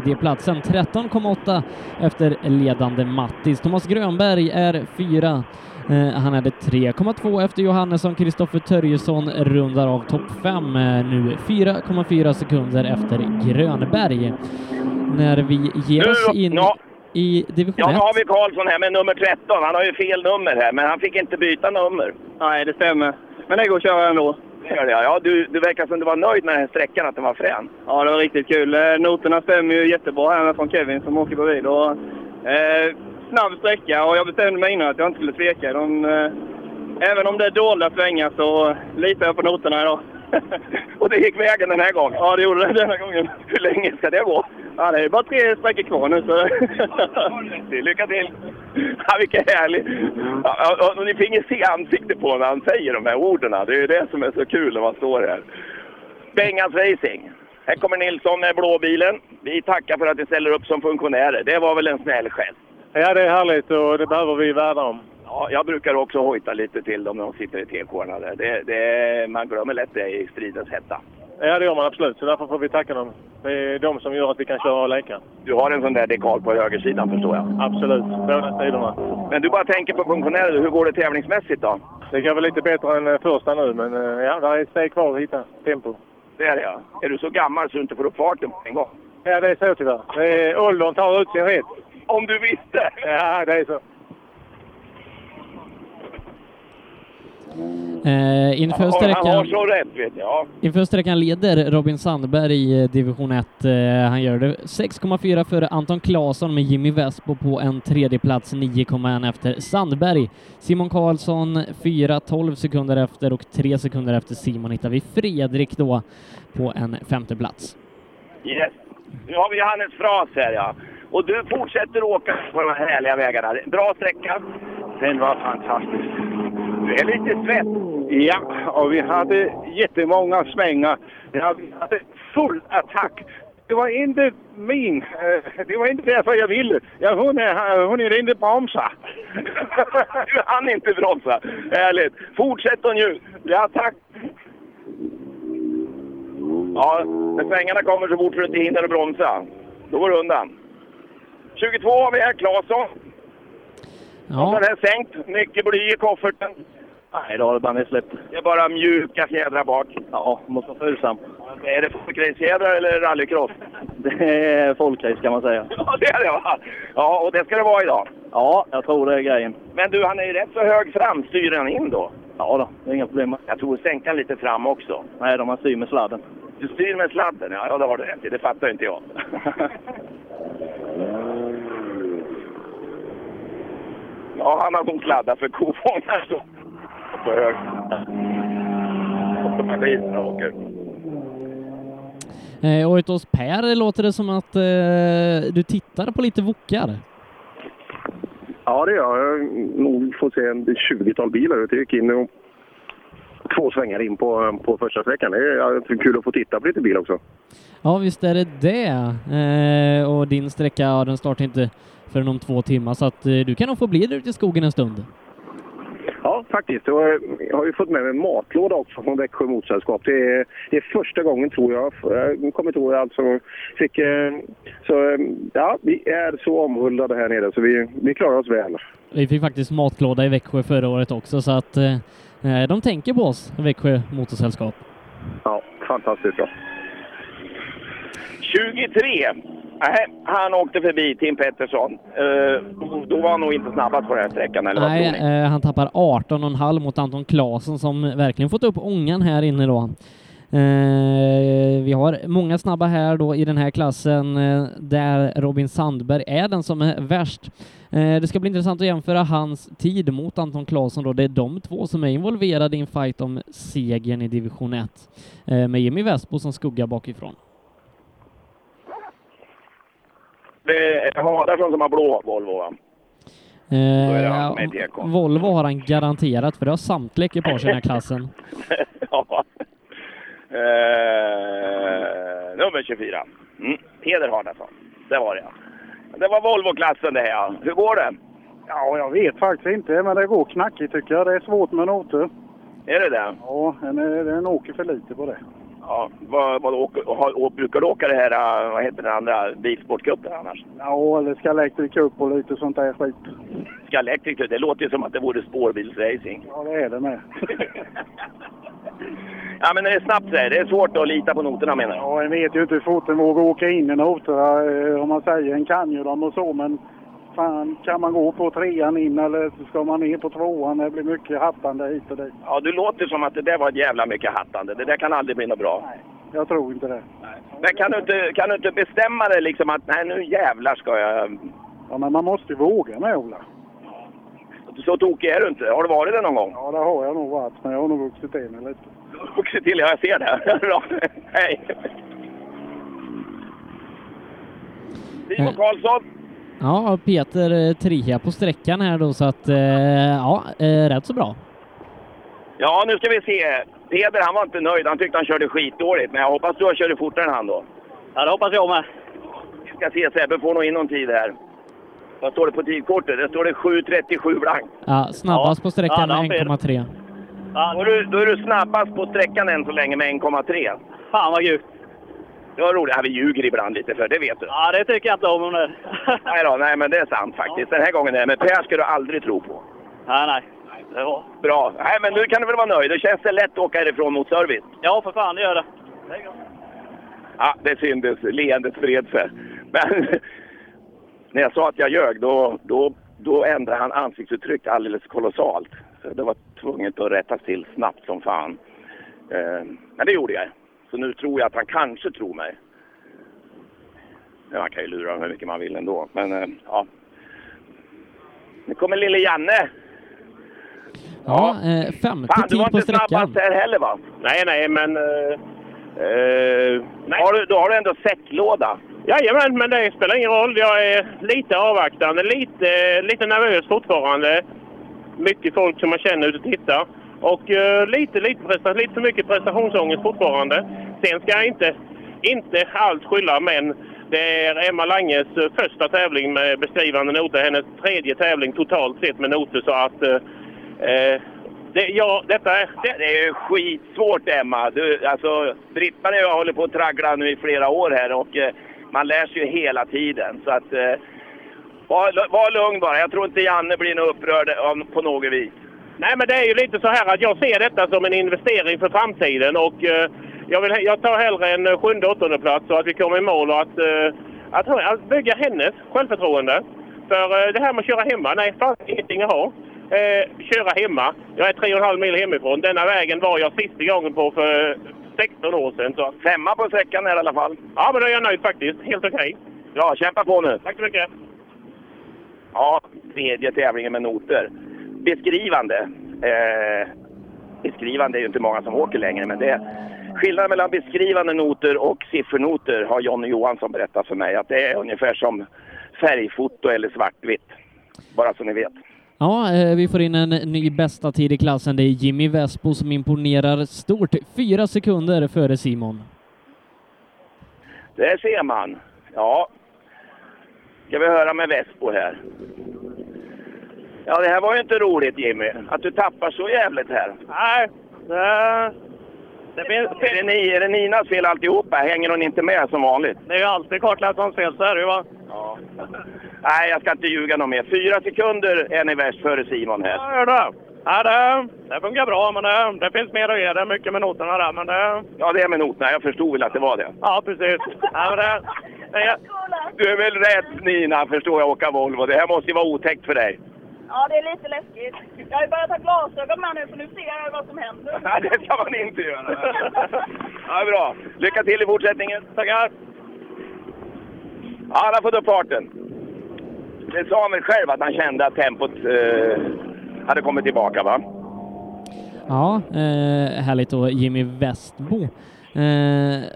tredjeplatsen. 13,8 efter ledande Mattis. Thomas Grönberg är fyra. Eh, Han hade 3,2 efter Johannesson. Kristoffer Törjesson rundar av topp 5 nu 4,4 sekunder efter Grönberg. När vi ger Nu- oss in ja. i division Ja, nu 1. har vi Karlsson här med nummer 13. Han har ju fel nummer här, men han fick inte byta nummer. Nej, det stämmer. Men det går att köra ändå. Det gör det, ja. ja. Du, du verkar som du var nöjd med den här sträckan, att den var frän. Ja, det var riktigt kul. Eh, Noterna stämmer ju jättebra här med från Kevin som åker bredvid. Och, eh, snabb sträcka och jag bestämde mig innan att jag inte skulle tveka. De, eh, även om det är dåliga svängar så litar jag på noterna idag. Och det gick vägen den här gången. ja, det gjorde det denna gången. Hur länge ska det gå? Ja, det är bara tre sträckor kvar nu så... Lycka till! Ja, vilken härlig... Ja, ja, och ni fick ju se ansiktet på när han säger de här orden. Det är ju det som är så kul när man står här. Bengans Racing. Här kommer Nilsson med blåbilen. Vi tackar för att ni ställer upp som funktionärer. Det var väl en snäll gest. ja, det är härligt och det behöver vi värna om. Ja, jag brukar också hojta lite till dem när de sitter i tekorna. där. Det, det, man glömmer lätt det i stridens hetta. Eh, Ja, det gör man absolut. Så därför får vi tacka dem. Det är de som gör att vi kan köra och leka. Du har en sån där dekal på högersidan förstår jag. Absolut. Båda sidorna. Men du bara tänker på funktionärer. Hur går det tävlingsmässigt då? Det går väl lite bättre än eh, första nu, men eh, ja, där är ett steg kvar att hitta tempo. Det är det ja. Är du så gammal så du inte får upp farten på en gång? Ja, det är så tyvärr. Det är, åldern tar ut sin rätt. Om du visste! Ja, det är så. Eh, inför Han har sträckan... så rätt vet jag. Ja. Inför sträckan leder Robin Sandberg i eh, division 1. Eh, Han gör det 6,4 före Anton Claesson med Jimmy Vespo på en tredje plats 9,1 efter Sandberg. Simon Karlsson 4, 12 sekunder efter och 3 sekunder efter Simon hittar vi Fredrik då på en femte plats. Yes. Nu har vi Johannes Fras här ja. Och du fortsätter åka på de här härliga vägarna. Bra sträcka. Den var fantastisk. Du är lite svett. Ja, och vi hade jättemånga svängar. Ja, vi hade full attack. Det var inte min... eh, Det var inte därför jag ville. Ja, hon, är, hon är inte bromsa. Du hann inte bromsa. Härligt. Fortsätt och njut. Ja, tack. Ja, när svängarna kommer så fort du inte hinner att bromsa. Då går det undan. 22 har vi här, Claesson. Ja. Ja, Den här sänkt. Mycket bly i kofferten. Nej, då har det bara nedsläppt. Det är bara mjuka fjädrar bak. Ja, måste vara följsam. Är det folkracefjädrar eller rallycross? Det är folkrace kan man säga. Ja, det är det va? Ja, och det ska det vara idag. Ja, jag tror det är grejen. Men du, han är ju rätt så hög fram. Styr han in då? Ja då, det är inga problem. Jag tror sänkan lite fram också. Nej, de har syr med sladden. Du styr med sladden, ja, ja det har du rätt i. Det fattar inte jag. ja, han har nog sladdat för kofångaren står på hög. Och så maskinerna åker. eh, och ute hos Per låter det som att eh, du tittar på lite vokar. Ja, det gör jag. Nog får se en 20-tal bilar ute. Jag gick in och två svängar in på, på första sträckan. Det är ja, kul att få titta på lite bil också. Ja, visst är det det. Eh, och din sträcka, ja, den startar inte förrän om två timmar, så att eh, du kan nog få bli där ute i skogen en stund. Ja, faktiskt. Och eh, jag har ju fått med mig en matlåda också från Växjö Motorsällskap. Det är, det är första gången, tror jag. Jag kommer inte ihåg allt som fick... eh, Så eh, ja, vi är så omhuldade här nere så vi, vi klarar oss väl. Vi fick faktiskt matlåda i Växjö förra året också, så att eh, de tänker på oss, Växjö Motorsällskap. Ja, fantastiskt bra. 23! Nej, han åkte förbi Tim Pettersson. Eh, då var han nog inte snabbast på den här sträckan, eller vad Nej, tror ni? eh, han tappar 18,5 mot Anton Claesson som verkligen fått upp ångan här inne då. Eh, vi har många snabba här då i den här klassen eh, där Robin Sandberg är den som är värst. Eh, det ska bli intressant att jämföra hans tid mot Anton Claesson då. Det är de två som är involverade i en fight om segern i division 1 eh, med Jimmy Westbo som skugga bakifrån. Det är Hadarsson som har blå Volvo, va? är det han Eh, med DK. Volvo har han garanterat för det har samtliga ekipage i den här klassen. ja. Eh, nummer 24. Mm. Peder Hardason. Det var det, ja. Det var Volvo-klassen det här. ja. Hur går det? Ja, jag vet faktiskt inte, men det går knackigt tycker jag. Det är svårt med noter. Är det det? Ja, en, eh, den åker för lite på det. Ja, Ja, vad, vad, åker, har, å- brukar du åka det här, eh, vad heter den andra, bilsportcupen annars? Ja, eller ska Electric upp och lite sånt där skit. Ska Electric, det låter ju som att det vore spårbilsracing. Ja, det är det med. Ja, men det är snabbt säger jag. Det är svårt att lita på noterna menar jag. Ja, en vet ju inte hur fort en vågar åka in i noterna, eh, om man säger. En kan ju dem och så, men fan, kan man gå på trean in eller ska man ner på tvåan? Det blir mycket hattande hit och dit. Ja, du låter som att det där var ett jävla mycket hattande. Det där kan aldrig bli något bra. Jag tror inte det. Men kan du inte, kan du inte bestämma dig liksom att nej, nu jävlar ska jag... Ja, men man måste ju våga med, Ola. Så tokig är du inte. Har du varit det någon gång? Ja, det har jag nog varit, men jag har nog vuxit in mig lite. Och se till, ja, jag ser det. Bra. Hej! Simon Eh. Karlsson. Ja, Peter eh, trea på sträckan här då så att eh, ja, eh, rätt så bra. Ja, nu ska vi se. Peder, han var inte nöjd. Han tyckte han körde skitdåligt. Men jag hoppas du har kört fortare än han då. Ja, det hoppas jag med. Vi ska se, Sebbe får nog in någon tid här. Vad står det på tidkortet? Det står det 7.37 blank. Ja, snabbast Ja. på sträckan Ja, det var med Peter. 1,3. Ja, Då är, du, då är du snabbast på sträckan än så länge med 1,3. fan vad kul. Det var roligt. Ja, vi ljuger ibland lite för det vet du. Ja, det tycker jag inte om. om det. Nej då, nej men det är sant faktiskt. Den här gången är det. Men Per ska du aldrig tro på. nej, nej. Det var. Bra. Nej men nu kan du väl vara nöjd. Då känns det lätt att åka härifrån mot service. Ja, för fan, det gör det. Ja, det syndes. Leendet spred sig. Men när jag sa att jag ljög, då, då, då ändrade han ansiktsuttryck alldeles kolossalt. Så det var tvunget att rätta till snabbt som fan. Eh, men det gjorde jag. Så nu tror jag att han kanske tror mig. Ja, man kan ju lura honom hur mycket man vill ändå. Men eh, ja. Nu kommer lille Janne. Ja, eh, femte Fan, du tid var på inte sträckan. snabbast här heller va? Nej, nej, men... eh, Har du, då har du ändå säcklåda. Jajamän, men det spelar ingen roll. Jag är lite avvaktande, lite, lite nervös fortfarande. Mycket folk som man känner ute och tittar. Och eh, lite, lite, presta, lite för mycket prestationsångest fortfarande. Sen ska jag inte, inte allt skylla, men det är Emma Langes eh, första tävling med beskrivande noter. Hennes tredje tävling totalt sett med noter. Så att... eh, eh, det, ja, detta är... Det, det är ju skitsvårt Emma. Du, alltså, Britt-Marie och jag håller på att traggla nu i flera år här och eh, man lär sig ju hela tiden. Så att, eh, var, lu- var lugn bara. Jag tror inte Janne blir något upprörd om, på något vis. Nej, men det är ju lite så här att jag ser detta som en investering för framtiden och eh, jag, vill, he- jag tar hellre en eh, sjunde åttonde plats så att vi kommer i mål och att, eh, att, hö- att bygga hennes självförtroende. För eh, det här med att köra hemma, nej, fan ingenting att ha. Eh, köra hemma. Jag är tre och en halv mil hemifrån. Denna vägen var jag sista gången på för eh, 16 år sedan. Så. Femma på sträckan här i alla fall. Ja, men då är jag nöjd faktiskt. Helt okej. Bra, kämpa på nu. Tack så mycket. Ja, tredje tävlingen med noter. Beskrivande. Eh, beskrivande är ju inte många som åker längre, men det... Skillnaden mellan beskrivande noter och siffernoter har Jonny Johansson berättat för mig att det är ungefär som färgfoto eller svartvitt. Bara så ni vet. Ja, eh, vi får in en ny bästa tid i klassen. Det är Jimmy Vespo som imponerar stort. Fyra sekunder före Simon. Där ser man. Ja. Ska vi höra med Vespo här. Ja, det här var ju inte roligt Jimmy, att du tappar så jävligt här. Nej, det, det, finns, Är det, ni, är det Ninas fel alltihopa? Hänger hon inte med som vanligt? det är ju alltid kartläsarens fel, så är det ju va. Ja. Nej, jag ska inte ljuga någon mer. Fyra sekunder är ni värst före Simon här. Ja, gör det. Ja, det, det funkar bra, men det, det finns mer att ge. Det är mycket med noterna där, men det... Ja, det är med noterna. Jag förstod väl att det var det. Ja, precis. Ja, men det, det, Du är väl rätt Nina, förstår jag, åka Volvo. Det här måste ju vara otäckt för dig. Ja, det är lite läskigt. Jag har ju börjat ha glasögon med nu, för nu ser jag vad som händer. Nej, det ska man inte göra. Ja, bra. Lycka till i fortsättningen. Tackar. Ja, där får du farten. Det sa han väl själv att han kände att tempot eh, hade kommit tillbaka, va? Ja, eh, härligt då. Jimmy Westbo. Eh,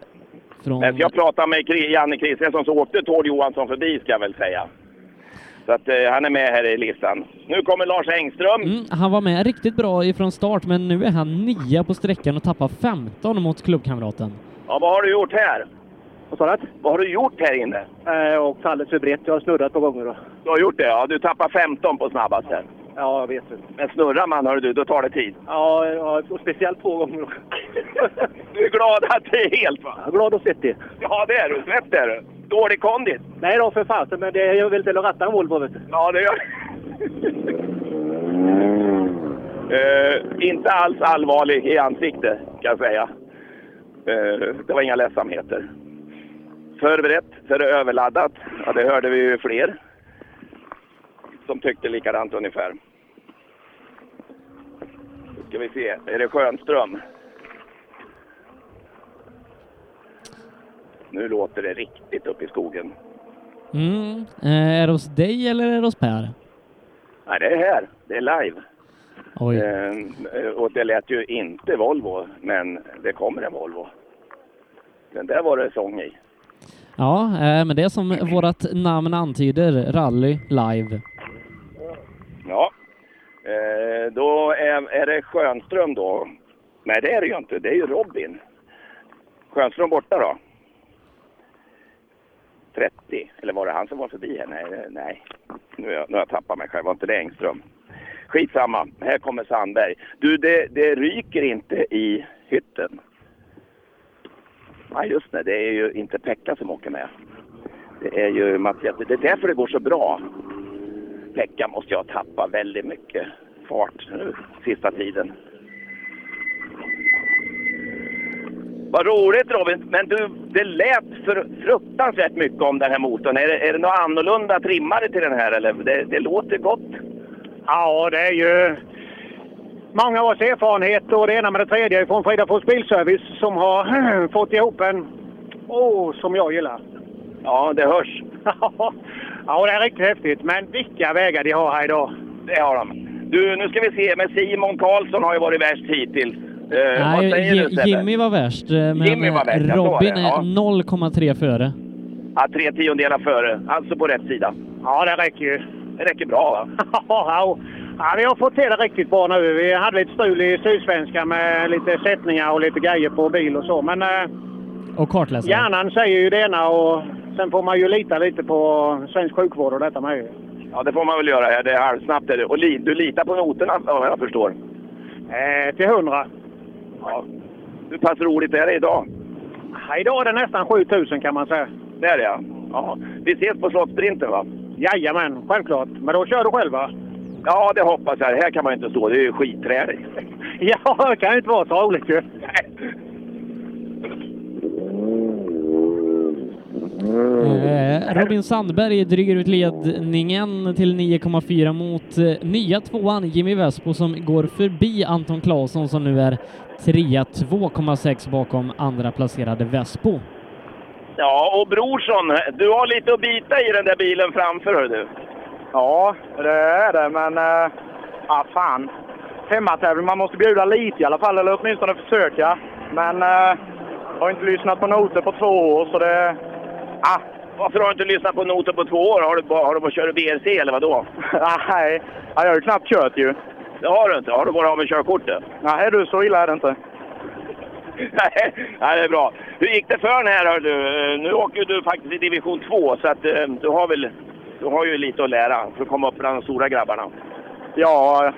från... Men Jag pratade med Kri- Janne Kristiansson som åkte Tord Johansson förbi ska jag väl säga. Så att eh, han är med här i listan. Nu kommer Lars Engström. Mm, han var med riktigt bra ifrån start, men nu är han nia på sträckan och tappar 15 mot klubbkamraten. Ja, vad har du gjort här? Vad sa du? Eh, Vad har du gjort här inne? Jag åkte alldeles för brett. Jag har snurrat på gånger. Då. Du har gjort det, ja. Du tappar 15 på snabbaste. Ja, jag vet. väl. Men snurrar man, hör du, då tar det tid. Ja, ja och speciellt två gånger. också. Du är glad att det är helt, va? Jag är glad och svettig. Ja, det är du. Släpp det, du. Dålig kondit. Nej då, för fasen. Men det gör väl till att ratta en Volvo, vet du. Ja, det gör Eh, Inte alls allvarlig i ansiktet, kan jag säga. Eh, det var inga ledsamheter. Förberett, så är det överladdat. Ja, det hörde vi ju fler som tyckte likadant ungefär. Nu ska vi se, är det Schönström? Nu låter det riktigt upp i skogen. Mm. Eh, är det hos dig eller är det hos Per? Nej, det är här. Det är live. Oj. Eh, och det lät ju inte Volvo, men det kommer en Volvo. Den där var det sång i. Ja, eh, men det är som Mm. vårat namn antyder, rally live. Ja. Eh, då är, är det Schönström då. Nej, det är det ju inte. Det är ju Robin. Schönström borta då. 30. Eller var det han som var förbi här? Nej, det- nej. Nu, har jag- nu har jag tappat mig själv. Var inte det Engström? Skitsamma. Här kommer Sandberg. Du, det, det ryker inte i hytten. Nej, just det. Det är ju inte Pekka som åker med. Det är ju Mattias. Det är därför det går så bra. Pekka måste jag tappa väldigt mycket fart nu sista tiden. Vad roligt Robin, men du, det lät för fruktansvärt mycket om den här motorn. Är det, är det några annorlunda trimmare till den här eller? Det, det låter gott. Ja, det är ju många års erfarenhet och det ena med det tredje från Fridafors Bilservice som har fått ihop en, åh, som jag gillar. Ja, det hörs. ja, det är riktigt häftigt. Men vilka vägar de har här idag. Det har de. Du, nu ska vi se, men Simon Karlsson har ju varit värst hittills. Eh, vad säger Ji- du Sebbe? Jimmy var värst, eh, men Jimmy var värst, jag sa det, Robin är ja. 0,3 före. Ja, tre tiondelar före, alltså på rätt sida. Ja, det räcker ju. Det räcker bra va? ja, vi har fått till det riktigt bra nu. Vi hade lite strul i Sydsvenskan med lite sättningar och lite grejer på bil och så. Men eh, Och kartläsare. hjärnan säger ju det ena och sen får man ju lita lite på svensk sjukvård och detta med. ju. Ja, det får man väl göra här. Det är halvsnabbt. Är det. Och li, du litar på noterna vad jag förstår. Eh, till hundra. Ja. Hur pass roligt är det idag? Ja, Idag är det nästan 7000 kan man säga. Det är det ja. ja. Vi ses på Slottssprinten va? Jajamän, självklart. Men då kör du själv va? Ja, det hoppas jag. Här kan man ju inte stå. Det är ju skitträligt. Ja, det kan ju inte vara så roligt ju. Eh, Robin Sandberg dryger ut ledningen till 9,4 mot eh, nya tvåan Jimmy Vespo som går förbi Anton Claesson som nu är trea, 2,6 bakom andra placerade Vespo. Ja, och Brorsson, du har lite att bita i den där bilen framför hör du. Ja, det är det, men... eh, Äh, ah, fan. Hemmatävling, man måste bjuda lite i alla fall, eller åtminstone försöka. Men eh, jag har inte lyssnat på noter på två år, så det... Ah, Varför har du inte lyssnat på noter på två år? Har du bara, har du bara kört BRC eller vadå? Ah, nej. Ja, jag har ju knappt kört ju. Det har du inte. Har du bara av med körkortet? Nej du, så illa är det inte. Nej, Nej, det är bra. Hur gick det för den här hör du? Eh, Nu åker ju du faktiskt i division 2 så att eh, du har väl... Du har ju lite att lära för att komma upp bland de stora grabbarna. Ja,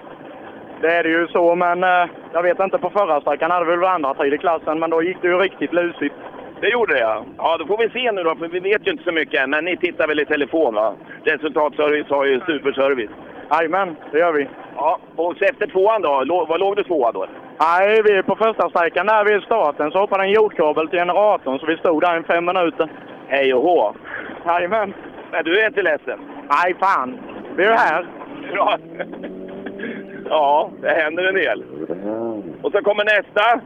det är det ju så, men eh, jag vet inte. På förra sträckan hade vi väl andra tid i klassen, men då gick det ju riktigt lusigt. Det gjorde jag. Ja, då får vi se nu då, för vi vet ju inte så mycket än. Men ni tittar väl i telefon va? Resultatservice har ju superservice. Jajamän, det gör vi. Ja, och så efter tvåan då? Lå- Vad låg du tvåa då? Nej, vi är på första sträckan där vid starten så hoppade en jordkabel till generatorn, så vi stod där i fem minuter. Hej och hå. Jajamän. Men du är inte ledsen? Nej, fan. Vi är ju här. Bra. Ja, det händer en del. Och så kommer nästa.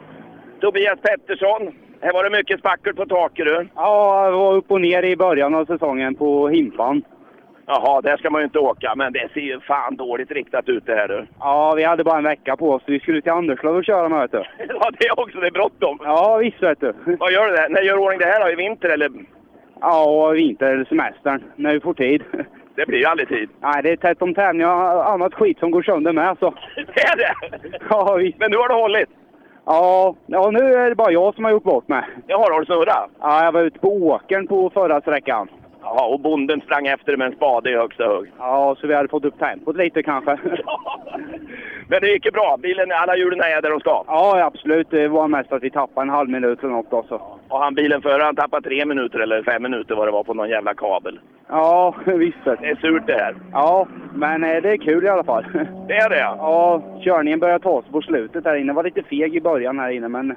Tobias Pettersson. Här var det mycket spackel på taket du. Ja, jag var upp och ner i början av säsongen på Himpan. Jaha, där ska man ju inte åka. Men det ser ju fan dåligt riktat ut det här du. Ja, vi hade bara en vecka på oss. Vi skulle till Anderslöv och köra med, vet du. Ja, det är också. Det är bråttom. Ja, visst, vet du. Vad gör du där? När gör du ordning det här då? I vinter eller? Ja, vintersemestern, när vi får tid. Det blir ju aldrig tid. Nej, det är tätt om tävlingar och annat skit som går sönder med, så. Det är det! Ja, visst. Men nu har du hållit. Ja, ja, nu är det bara jag som har gjort bort mig. Jag har, har du snurrat? Ja, jag var ute på åkern på förra sträckan. Ja, och bonden sprang efter med en spade i högsta hugg. Ja, så vi hade fått upp tempot lite kanske. Men det gick ju bra. Bilen, alla hjulen är där de ska. ja, absolut. Det var mest att vi tappade en halv minut eller något då, så. Och han bilen före, han tappade tre minuter eller fem minuter vad det var på någon jävla kabel. Ja, visst. Det är surt det här. Ja, men eh, det är kul i alla fall. Det är det ja. Ja, körningen börjar ta sig på slutet här inne. Det var lite feg i början här inne, men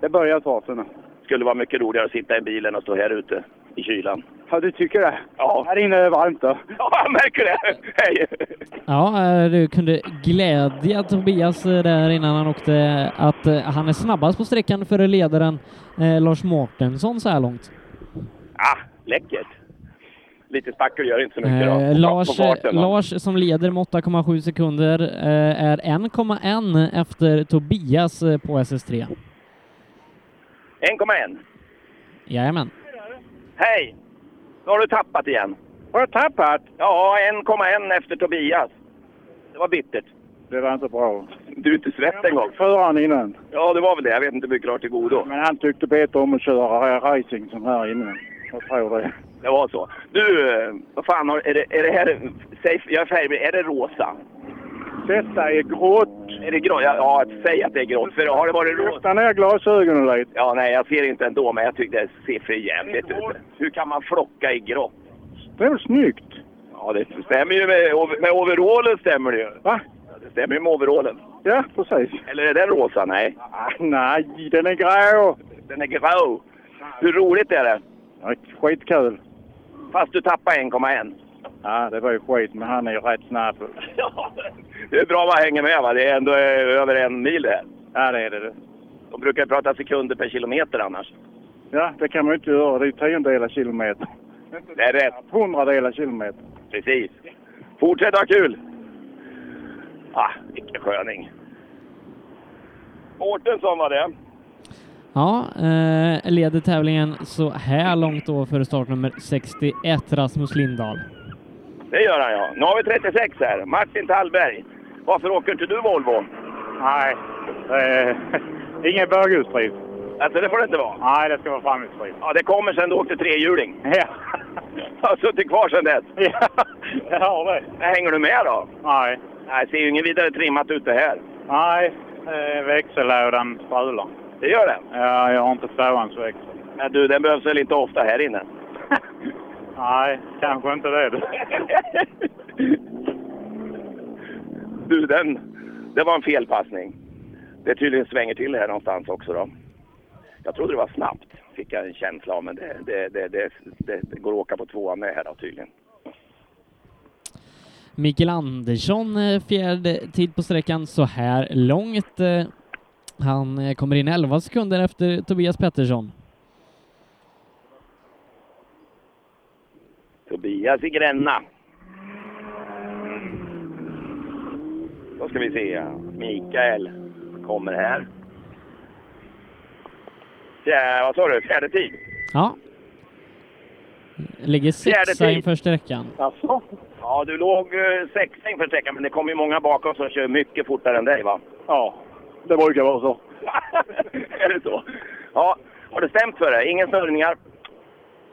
det börjar ta sig nu. Skulle vara mycket roligare att sitta i bilen och stå här ute i kylan. Ja, du tycker det? Ja. Här inne är det varmt då. Ja, jag märker det. Hej! Ja, eh, du kunde glädja Tobias eh, där innan han åkte att eh, han är snabbast på sträckan före ledaren eh, Lars Mårtensson så här långt. Ah, läckert. Lite spackel gör inte så mycket Eh, då. På- Lars, på farten, va? Lars som leder med 8,7 sekunder eh, är 1,1 efter Tobias eh, på SS3. 1,1. Jajamän. Hej! Nu har du tappat igen. Har jag tappat? Ja, 1,1 efter Tobias. Det var bittert. Det var inte bra. Du är inte svett en gång. Föraren innan. Ja, det var väl det. Jag vet inte hur mycket klart till godo. Men han tyckte bättre om att köra här racing som här inne. Jag tror det. Det var så. Du, eh, vad fan, har, är, det, är det här... Säg, jag är färgblind. Är det rosa? Detta är grått. Är det grå? Ja, ja, säg att det är grått. För har det varit rosa... Lyfta ner glasögonen lite. Ja, nej, jag ser inte ändå, men jag tycker det ser för jävligt ut. Hur kan man flocka i grått? Det är väl snyggt? Ja, det stämmer ju med, med overallen stämmer det ju. Va? Det stämmer ju med overallen. Ja, precis. Eller är den rosa? Nej. Ah, nej, den är grå. Den är grå. Hur roligt är det? Ja, skitkul. Fast du tappar 1,1. Ja, det var ju skit, men han är ju rätt snabb. Ja, det är bra att man hänger med va? Det är ändå eh, över en mil det här. Ja, det är det. De brukar ju prata sekunder per kilometer annars. Ja, det kan man ju inte göra. Det är ju tiondelar kilometer. Det är rätt. Hundradelar kilometer. Precis. Fortsätt ha kul! Ah, vilken sköning. Mårtensson var det. Ja, eh, leder tävlingen så här långt då före startnummer 61, Rasmus Lindahl. Det gör han ja. Nu har vi 36 här. Martin Tallberg. Varför åker inte du Volvo? Nej, det är ingen böghusdrift. Alltså det får det inte vara. Nej, det ska vara framhjulsdrift. Ja, det kommer sen du åkte trehjuling. Ja. Jag har suttit kvar sen dess. ja, jag har det. Där hänger du med då? Nej, Nej, det ser ju inget vidare trimmat ut det här. nej. eh, Växellådan strular. Det gör det. Ja, jag har inte tvåhandsväxel. Men du, den behövs väl inte ofta här inne? Nej, kanske inte det. du. Du, den, det var en felpassning. Det tydligen svänger till här någonstans också då. Jag trodde det var snabbt, fick jag en känsla av. Men det, det, det, det, det, det går att åka på tvåan med här då tydligen. Mikael Andersson, eh, fjärde tid på sträckan så här långt. eh. Han eh, kommer in 11 sekunder efter Tobias Pettersson. Tobias i Gränna. Då ska vi se. Mikael kommer här. Fjär, vad sa du? Fjärde tid? Ja. Ligger sexa tid. inför sträckan. Alltså? Ja, du låg eh, sexa inför sträckan, men det kommer ju många bakom som kör mycket fortare än dig, va? Ja, det brukar vara så. är det så? Ja, har det stämt för dig? Inga störningar?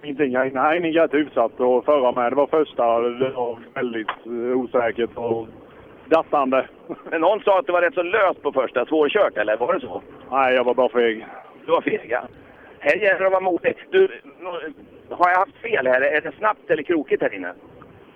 Inte, nej, nej, ni är jätteutsatt och förra med. Det var första, det var väldigt eh, osäkert och dattande. Men någon sa att det var rätt så löst på första, svårkört, eller var det så? Nej, jag var bara feg. Du var feg, ja. Här gäller det att vara modig. Du, nå- har jag haft fel här? Är det snabbt eller krokigt här inne?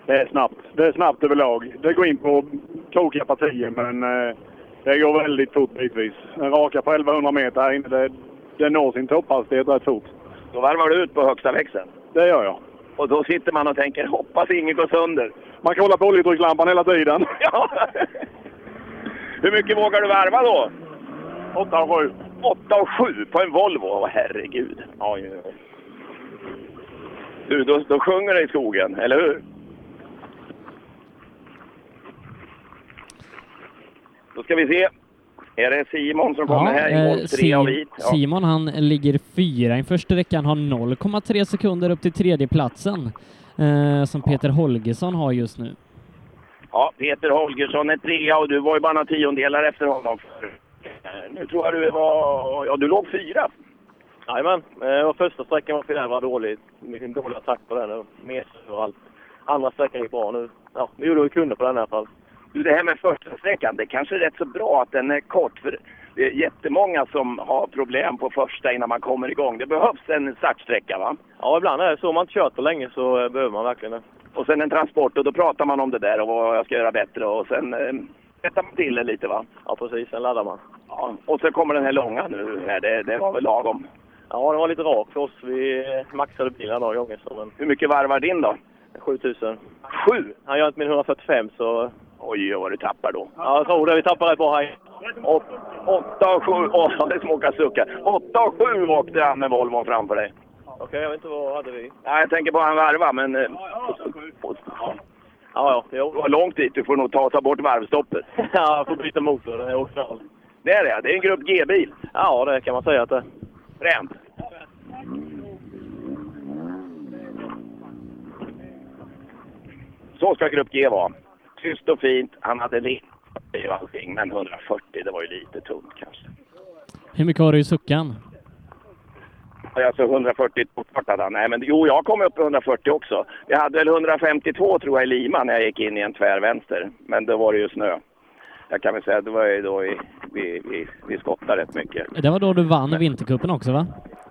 Det är snabbt. Det är snabbt överlag. Det går in på krokiga partier, men eh, det går väldigt fort bitvis. En raka på 1100 meter här inne, det, det når sin topphastighet rätt fort. Då varvar du ut på högsta växeln. Det gör jag. Och då sitter man och tänker, hoppas inget går sönder. Man kollar på oljedryckslampan hela tiden. Ja. Hur mycket vågar du varva då? 8 och 7. 8 och 7 på en Volvo. Åh, herregud. Oj, oj, oj. Du, då, då sjunger det i skogen, eller hur? Då ska vi se. Är det Simon som kommer här eh, i mål tre Sim- av vit? Ja. Simon han ligger fyra inför sträckan, har 0,3 sekunder upp till tredjeplatsen eh, som Peter Holgersson har just nu. ja, Peter Holgersson är trea och du var ju bara några tiondelar efter honom. Eh, Nu tror jag du var... Ja, du låg fyra. Jajamän, eh, och första sträckan var för jävla dålig. Mycket dålig attack på den. och Mesor och allt. Andra sträckan gick bra nu. Ja, vi gjorde vad vi kunde på den i alla fall. Du, det här med första sträckan, det kanske är rätt så bra att den är kort. För det är jättemånga som har problem på första innan man kommer igång. Det behövs en startsträcka va? Ja, ibland är det så. Om man inte kört på länge så eh, behöver man verkligen det. Och sen en transport och då pratar man om det där och vad jag ska göra bättre och sen eh, rättar man till det lite va? Ja, precis. Sen laddar man. Ja. Och så kommer den här långa nu här. Det, det var väl lagom. Ja, den var lite rak för oss. Vi eh, maxade bilen några gånger. Så, men... Hur mycket varvar din då? 7000. Sju? Han gör inte min 145 så... Oj, vad du tappar då. Ja, jag tror det. Vi tappar rätt bra här. Åt, åtta och sju... Åh, det smakar suckar. Åtta och sju åkte han med Volvon framför dig. Okej, jag vet inte vad hade vi? Nej, jag tänker på han varva, men... eh, Ja, ja. Det Jo. var långt dit. Du får nog ta, ta bort varvstoppet. ja, jag får byta motor. Det är också Det är det. Det är en Grupp G-bil. Ja, det kan man säga att det är. Fränt. Så ska Grupp G vara. Tyst och fint. Han hade lite i allting, men 140, det var ju lite tunt kanske. Hur mycket har du i suckan? Ja, Alltså 140 hade han. Nej, men jo, jag kom upp i 140 också. Jag hade väl 152 tror jag i Lima när jag gick in i en tvärvänster. Men då var det ju snö. Jag kan väl säga att det var ju då i, vi, vi, vi skottade rätt mycket. Det var då du vann vintercupen också va?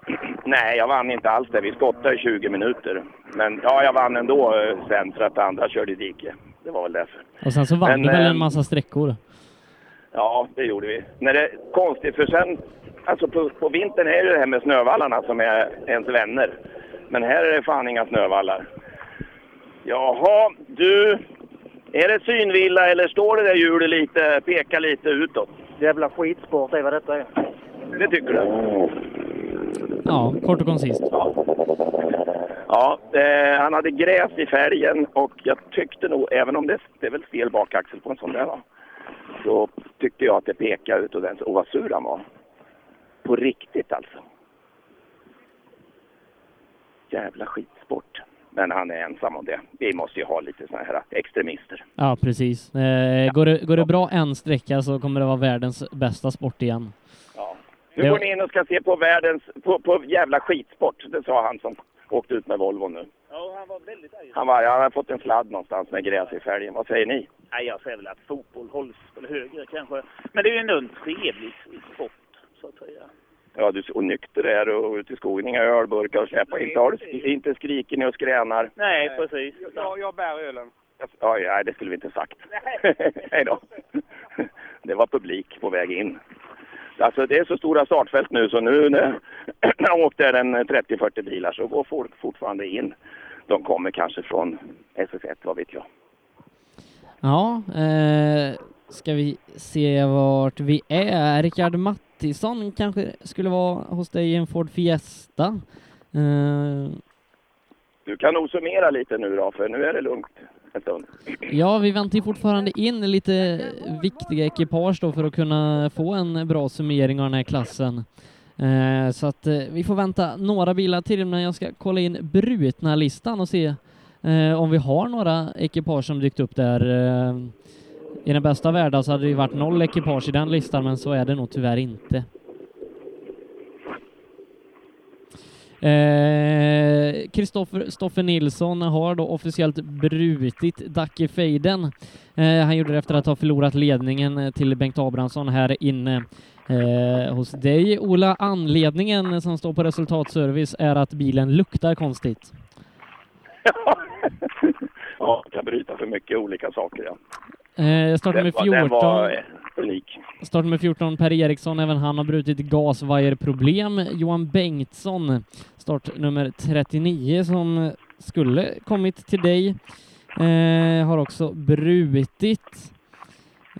Nej, jag vann inte alls det. Vi skottade i 20 minuter. Men ja, jag vann ändå eh, sen för att andra körde i dike. Det var väl därför. Och sen så vann Men, du väl eh, en massa sträckor? Ja, det gjorde vi. När det konstigt, för sen... Alltså på, på vintern är det det här med snövallarna som är ens vänner. Men här är det fan inga snövallar. Jaha, du... Är det synvilla eller står det där hjulet lite, pekar lite utåt? Jävla skitsport är vad detta är. Det tycker du? Ja, kort och koncist. Ja, eh, han hade gräs i färgen och jag tyckte nog, även om det, det är väl fel bakaxel på en sån där va? Så tyckte jag att det pekade ut och den, och vad sur han var. På riktigt alltså. Jävla skitsport. Men han är ensam om det. Vi måste ju ha lite såna här extremister. Ja, precis. Eh, går, det, går det bra en sträcka så kommer det vara världens bästa sport igen. Nu Det- går ni in och ska se på världens, på, på jävla skitsport. Det sa han som åkte ut med Volvo nu. Ja, han var väldigt arg. Han, var, han har fått en sladd någonstans med gräs i fälgen. Vad säger ni? Nej, jag säger väl att fotboll hålls väl högre kanske. Men det är ju ändå en trevlig sport, så att säga. Ja, du och nykter är du och ute i skogen, inga ölburkar och släpa. Inte, har du, inte skriker ni och skränar. Nej, precis. Jag, jag bär ölen. Oj, nej, det skulle vi inte sagt. Hej då. Det var publik på väg in. Alltså det är så stora startfält nu så nu när när jag åkte en 30-40 bilar så går folk fortfarande in. De kommer kanske från SS1, vad vet jag. Ja, eh, ska vi se vart vi är. Rickard Mattisson kanske skulle vara hos dig i en Ford Fiesta. Eh, Du kan nog summera lite nu då, för nu är det lugnt en stund. ja, vi väntar ju fortfarande in lite viktiga ekipage då för att kunna få en bra summering av den här klassen. Eh, så att eh, vi får vänta några bilar till, men jag ska kolla in brutna listan och se eh, om vi har några ekipage som dykt upp där. Eh, I den bästa världen så hade det ju varit noll ekipage i den listan, men så är det nog tyvärr inte. Eh, Kristoffer Stoffer Nilsson har då officiellt brutit Dacke Fejden. Eh, han gjorde det efter att ha förlorat ledningen eh, till Bengt Abrahamsson här inne eh, hos dig. Ola, anledningen som står på resultatservice är att bilen luktar konstigt. Ja, jag kan bryta för mycket olika saker. Ja. Eh, startar med var- den var 14. eh, unik. Starten med 14, Per Eriksson, även han har brutit gasvajerproblem. Johan Bengtsson, start nummer 39, som skulle kommit till dig, eh, har också brutit.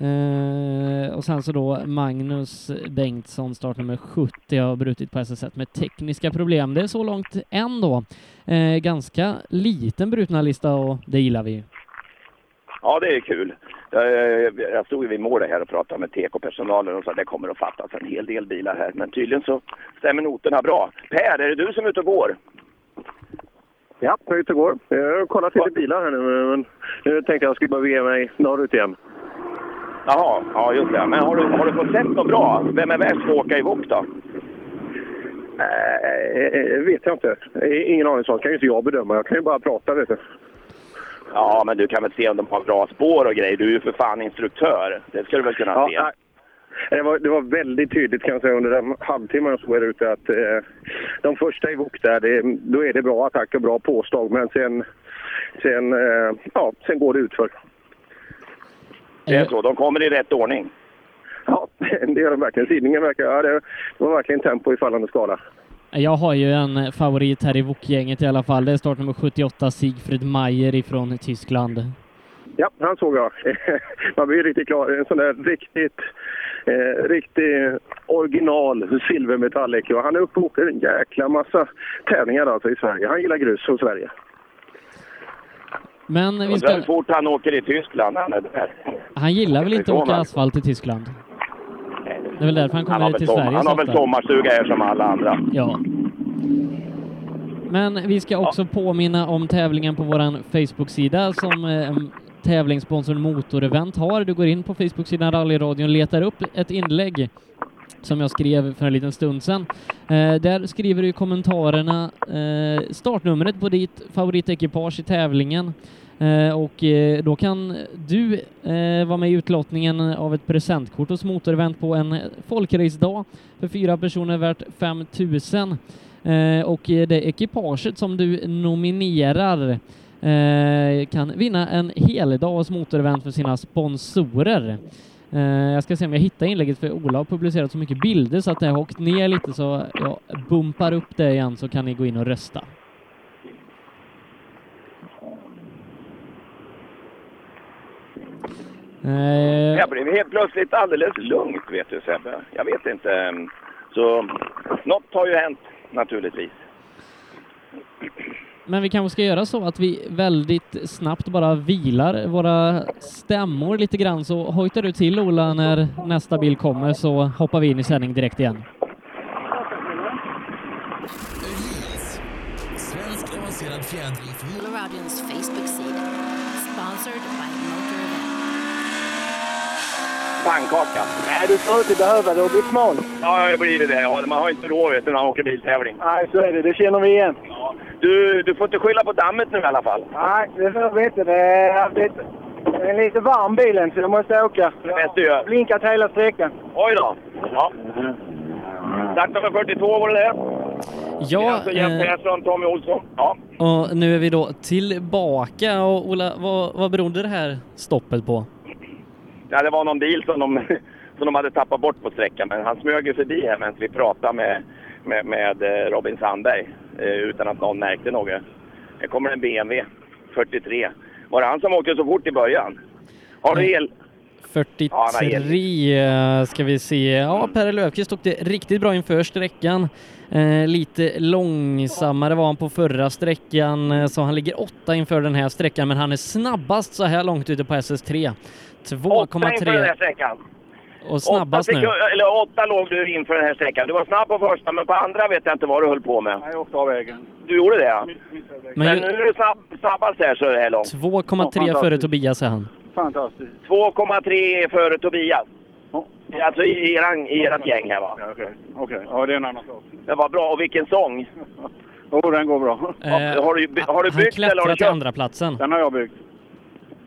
Eh, och sen så då Magnus Bengtsson, start nummer 70, har brutit på SS1 med tekniska problem. Det är så långt än då. Eh, ganska liten brutna lista och det gillar vi ju. Ja, det är kul. Jag, jag, jag stod ju vid målet här och pratade med TK-personalen och sa det kommer att fattas en hel del bilar här. Men tydligen så stämmer noterna bra. Per, är det du som är ute och går? Ja, jag är ute och går. Jag har kollat lite bilar här nu, men nu tänkte jag skulle bara bege mig norrut igen. Jaha, ja just det. Men har du, har du fått sett något bra? Vem är värst på att åka i VOK då? Nej, eh, vet jag inte. Eh, Ingen aning. Sånt kan ju inte jag bedöma. Jag kan ju bara prata, vet du. Eh, Ja, men du kan väl se om de har bra spår och grejer. Du är ju för fan instruktör. Det ska du väl kunna se. nej. Det var, det var väldigt tydligt kan jag säga under den halvtimmen jag stod här ute att eh, de första i VOK där, det, då är det bra attack och bra påslag. Men sen, sen, eh, ja, sen går det utför. Det är så. De kommer i rätt ordning. Ja, det gör de verkligen. Sidningen verkar... Ja, det var verkligen tempo i fallande skala. Jag har ju en favorit här i Wok-gänget i alla fall. Det är startnummer 78, Siegfried Mayer ifrån Tyskland. Ja, han såg jag. Man blir ju riktigt klar. En sån där riktigt, eh, riktig original silvermetalliker. Och Han är uppe och åker en jäkla massa tävlingar alltså i Sverige. Han gillar grus och Sverige. Men vi Undrar ska... hur fort han åker i Tyskland. Han är där. Han gillar väl inte att åka Förvånad. asfalt i Tyskland? Det är väl därför han Han kommer har till väl, Sverige sommar, han så har väl ofta. sommarstuga här som alla andra. Ja. Men vi ska också påminna om tävlingen på vår Facebook-sida som eh, tävlingssponsorn Motorevent har. Du går in på Facebook-sidan Rallyradion, letar upp ett inlägg som jag skrev för en liten stund sedan. Eh, där skriver du i kommentarerna eh, startnumret på ditt favoritekipage i tävlingen. Eh, och eh, då kan du eh, vara med i utlottningen av ett presentkort hos Motorevent på en folkracedag för fyra personer värt 5000. Eh, och eh, det ekipaget som du nominerar eh, kan vinna en hel dag hos Motorevent för sina sponsorer. Eh, jag ska se om jag hittar inlägget för Ola har publicerat så mycket bilder så att det har åkt ner lite så jag bumpar upp det igen så kan ni gå in och rösta. Eh, Jag blev helt plötsligt alldeles lugnt, vet du Sebbe. Jag vet inte. Så något har ju hänt, naturligtvis. Men vi kanske ska göra så att vi väldigt snabbt bara vilar våra stämmor lite grann så hojtar du till Ola när nästa bil kommer så hoppar vi in i sändning direkt igen. Öhlins. Svensk avancerad fjädring för motor. Radions Facebook-sida. Sponsored by Motor Pannkaka. Nej, du ska inte behöva det. Du blir smal. Ja, jag har blivit det. Ja, Man har inte råd vet du, när man åker biltävling. Nej, så är det. Det känner vi igen. Du, du får inte skylla på dammet nu i alla fall. Nej, det får jag veta. Det är lite, det är lite varm bilen så jag måste åka. Det bäst du gör. Blinkat hela sträckan. Oj då. Ja. Start nummer 42 var det det. Det är Ja, alltså Jens eh, Persson, Tommy Olsson. Ja. och nu är vi då tillbaka och Ola, vad, vad berodde det här stoppet på? ja, det var någon bil som de, som de hade tappat bort på sträckan. Men han smög ju förbi här medan vi pratade med, med, med eh, Robin Sandberg eh, utan att någon märkte något. Här kommer en BMW 43. Var det han som åkte så fort i början? Har du el? Ja, nej, 43 eh, ska vi se. Ja, Per Löfqvist åkte riktigt bra inför sträckan. Eh, lite långsammare var han på förra sträckan, eh, så han ligger åtta inför den här sträckan, men han är snabbast så här långt ute på SS3. Åtta inför den här 2,3 sträckan. och snabbast åtta nu. sekund- Eller åtta låg du inför den här sträckan. Du var snabb på första, men på andra vet jag inte vad du höll på med. Jag åkte av vägen. Du gjorde det, ja. Men Men, ju- nu är du snabb, snabbast här så är det här långt. 2,3 före Tobias är han. Fantastiskt. 2,3 före Tobias. Alltså i, eran, i ert gäng här va? Ja, Okej, okej. Ja, det är en annan sak. Det var bra. Och vilken sång! Jo, den går bra. Ja, har, du, by- har du Eh, han byggt eller har klättrar du till köpt? andra platsen. Den har jag byggt.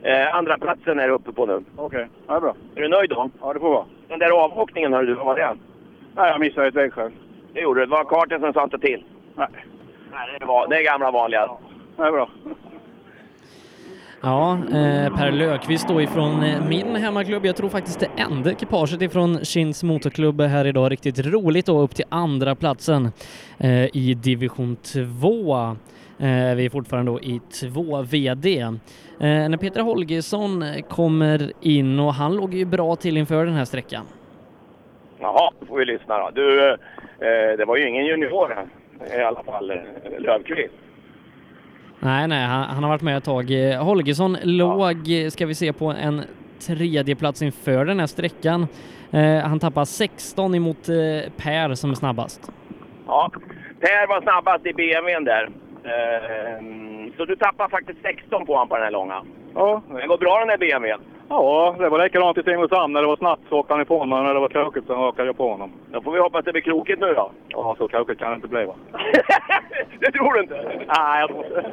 Eh, andra platsen är du uppe på nu. Okej, ja, det är bra. Är du nöjd då? Ja, det får vara. Den där avåkningen hörde du, vad var det? Nej, jag missade ett vägskäl. Det gjorde du. Det var kartan som sa inte till. Nej. Nej, det, var, det är gamla vanliga. Det är bra. Ja, eh, Per Lökvist då ifrån eh, min hemmaklubb. Jag tror faktiskt det enda ekipaget ifrån Kins motorklubb är här idag. Riktigt roligt då, upp till andra platsen eh, i division 2. Eh, vi är fortfarande då i 2 VD. Eh, när Peter Holgersson eh, kommer in och han låg ju bra till inför den här sträckan. Jaha, då får vi lyssna då. Du, eh, det var ju ingen junior här, i alla fall, eh, Löfqvist. Nej, nej, han, han har varit med ett tag. Eh, Holgersson låg, eh, ska vi se, på en tredje plats inför den här sträckan. Eh, han tappar 16 emot eh, Per som är snabbast. Ja. Per var snabbast i BMWn där. Ehm, Så du tappar faktiskt 16 på honom på den här långa. Ja, Den går bra den här BMWn. ja det var likadant i Simrishamn. När det var snabbt så åkte han ifrån mig. När det var krokigt så åkte jag på honom. Då får vi hoppas det blir krokigt nu då. Ja, så krokigt kan det inte bli va? Det tror du inte? Nej, jag tror inte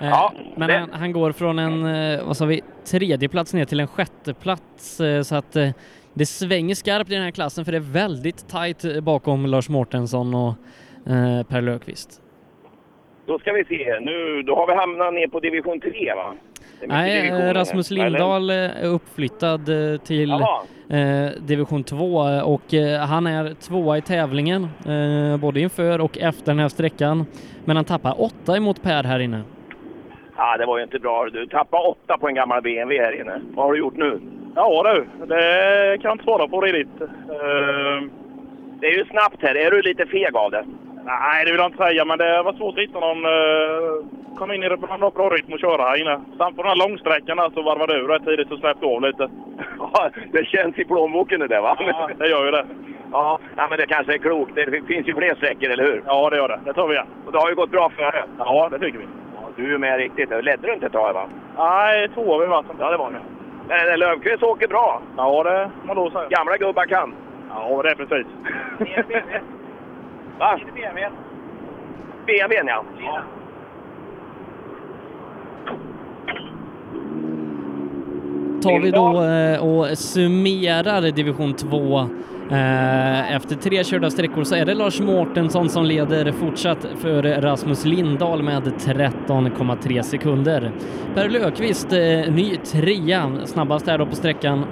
Eh, men han, han går från en, eh, vad sa vi, tredje plats ner till en sjätte plats eh, så att eh, det svänger skarpt i den här klassen för det är väldigt tajt eh, bakom Lars Mårtensson och eh, Per Löfqvist. Då ska vi se. Nu, då har vi hamnat ner på division 3 va? Det är mycket Nej, divisioner eh, Rasmus här, eller? Lindahl eh, är uppflyttad eh, till eh, division 2 eh, och eh, han är tvåa i tävlingen eh, både inför och efter den här sträckan. Men han tappar åtta emot Per här inne. Ja, det var ju inte bra. Du tappade åtta på en gammal BMW här inne. Vad har du gjort nu? Ja du, det kan jag inte svara på riktigt. Ehm, Det är ju snabbt här. Är du lite feg av det? nej, det vill jag inte säga, men det var svårt att hitta någon... eh, kom in i det bra, bra rytm och köra här inne. Samt på den här långsträckan där så varvade du rätt tidigt och släppte av lite. Ja, det känns i plånboken det där va? Ja, det gör ju det. Ja, ja, men det kanske är klokt. Det finns ju fler sträckor, eller hur? Ja, det gör det. Det tar vi igen. Och det har ju gått bra före. Ja, det tycker vi. Ja, Du är med riktigt. Det Ledde du inte ett tag, va? Nej, två har vi varit. Ja, det var ni. Men Eh, den där Löfqvist åker bra. Ja, det man då säga. Gamla gubbar kan. Ja, det är precis. Va? BMWn, ja. ja. tar vi då eh, och summerar division 2. Eh, Efter tre körda sträckor så är det Lars Mårtensson som leder fortsatt för Rasmus Lindahl med 13,3 sekunder. Per Löfqvist, eh, ny trea, snabbast här då på sträckan.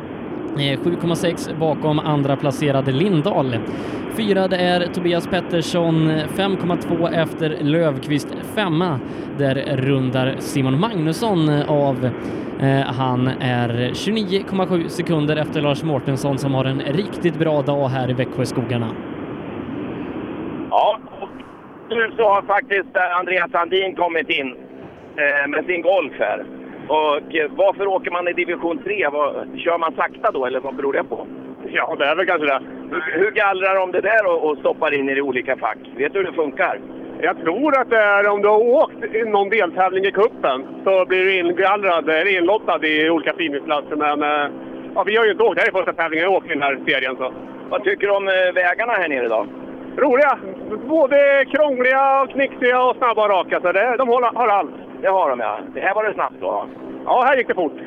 Eh, 7,6 bakom andra placerade Lindahl. Fyra det är Tobias Pettersson, 5,2 efter Löfqvist femma. Där rundar Simon Magnusson av. Eh, Han är 29,7 sekunder efter Lars Mårtensson som har en riktigt bra dag här i Växjöskogarna. Ja, och nu så har faktiskt eh, Andreas Sandin kommit in eh, med sin Golf här. Och eh, varför åker man i division 3? Vad- Kör man sakta då, eller vad beror det på? Ja, det är väl kanske det. Hur, hur gallrar de det där och, och stoppar in er i olika fack? Vet du hur det funkar? Jag tror att det är om du har åkt i någon deltävling i kuppen så blir du ingallrad, eller inlottad i olika finningsklasser. Men eh, ja, vi har ju inte åkt. Det här är första tävlingen jag åker i den här serien. Så. Vad tycker du om eh, vägarna här nere idag? Roliga! Både krångliga, och knixiga och snabba och raka. Så det, de har, har allt. Det har de, ja. Det här var det snabbt då? Ja, här gick det fort.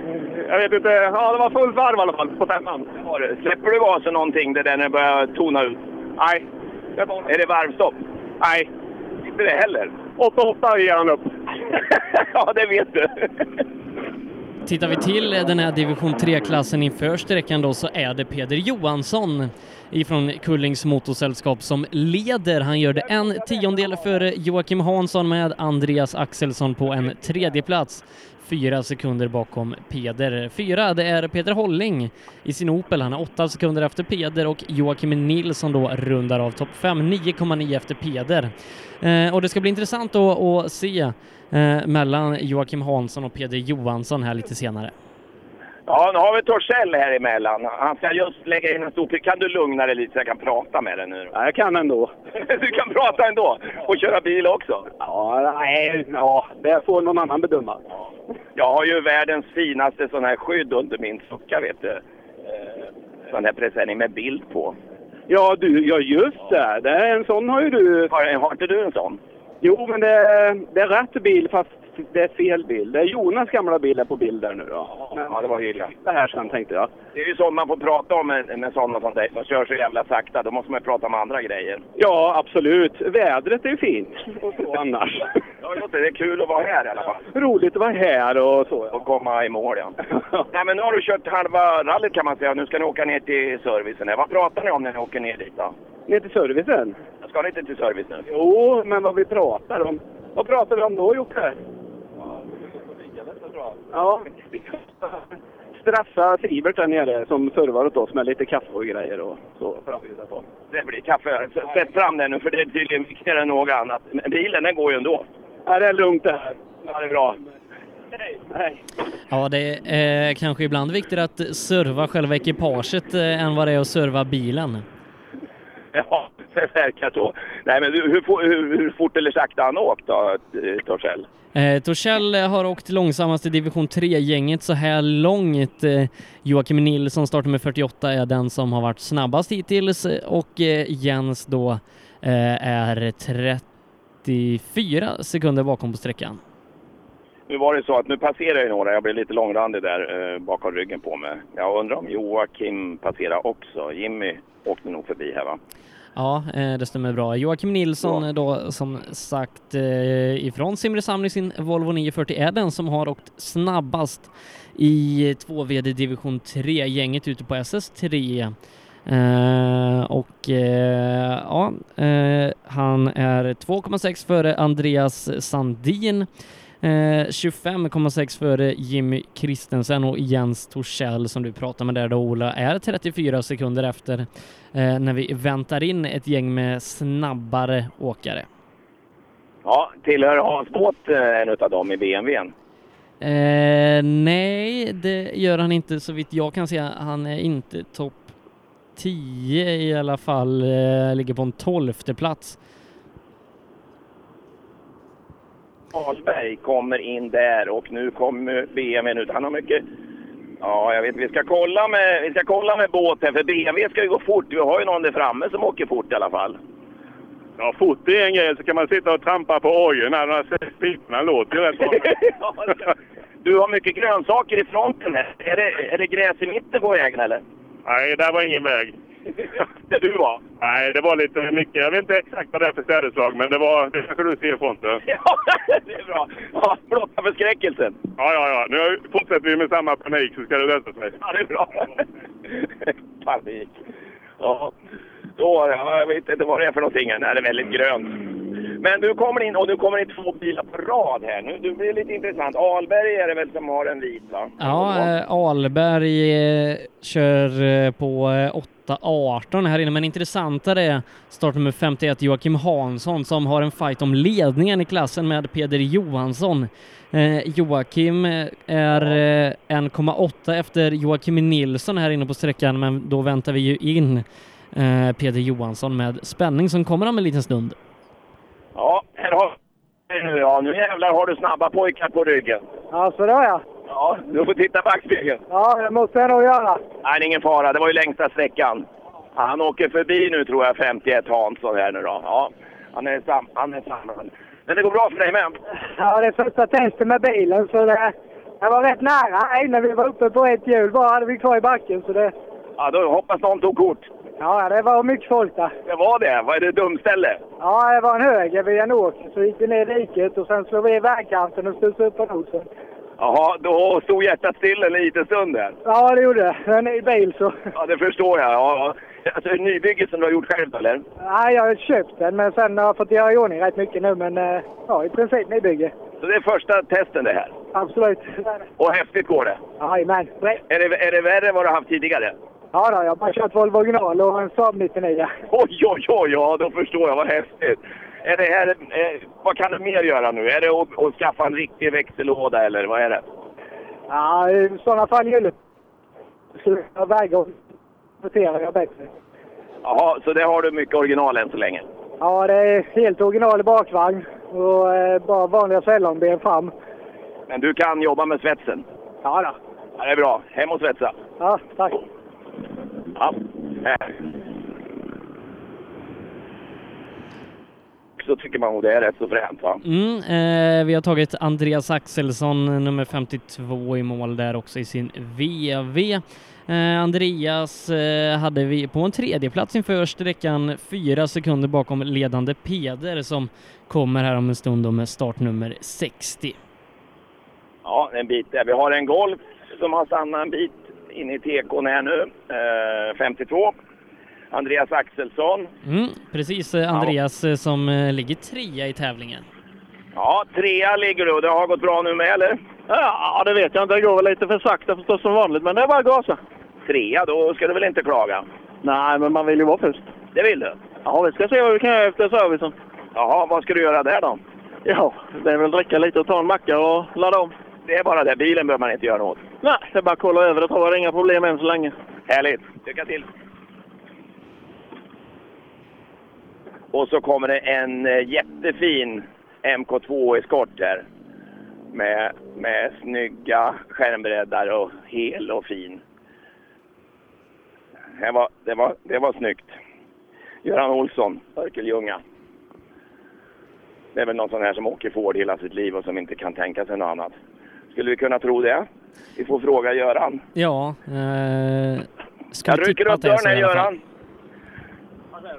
Jag vet inte. Ja, det var fullt varv i alla fall på femman. Har du- Släpper du gasen någonting det där när det börjar tona ut? Nej. Är det varvstopp? Nej. Inte det heller? 8-8 ger han upp. ja, det vet du. Tittar vi till den här division 3-klassen inför sträckan då så är det Peder Johansson ifrån Kullings Motorsällskap som leder. Han gör det en tiondel före Joakim Hansson med Andreas Axelsson på en tredje plats. Fyra sekunder bakom Peder. Fyra, det är Peter Holling i sin Opel. Han är åtta sekunder efter Peder och Joakim Nilsson då rundar av topp fem. 9,9 efter Peder. Eh, och det ska bli intressant då att se eh, mellan Joakim Hansson och Peder Johansson här lite senare. Ja, nu har vi Torssell här emellan. Han ska just lägga in en stor... Kan du lugna dig lite så jag kan prata med dig nu? Ja, jag kan ändå. du kan prata ändå och köra bil också. Ja, nej, ja, det får någon annan bedöma. Jag har ju världens finaste sån här skydd under min socka, vet du. Eh, Sån här presenning med bild på. Ja, du, ja just det. det är en sån har ju du. Har, har inte du en sån? Jo, men det är, det är rätt bil fast det är fel bil. Det är Jonas gamla bil är på bild där nu då. Men Ja, det var illa. det här sen tänkte jag. Det är ju sånt man får prata om med, med sådana som dig som kör så jävla sakta. Då måste man ju prata om andra grejer. Ja, absolut. Vädret är ju fint. Och så annars. Ja, det låter- det är kul att vara här i alla fall. Roligt att vara här och så. Och komma i mål, ja. Nej, men nu har du kört halva rallyt kan man säga. Nu ska ni åka ner till servicen. här. Vad pratar ni om när ni åker ner dit då? Ner till servicen. Ska ni inte till service nu? Jo, men vad vi pratar om. Vad pratar vi om då, Jocke? Ja, straffa Sivert där nere som servar åt oss med lite kaffe och grejer och så. Det blir kaffe. S- Sätt fram den nu, för det är tydligen viktigare än något annat. Men bilen, den går ju ändå. Ja, det är lugnt det här. Ja, det är bra. Ja, det är eh, kanske ibland viktigare att serva själva ekipaget eh, än vad det är att serva bilen. Ja, det verkar så. Nej, men hur, fo- hur, hur fort eller sakta har han åkt då, eh, Torssell? Eh, Torssell eh, har åkt långsammast i division 3-gänget så här långt. Eh, Joakim Nilsson, startnummer 48, är den som har varit snabbast hittills eh, och eh, Jens då eh, är 34 sekunder bakom på sträckan. Nu var det så att nu passerar ju några. Jag blev lite långrandig där eh, bakom ryggen på mig. Jag undrar om Joakim passerar också. Jimmy åkte nog förbi här va? Ja, eh, det stämmer bra. Joakim Nilsson eh, då som sagt eh, ifrån Simrishamn i sin Volvo 940 är den som har åkt snabbast i 2VD division 3-gänget ute på SS3. Eh, och eh, ja, eh, han är 2,6 före Andreas Sandin. Eh, 25,6 före Jimmy Kristensen och Jens Torssell som du pratade med där då Ola är 34 sekunder efter eh, när vi väntar in ett gäng med snabbare åkare. Ja, tillhör Hans Båt eh, en av dem i BMWn? Eh, nej, det gör han inte så vitt jag kan se. Han är inte topp 10 i alla fall, eh, ligger på en tolfte plats. Ahlberg kommer in där och nu kommer BMWn ut. Han har mycket... Ja, jag vet. Vi ska kolla med, vi ska kolla med båten, för BMW ska ju gå fort. Vi har ju någon där framme som åker fort i alla fall. Ja, fort det är en grej så kan man sitta och trampa på ojen när de här piporna låter ju rätt bra. Du har mycket grönsaker i fronten här. Är det, är det gräs i mitten på vägen eller? Nej, där var ingen väg. Där du var? Nej, det var lite mycket. Jag vet inte exakt vad det är för städeslag, men det var... Det kanske du ser i fronten. Ja, det är bra. Ja, blotta förskräckelsen. Ja, ja, ja. Nu fortsätter vi med samma panik så ska det lösa sig. Ja, det är bra. Panik. Ja. Då, har jag jag vet inte vad det är för någonting. här. Nej, Det är väldigt grönt. Men du kommer in och nu kommer in två bilar på rad här. Nu det blir lite intressant. Ahlberg är det väl som har en vit va? Ja, eh, Ahlberg eh, kör eh, på eh, 8.18 här inne, men intressantare är startnummer 51 Joakim Hansson som har en fight om ledningen i klassen med Peder Johansson. Eh, Joakim eh, är eh, 1,8 efter Joakim Nilsson här inne på sträckan, men då väntar vi ju in eh, Peder Johansson med spänning som kommer om en liten stund. Ja, här har nu. Ja, nu jävlar har du snabba pojkar på ryggen. Ja, så då ja. Ja, du får titta backspegeln. Ja, det måste jag nog göra. Nej, det är ingen fara. Det var ju längsta sträckan. Han åker förbi nu tror jag, 51 Hansson här nu då. Ja, han är sam... Han är samlad. Men det går bra för dig med. Ja, det är första testen med bilen så det, det var rätt nära. Innan vi var uppe på ett hjul bara hade vi kvar i backen så det... Ja, då hoppas någon tog kort. Ja, det var mycket folk där. Det var det. Vad är det dumställe? Ja, det var en höger vid en åker så gick vi ner i diket och sen slog vi i vägkanten och studsade upp på nosen. Jaha, då stod hjärtat still en liten stund där. Ja, det gjorde det. Det är en ny bil så... Ja, det förstår jag. Ja, ja. Alltså, är det nybygget som du har gjort själv då, eller? Nej, jag har köpt den men sen har jag fått göra i ordning rätt mycket nu men eh, ja, i princip nybygge. Så det är första testen det här. Absolut. Och häftigt går det. Jajamän. Är det, är det värre än vad du har haft tidigare? Ja, då, jag har bara kört Volvo original och en Saab 99. Oj, oj, oj, ja, då förstår jag. Vad häftigt. Är det här, eh, vad kan du mer göra nu? Är det att, att skaffa en riktig växellåda eller vad är det? Ja, i sådana fall gäller det att väga och sortera jag bättre. Jaha, så det har du mycket original än så länge? Ja, det är helt original i bakvagn och eh, bara vanliga sällanben fram. Men du kan jobba med svetsen? Ja, då. ja det är bra. Hem och svetsa. Ja, tack. Ja. Här. Så tycker man nog det är rätt så fränt va? Mm, eh, vi har tagit Andreas Axelsson, nummer 52 i mål där också i sin VV. Eh, Andreas eh, hade vi på en tredje plats inför sträckan, fyra sekunder bakom ledande Peder som kommer här om en stund då med startnummer 60. Ja, en bit där. Vi har en Golf som har stannat en bit in i tekon här nu. Eh, 52. Andreas Axelsson. Mm, precis, eh, Andreas eh, som eh, ligger trea i tävlingen. Ja, trea ligger du och det har gått bra nu med eller? Ja, det vet jag inte. Det går väl lite för sakta förstås som vanligt, men det är bara att gasa. Trea, då ska du väl inte klaga? Nej, men man vill ju vara först. Det vill du? Ja, vi ska se vad vi kan göra efter servicen. Jaha, vad ska du göra där då? Ja, det är väl dricka lite och ta en macka och ladda om. Det är bara det, bilen behöver man inte göra något. Nej, det är bara att kolla över. Det tror jag inga problem än så länge. Härligt! Lycka till! Och så kommer det en eh, jättefin MK2 Escort här. Med, med snygga skärmbreddar och hel och fin. Det var, det var, det var snyggt. Göran Olsson, Örkelljunga. Det är väl någon sån här som åker Ford hela sitt liv och som inte kan tänka sig något annat. Skulle vi kunna tro det? Vi får fråga Göran. Ja. Eh, ska vi Jag rycker tippa upp att det är så dörren, i alla fall? Göran.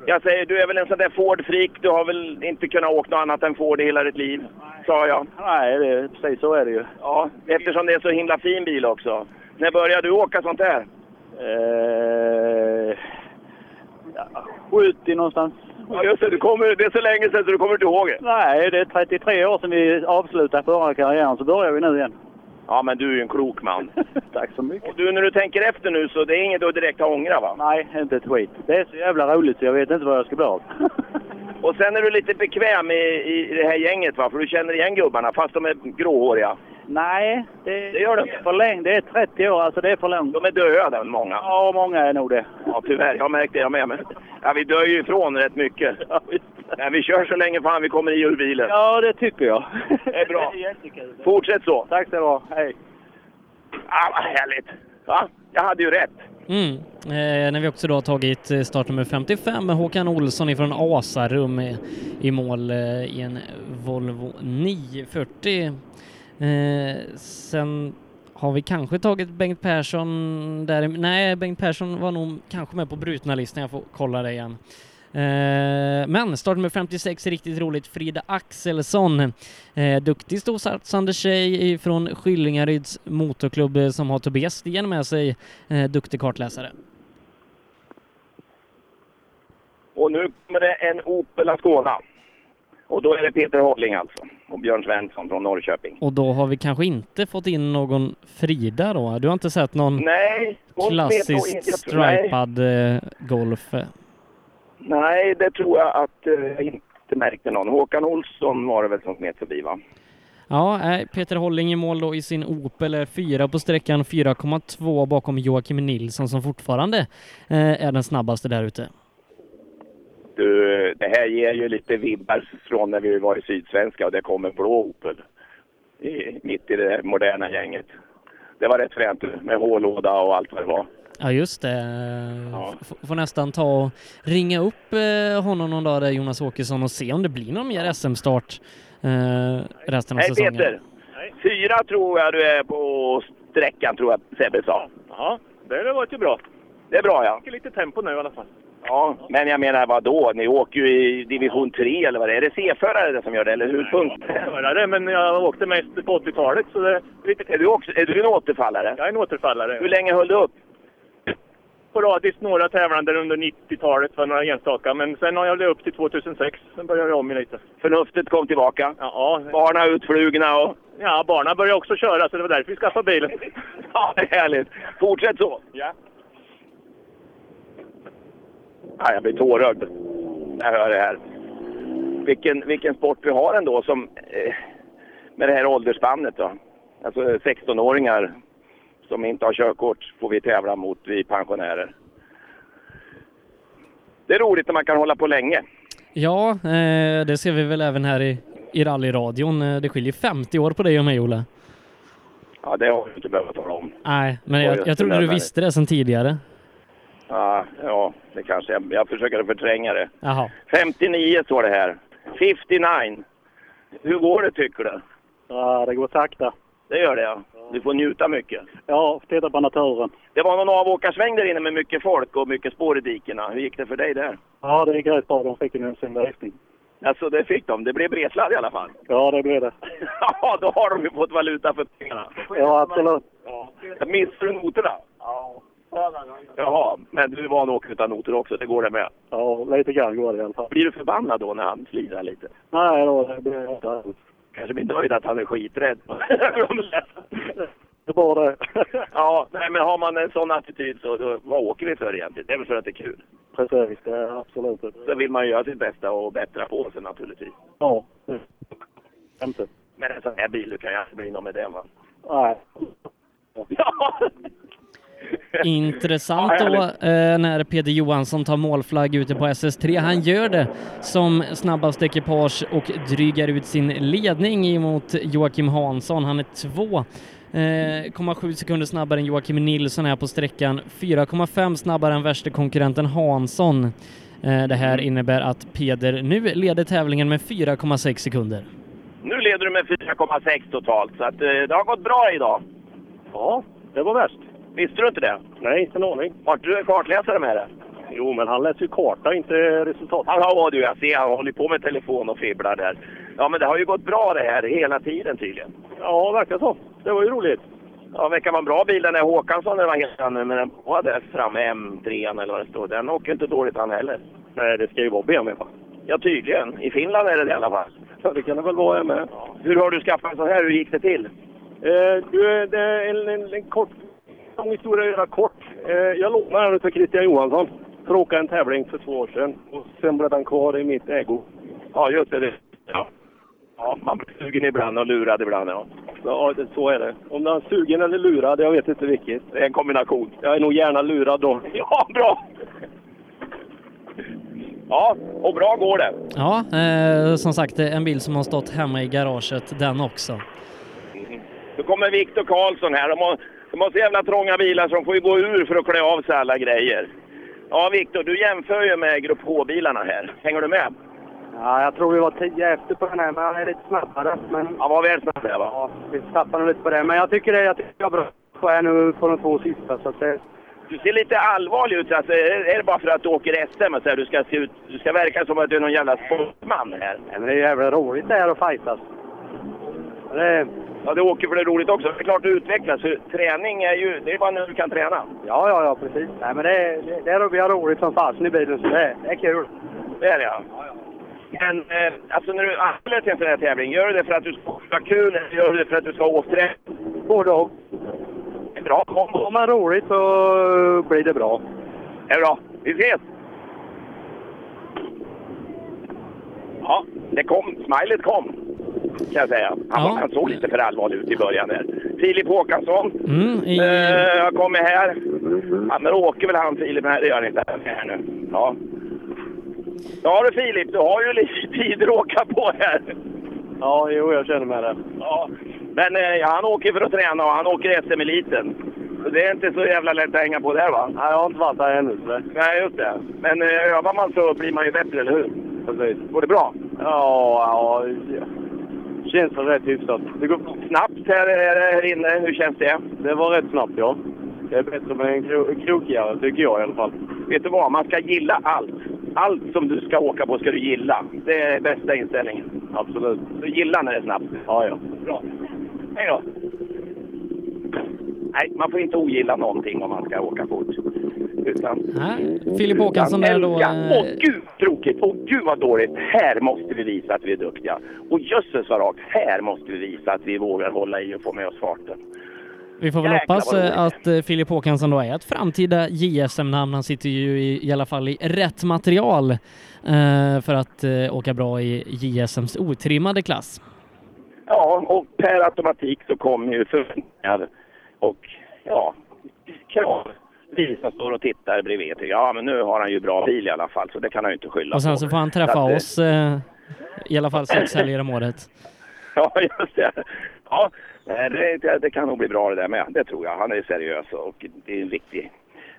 Jag säger, du är väl en sån där Ford-freak. Du har väl inte kunnat åka något annat än Ford i hela ditt liv? Sa jag. Nej, det, precis så är det ju. Ja, eftersom det är så himla fin bil också. När började du åka sånt där? Eh, ja, 70 någonstans. Ja, just det. Du kommer, det är så länge sedan så du kommer inte ihåg det. Nej, det är 33 år sedan vi avslutade förra karriären, så börjar vi nu igen. Ja, men du är ju en klok man. Tack så mycket. Och du, när du tänker efter nu så det är inget du direkt har ångrat va? Nej, inte ett skit. Det är så jävla roligt så jag vet inte vad jag ska bli av. Och sen är du lite bekväm i, i det här gänget va? För du känner igen gubbarna fast de är gråhåriga. Nej, det, Det gör du är för länge. Det är 30 år, alltså det är för långt. De är döda, många. Ja, många är nog det. Ja, tyvärr. Jag har märkt det jag med. Men, ja, vi dör ju ifrån rätt mycket. Men vi kör så länge fan vi kommer i ur bilen. Ja, det tycker jag. Det är bra. Det är jättekul. Fortsätt så. Tack ska du ha. Hej. Ah, vad härligt! Va? Jag hade ju rätt. Mm. Eh, när vi också då har tagit eh, startnummer 55 med Håkan Olsson ifrån Asarum i, i mål eh, i en Volvo 940. Eh, sen har vi kanske tagit Bengt Persson där. Nej, Bengt Persson var nog kanske med på brutna listan. Jag får kolla det igen. Eh, Men startnummer 56 är riktigt roligt. Frida Axelsson, eh, duktig storsatsande tjej från Skillingaryds motorklubb eh, som har Tobias Sten med sig, eh, duktig kartläsare. Och nu kommer det en Opel Ascona. Och då är det Peter Holling alltså. Och Björn Svensson från Norrköping. Och då har vi kanske inte fått in någon Frida då? Du har inte sett någon Nej, hon vet nog inte. klassiskt Jag tror- nej. stripad eh, Golf? eh? Nej, det tror jag att eh, jag inte märkte någon. Håkan Olsson var det väl som smet förbi va? Ja, nej, Peter Holling i mål då i sin Opel är fyra på sträckan, 4,2 bakom Joakim Nilsson som fortfarande eh, är den snabbaste där ute. Du, det här ger ju lite vibbar från när vi var i Sydsvenska och det kom en blå Opel. I, mitt i det här moderna gänget. Det var rätt fränt med hållåda och allt vad det var. Ja just det. F- får nästan ta och ringa upp eh, honom någon dag där Jonas Åkesson och se om det blir någon mer SM-start eh, resten av Hej säsongen. Peter! Fyra tror jag du är på sträckan, tror jag Sebbe sa. Ja, det låter ju bra. Det är bra ja. lite tempo nu i alla fall. Ja, men jag menar vad då? Ni åker ju i division 3 eller vad det är. Är det C-förare det som gör det, eller hur? Punkt. det, men jag åkte mest på 80-talet så det är lite... Är du, också, är du en återfallare? Jag är en återfallare. Hur länge höll du upp? Sporadiskt några tävlande under 90-talet för några enstaka, men sen har jag det upp till 2006. Sen började jag om lite. Förnuftet kom tillbaka? Ja. Barna utflugna och... Ja, barnen började också köra så det var därför vi skaffade bilen. Ja, det är härligt. Fortsätt så. Ja. Ja, jag blir tårögd när jag hör det här. Vilken, vilken sport vi har ändå som, eh, med det här åldersspannet. Då. Alltså 16-åringar som inte har körkort får vi tävla mot, vi pensionärer. Det är roligt när man kan hålla på länge. Ja, eh, det ser vi väl även här i, i rallyradion. Eh, Det skiljer 50 år på dig och mig Ola. Ja, det har vi inte behövt tala om. Nej, men Oj, jag, jag trodde du nödvändigt. visste det sedan tidigare. Ja, ja det kanske jag, jag försöker förtränga det. Jaha. 59 står det här. 59. Hur går det tycker du? Ja, det går sakta. Det gör det ja. Du får njuta mycket. Ja, titta på naturen. Det var någon avåkarsväng där inne med mycket folk och mycket spår i dikena. Hur gick det för dig där? Ja, det gick rätt bra. De fick en sin växling. Alltså det fick de. Det blev bredsladd i alla fall. Ja, det blev det. Ja, då har de ju fått valuta för pengarna. Ja, absolut. Missade du noterna? Ja. Jaha, men du var nog utan noter också. Det går det med. Ja, lite grann går det i alla fall. Blir du förbannad då när han slirar lite? Nej då, det blir inte alls. Kanske blir nöjd att han är skiträdd. Det var det. ja, nej, men har man en sån attityd så då, vad åker vi för egentligen? Det är väl för att det är kul. Precis, det är absolut det. Så vill man ju göra sitt bästa och bättra på sig naturligtvis. Ja. det- Inte. Men en sån här bil, du kan ju aldrig bli någon med den va? Nej. Ja. Intressant då eh, när Peder Johansson tar målflagg ute på SS3. Han gör det som snabbast ekipage och drygar ut sin ledning mot Joakim Hansson. Han är två. eh, 0,7 sekunder snabbare än Joakim Nilsson här på sträckan. 4,5 snabbare än värste konkurrenten Hansson. Eh, Det här innebär att Peder nu leder tävlingen med 4,6 sekunder. Nu leder du med 4,6 totalt, så att, eh, det har gått bra idag. Ja, det var värst. Visste du inte det? Nej, inte en aning. Vart du en kartläsare med det? Jo, men han läser ju karta, inte resultat. Ja, ja du, jag ser han håller på med telefon och fibblar där. Ja, men det har ju gått bra det här hela tiden tydligen. Ja, verkar så. Det var ju roligt. Ja, verkar vara en bra bil den där Håkansson, den var helt nu, men den var där framme, M3 eller vad det står. Den åker inte dåligt han heller. Nej, det ska ju vara BMW va? Ja, tydligen. I Finland är det det i alla fall. Ja, det kan det väl vara jag med. Hur har du skaffat en sån här? Hur gick det till? Eh, du, det är en, en, en kort lång historia att göra kort. Eh, jag lånade den utav Christian Johansson för att åka en tävling för två år sedan. Och sen blev den kvar i mitt ägo. Ja, just det. det- Ja. ja, man blir sugen ibland och lurad ibland. Ja. Ja, det, så är det. Om den är sugen eller lurad, jag vet inte vilket. Det är en kombination. Jag är nog gärna lurad då. Ja, bra! Ja, och bra går det. Ja, eh, som sagt eh, en bil som har stått hemma i garaget den också. Då kommer Viktor Karlsson här. De har, de har så jävla trånga bilar så de får ju gå ur för att klä av sig alla grejer. Ja, Viktor, du jämför ju med Grupp H-bilarna här. Hänger du med? Ja, jag tror vi var tio efter på den här, men han är lite snabbare. Men... Han var väl snabbare, va? Ja, vi tappade nog lite på det. Men jag tycker det, jag tycker det var bra på här nu på de två sista. Så att det... Du ser lite allvarlig ut. Alltså, är, är det bara för att du åker SM? Alltså, du, ska se ut, du ska verka som att du är någon jävla sportman här. Nej, men det är jävla roligt det här att fightas. Det... Ja, du åker för det är roligt också. Det är klart du utvecklas. För Träning är ju... Det är bara nu du kan träna. Ja, ja, ja, precis. Nej, men det, är- det, det är vi har roligt som fasen i bilen, så det, är- det är kul. Det är det, ja. Men eh, alltså när du anmäler till en sån här tävling, gör du det för att du ska ha kul eller gör du det för att du ska ha åkträning? Både och. En bra kombo. Om man har roligt så blir det bra. Det är bra. Vi ses! Ja, det kom. Smilet kom, kan jag säga. Han, var, han såg lite för allvarlig ut i början där. Filip Håkansson Mm, i, eh, har kommit här. Ja, men åker väl han Filip? Nej, det gör han inte. Han är här nu. Ja. Ja du Filip, du har ju lite tid att åka på här. Ja, jo, jag känner med det. Ja, men eh, han åker för att träna och han åker SM-eliten. Så det är inte så jävla lätt att hänga på där va? Nej, jag har inte varit där ännu. Så. Nej, just det. Men eh, övar man så blir man ju bättre, eller hur? Precis. Går det bra? Ja, ja. Känns väl rätt hyfsat. Det går snabbt här, här, här inne. Hur känns det? Det var rätt snabbt, ja. Det är bättre med en kro- krokigare, tycker jag i alla fall. Vet du vad? Man ska gilla allt. Allt som du ska åka på ska du gilla. Det är bästa inställningen. Absolut. Så gilla när det är snabbt. Ja, ja. Bra. Hej då. Nej, man får inte ogilla någonting om man ska åka fort. Utan... Nej, Filip Håkansson där utan då. älga. eh, Åh gud tråkigt! Åh gud vad dåligt! Här måste vi visa att vi är duktiga. Och jösses vad rakt! Här måste vi visa att vi vågar hålla i och få med oss farten. Vi får väl Jäklar hoppas vad roligt. eh, att eh, Filip Håkansson då är ett framtida JSM-namn. Han sitter ju i, i alla fall i rätt material eh, för att eh, åka bra i JSMs otrimmade klass. Ja, och per automatik så kommer ju förväntningar och ja, krav. Vi som står och tittar bredvid tycker ja men nu har han ju bra bil i alla fall så det kan han ju inte skylla Och sen på. så får han träffa att, eh, oss eh, i alla fall sex helger om året. Ja, just det. Ja, nej, det, det- det kan nog bli bra det där med. Det tror jag. Han är seriös och det är en riktig...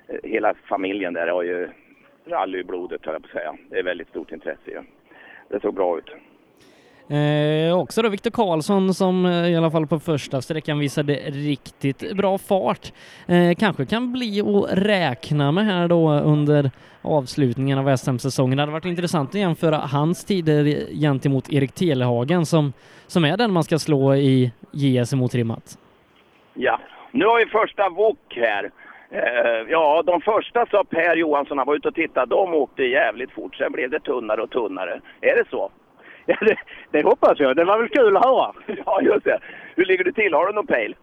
eh, Hela familjen där har ju rally i blodet, höll jag på att säga. Det är väldigt stort intresse ju. Det såg bra ut. Eh, också då Viktor Karlsson som eh, i alla fall på första sträckan visade riktigt bra fart. Eh, kanske kan bli att räkna med här då under avslutningen av SM-säsongen. Det hade varit intressant att jämföra hans tider gentemot Erik Telehagen som, som är den man ska slå i JSM otrimmat. Ja, nu har vi första Wok här. Eh, ja, de första sa Per Johansson, han var ute och tittade, de åkte jävligt fort. Sen blev det tunnare och tunnare. Är det så? Ja, det, det hoppas jag. Det var väl kul att höra. Ja, just det. Hur ligger du till? Har du någon pejl?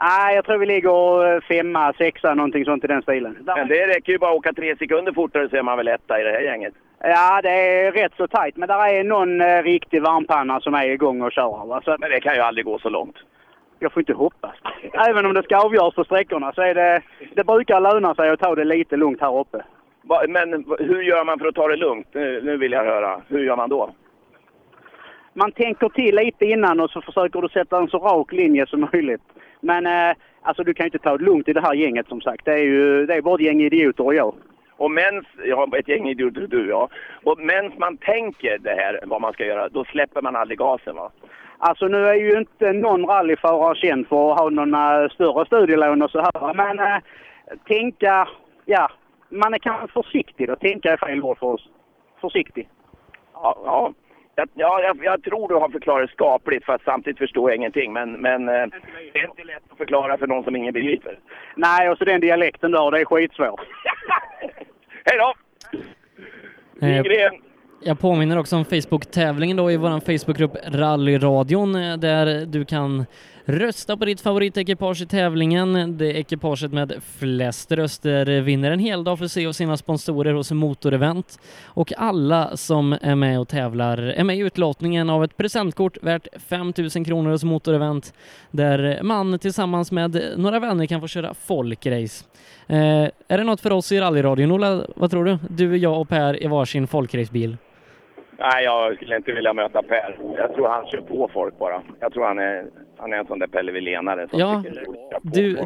Nej, jag tror vi ligger eh, femma, sexa, någonting sånt i den stilen. Men det räcker ju bara att åka tre sekunder fortare så är man väl etta i det här gänget. Ja, det är rätt så tajt, men där är någon eh, riktig varmpanna som är igång och kör. Va? Så, Men det kan ju aldrig gå så långt. jag får inte hoppas. Även om det ska avgöras på sträckorna så är det, det brukar löna sig att ta det lite lugnt här uppe. Va- Men v- hur gör man för att ta det lugnt? Nu nu vill jag höra. Hur gör man då? Man tänker till lite innan och så försöker du sätta en så rak linje som möjligt. Men eh, alltså du kan ju inte ta det lugnt i det här gänget som sagt. Det är ju det är både gäng idioter och jag. Och mens, ja, ett gäng idioter du ja. Och mens man tänker det här, vad man ska göra, då släpper man aldrig gasen va? Alltså nu är ju inte någon rallyförare känd för att ha några större studielån och så här. Men eh, tänka, ja, man är kanske försiktig då. Tänka är fel ord för oss. Försiktig. Ja, ja. Jag, ja, jag, jag tror du har förklarat skapligt fast samtidigt förstår jag ingenting. Men, men eh, det är inte lätt att förklara för någon som ingen begriper. Nej, och så den dialekten där, det är skitsvårt. Hej då! Eh, Nygren. Jag påminner också om Facebook-tävlingen då i vår Facebookgrupp Rallyradion eh, där du kan rösta på ditt favoritekipage i tävlingen. Det ekipaget med flest röster eh, vinner en hel dag för sig och sina sponsorer hos Motorevent. Och alla som är med och tävlar är med i utlåtningen av ett presentkort värt 5 000 kronor hos Motorevent där man tillsammans med några vänner kan få köra folkrace. Eh, är det något för oss i rallyradion, Ola? Vad tror du? Du, jag och Per i varsin folkracebil. Nej, jag skulle inte vilja möta Per. Jag tror han kör på folk bara. Jag tror han är, han är en sån där Pelle Willénare. som Ja, tycker det är roligt.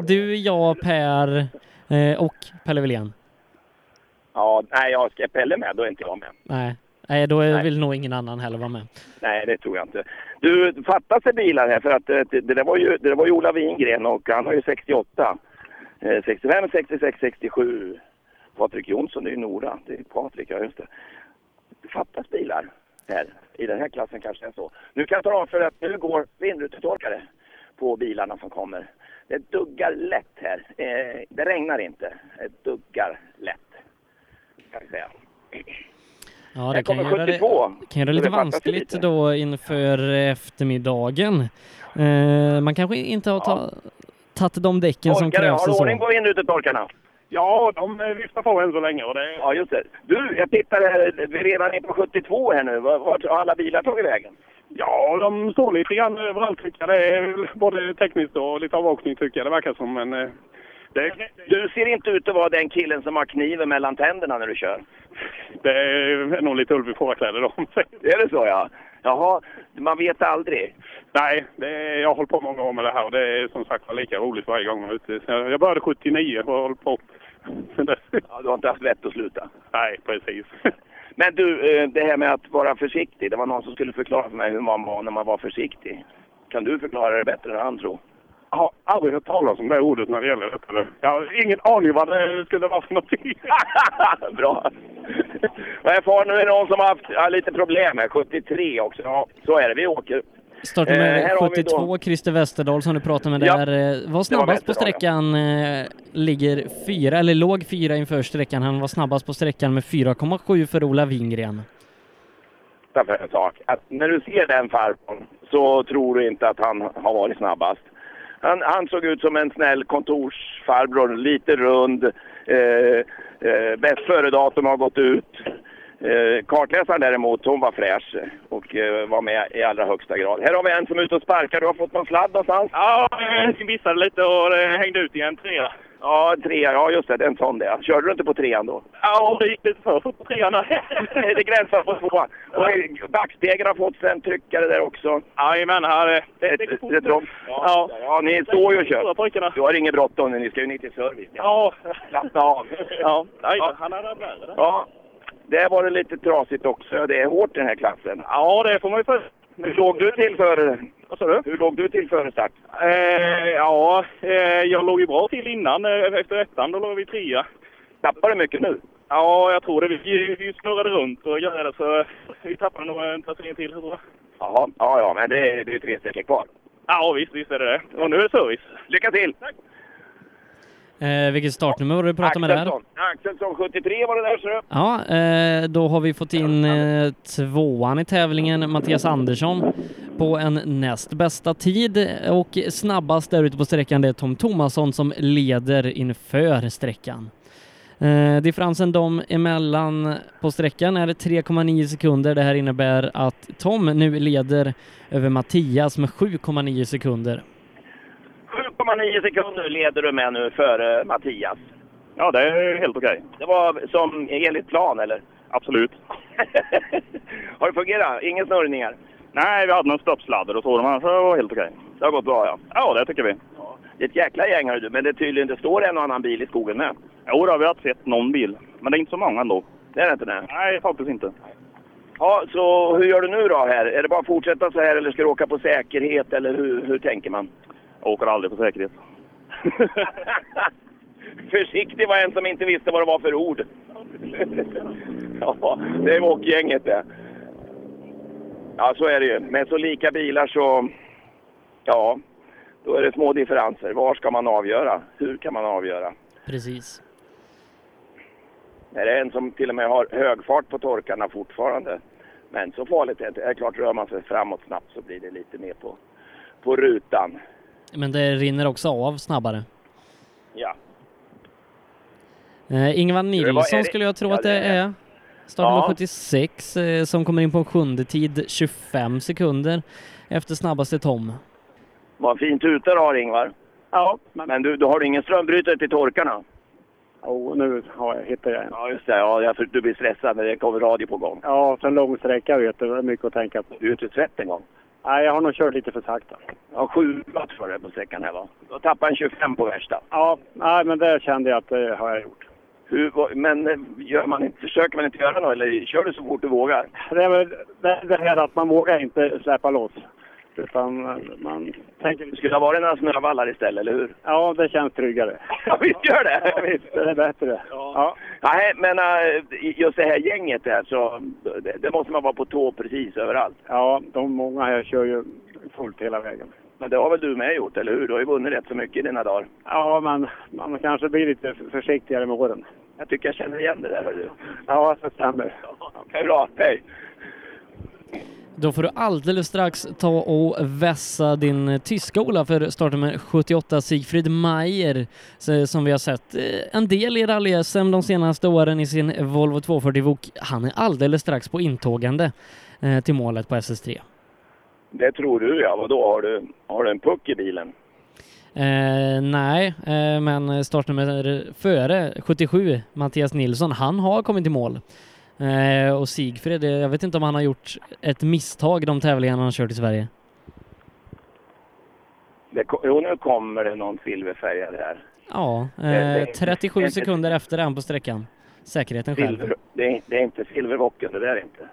du, du, jag, Per eh, och Pelle Wilén. Ja, nej, jag ska Pelle med, då är inte jag med. Nej, Nej då är- vill nog ingen annan heller vara med. Nej, det tror jag inte. Du, fattas det bilar här? För att eh, det, det, där var ju, det där var ju Ola Wingren och han har ju 68. Eh, 65, 66, 67. Patrik Jonsson, det är ju Nora. Det är Patrik, ja just det. Det fattas bilar här. I den här klassen kanske det är så. Nu kan jag tala om för att nu går vindrutetorkare på bilarna som kommer. Det duggar lätt här. Eh, det regnar inte. Det duggar lätt. Kan jag säga. Ja, det Här kan kommer göra, det, 72. kan göra Så lite det fattas vanskligt lite. då inför eftermiddagen. Eh, man kanske inte har ta, tagit de däcken som Torkare, krävs har och du så. ordning på vindrutetorkarna? Ja, de eh, viftar på än så länge. Och det... Ja, just det. Du, jag tittar här, vi är redan inne på 72 här nu. Vart vart har alla bilar tagit vägen? Ja, de står lite grann överallt tycker jag. Det är väl både tekniskt och lite avåkning tycker jag det verkar som. Men eh, det, Du ser inte ut att vara den killen som har kniven mellan tänderna när du kör. det är nog lite ulv i fårakläder då. om man Är det så ja? Jaha, man vet aldrig. Nej, det, är- jag har hållit på många år med det här och det är som sagt var lika roligt varje gång jag är ute. Så Jag jag började 79 och har hållit på sen dess. Ja, du har inte haft vett att sluta. Nej, precis. Men du, eh, det här med att vara försiktig. Det var någon som skulle förklara för mig hur man var när man var försiktig. Kan du förklara det bättre än han tror? Jag har aldrig hört talas om det ordet när det gäller detta. Jag har ingen aning vad det skulle vara för någonting. Bra! Vad jag far nu är någon som har haft ja, lite problem här. 73 också. Ja, så är det. Vi åker. Startar med Eh, här har vi då- 72, Christer Westerdahl som du pratade med Ja, där. eh, Var snabbast på Westerdahl, ja. sträckan, eh, ligger fyra, eller låg fyra inför sträckan. Han var snabbast på sträckan med 4,7 för Ola Wingren. berätta för en sak. Att när du ser den farbrorn så tror du inte att han har varit snabbast. Han, han såg ut som en snäll kontorsfarbror, lite rund. Eh, eh, bäst före-datum har gått ut. Eh, kartläsaren däremot, hon var fräsch och eh, var med i allra högsta grad. Här har vi en som är ute och sparkar. Du har fått någon sladd någonstans? Ja, jag missade lite och eh, hängde ut igen. Trea. Ja, trea. Ja, just det. En sån där. Körde du inte på trean då? Ja, det gick lite för fort på trean. det gränsar på tvåan. Och eh, backspegeln har fått sig en tryckare där också. Jajamän, här är Ett, ett, ett dropp. Ja. ja, ni står ju och kör. Du har inget bråttom nu, ni ska ju ner till service. Ja. Slappna av. Ja, ja. han hade värre. Ja, där var det lite trasigt också. Det är hårt i den här klassen. Ja, det får man ju för. Hur låg du till före? Vad sa du? Hur låg du till före start? Eh, ja, eh, jag låg ju bra till innan. Eh, Efter ettan då låg vi trea. Tappar du mycket nu? Ja, jag tror det. Vi, vi snurrade runt och gjorde det så eh, vi tappade nog en placering till, tror jag. Jaha, ja, ja, men det är det är ju tre sträckor kvar. Ja, visst, visst är det det. Och nu är det service. Lycka till! Eh, vilket startnummer var det du pratade med där? Axelsson, Axelsson 73 var det där, ser du. Ja, eh, då har vi fått in eh, tvåan i tävlingen, Mattias Andersson, på en näst bästa tid och snabbast där ute på sträckan det är Tom Tomasson som leder inför sträckan. Eh, differensen dem emellan på sträckan är 3,9 sekunder. Det här innebär att Tom nu leder över Mattias med 7,9 sekunder. 2,9 sekunder leder du med nu före Mattias. Ja, det är helt okej. Det var som enligt plan, eller? Absolut. Har det fungerat? Inga snurrningar? Nej, vi hade några stoppsladder och så, men annars var det helt okej. Det har gått bra, ja. Ja, det tycker vi. Det är ett jäkla gäng, hör du. men det är tydligen det står en och annan bil i skogen med. Jo, då har vi har sett någon bil, men det är inte så många ändå. Det är det inte det? Nej, faktiskt inte. Ja, så hur gör du nu då här? Är det bara att fortsätta så här eller ska du åka på säkerhet eller hur, hur tänker man? Jag åker aldrig på säkerhet. Försiktig var en som inte visste vad det var för ord. ja, det är åkgänget det. Ja, så är det ju. Med så lika bilar så... Ja, då är det små differenser. Var ska man avgöra? Hur kan man avgöra? Precis. Är det en som till och med har hög fart på torkarna fortfarande? Men så farligt är det inte. Det är klart, rör man sig framåt snabbt så blir det lite mer på, på rutan. Men det rinner också av snabbare. Ja. Eh, Ingvar är Nilsson det- skulle jag tro ja, att det det är det. är. Startnummer Ja. 76 eh, som kommer in på en sjunde tid 25 sekunder efter snabbaste Tom. Vad fin tuta du har Ingvar. Ja. Men du, du har ingen strömbrytare till torkarna? Jo, nu har jag, hittar jag en. Ja, just det. Ja, jag, för- du blir stressad när det kommer radio på gång. Ja, för en lång sträcka vet du, det är mycket att tänka på. Du är inte trött en gång. Nej, jag har nog kört lite för sakta. Ja, sju watt var det på sträckan här va? Du har tappat en 25 på värsta. Ja, nej men det kände jag att det har jag gjort. Hur, vad- men eh, gör man inte, försöker man inte göra något eller kör du så fort du vågar? Det är väl det, det här att man vågar inte släppa loss. Utan eh, man tänker... Det skulle ha varit några snövallar istället, eller hur? Ja, det känns tryggare. Ja, visst gör det! Ja, visst, det är bättre. Ja. Nej, men eh, just det här gänget där, så det, det måste man vara på tå precis överallt. Ja, de många här kör ju fullt hela vägen. Men det har väl du med gjort, eller hur? Du har ju vunnit rätt så mycket i dina dagar. Ja, men man kanske blir lite försiktigare med åren. Jag tycker jag känner igen det där, hör du. Ja, det stämmer. Det är bra, hej! Då får du alldeles strax ta och vässa din eh, tyska Ola för startnummer 78 Sigfrid Mayer s- som vi har sett eh, en del i rally sm de senaste åren i sin Volvo 240 Vok. Han är alldeles strax på intågande eh, till målet på SS3. Det tror du ja, vadå? Har du, har du en puck i bilen? Eh, nej, eh, men startnummer före 77, Mattias Nilsson, han har kommit i mål. Eh, och Sigfrid, eh, jag vet inte om han har gjort ett misstag de tävlingarna han har kört i Sverige. Det, ko- jo, nu kommer det någon silverfärgad här. Ja, det eh, är- 37 det är inte- sekunder efter den på sträckan. Säkerheten själv. Silver, det, är, det är inte silverbocken, det där är inte.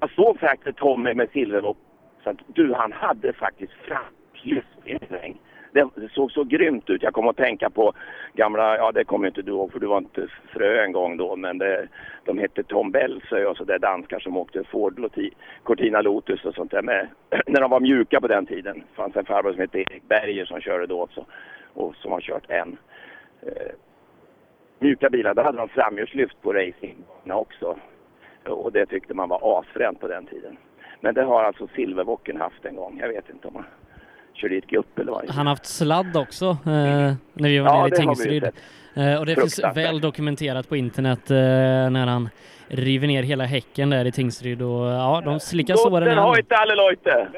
Jag såg faktiskt Tommy med silverbock. Så att, du, han hade faktiskt framtidsregn. Det det såg så grymt ut. Jag kom att tänka på gamla, ja det kommer ju inte du ihåg för du var inte frö en gång då, men det, de hette Tom Belsö och så där danskar som åkte Ford Loti- Cortina Lotus och sånt där med. När de var mjuka på den tiden. Det fanns en farbror som hette Erik Berger som körde då också och som har kört än. Eh, mjuka bilar, då hade de framhjulslyft på racingbanorna också. Och det tyckte man var asfränt på den tiden. Men det har alltså Silverbocken haft en gång. Jag vet inte om han körde i ett gupp eller vad. Han har haft sladd också eh, när vi var Mm. Ja, det har vi nere i ju Tingsryd. sett. Eh, och det finns Fruktansvärt. väl dokumenterat på internet eh, när han river ner hela häcken där i Tingsryd och ja, de slickar såren. i Guten alla- heute alle Leute!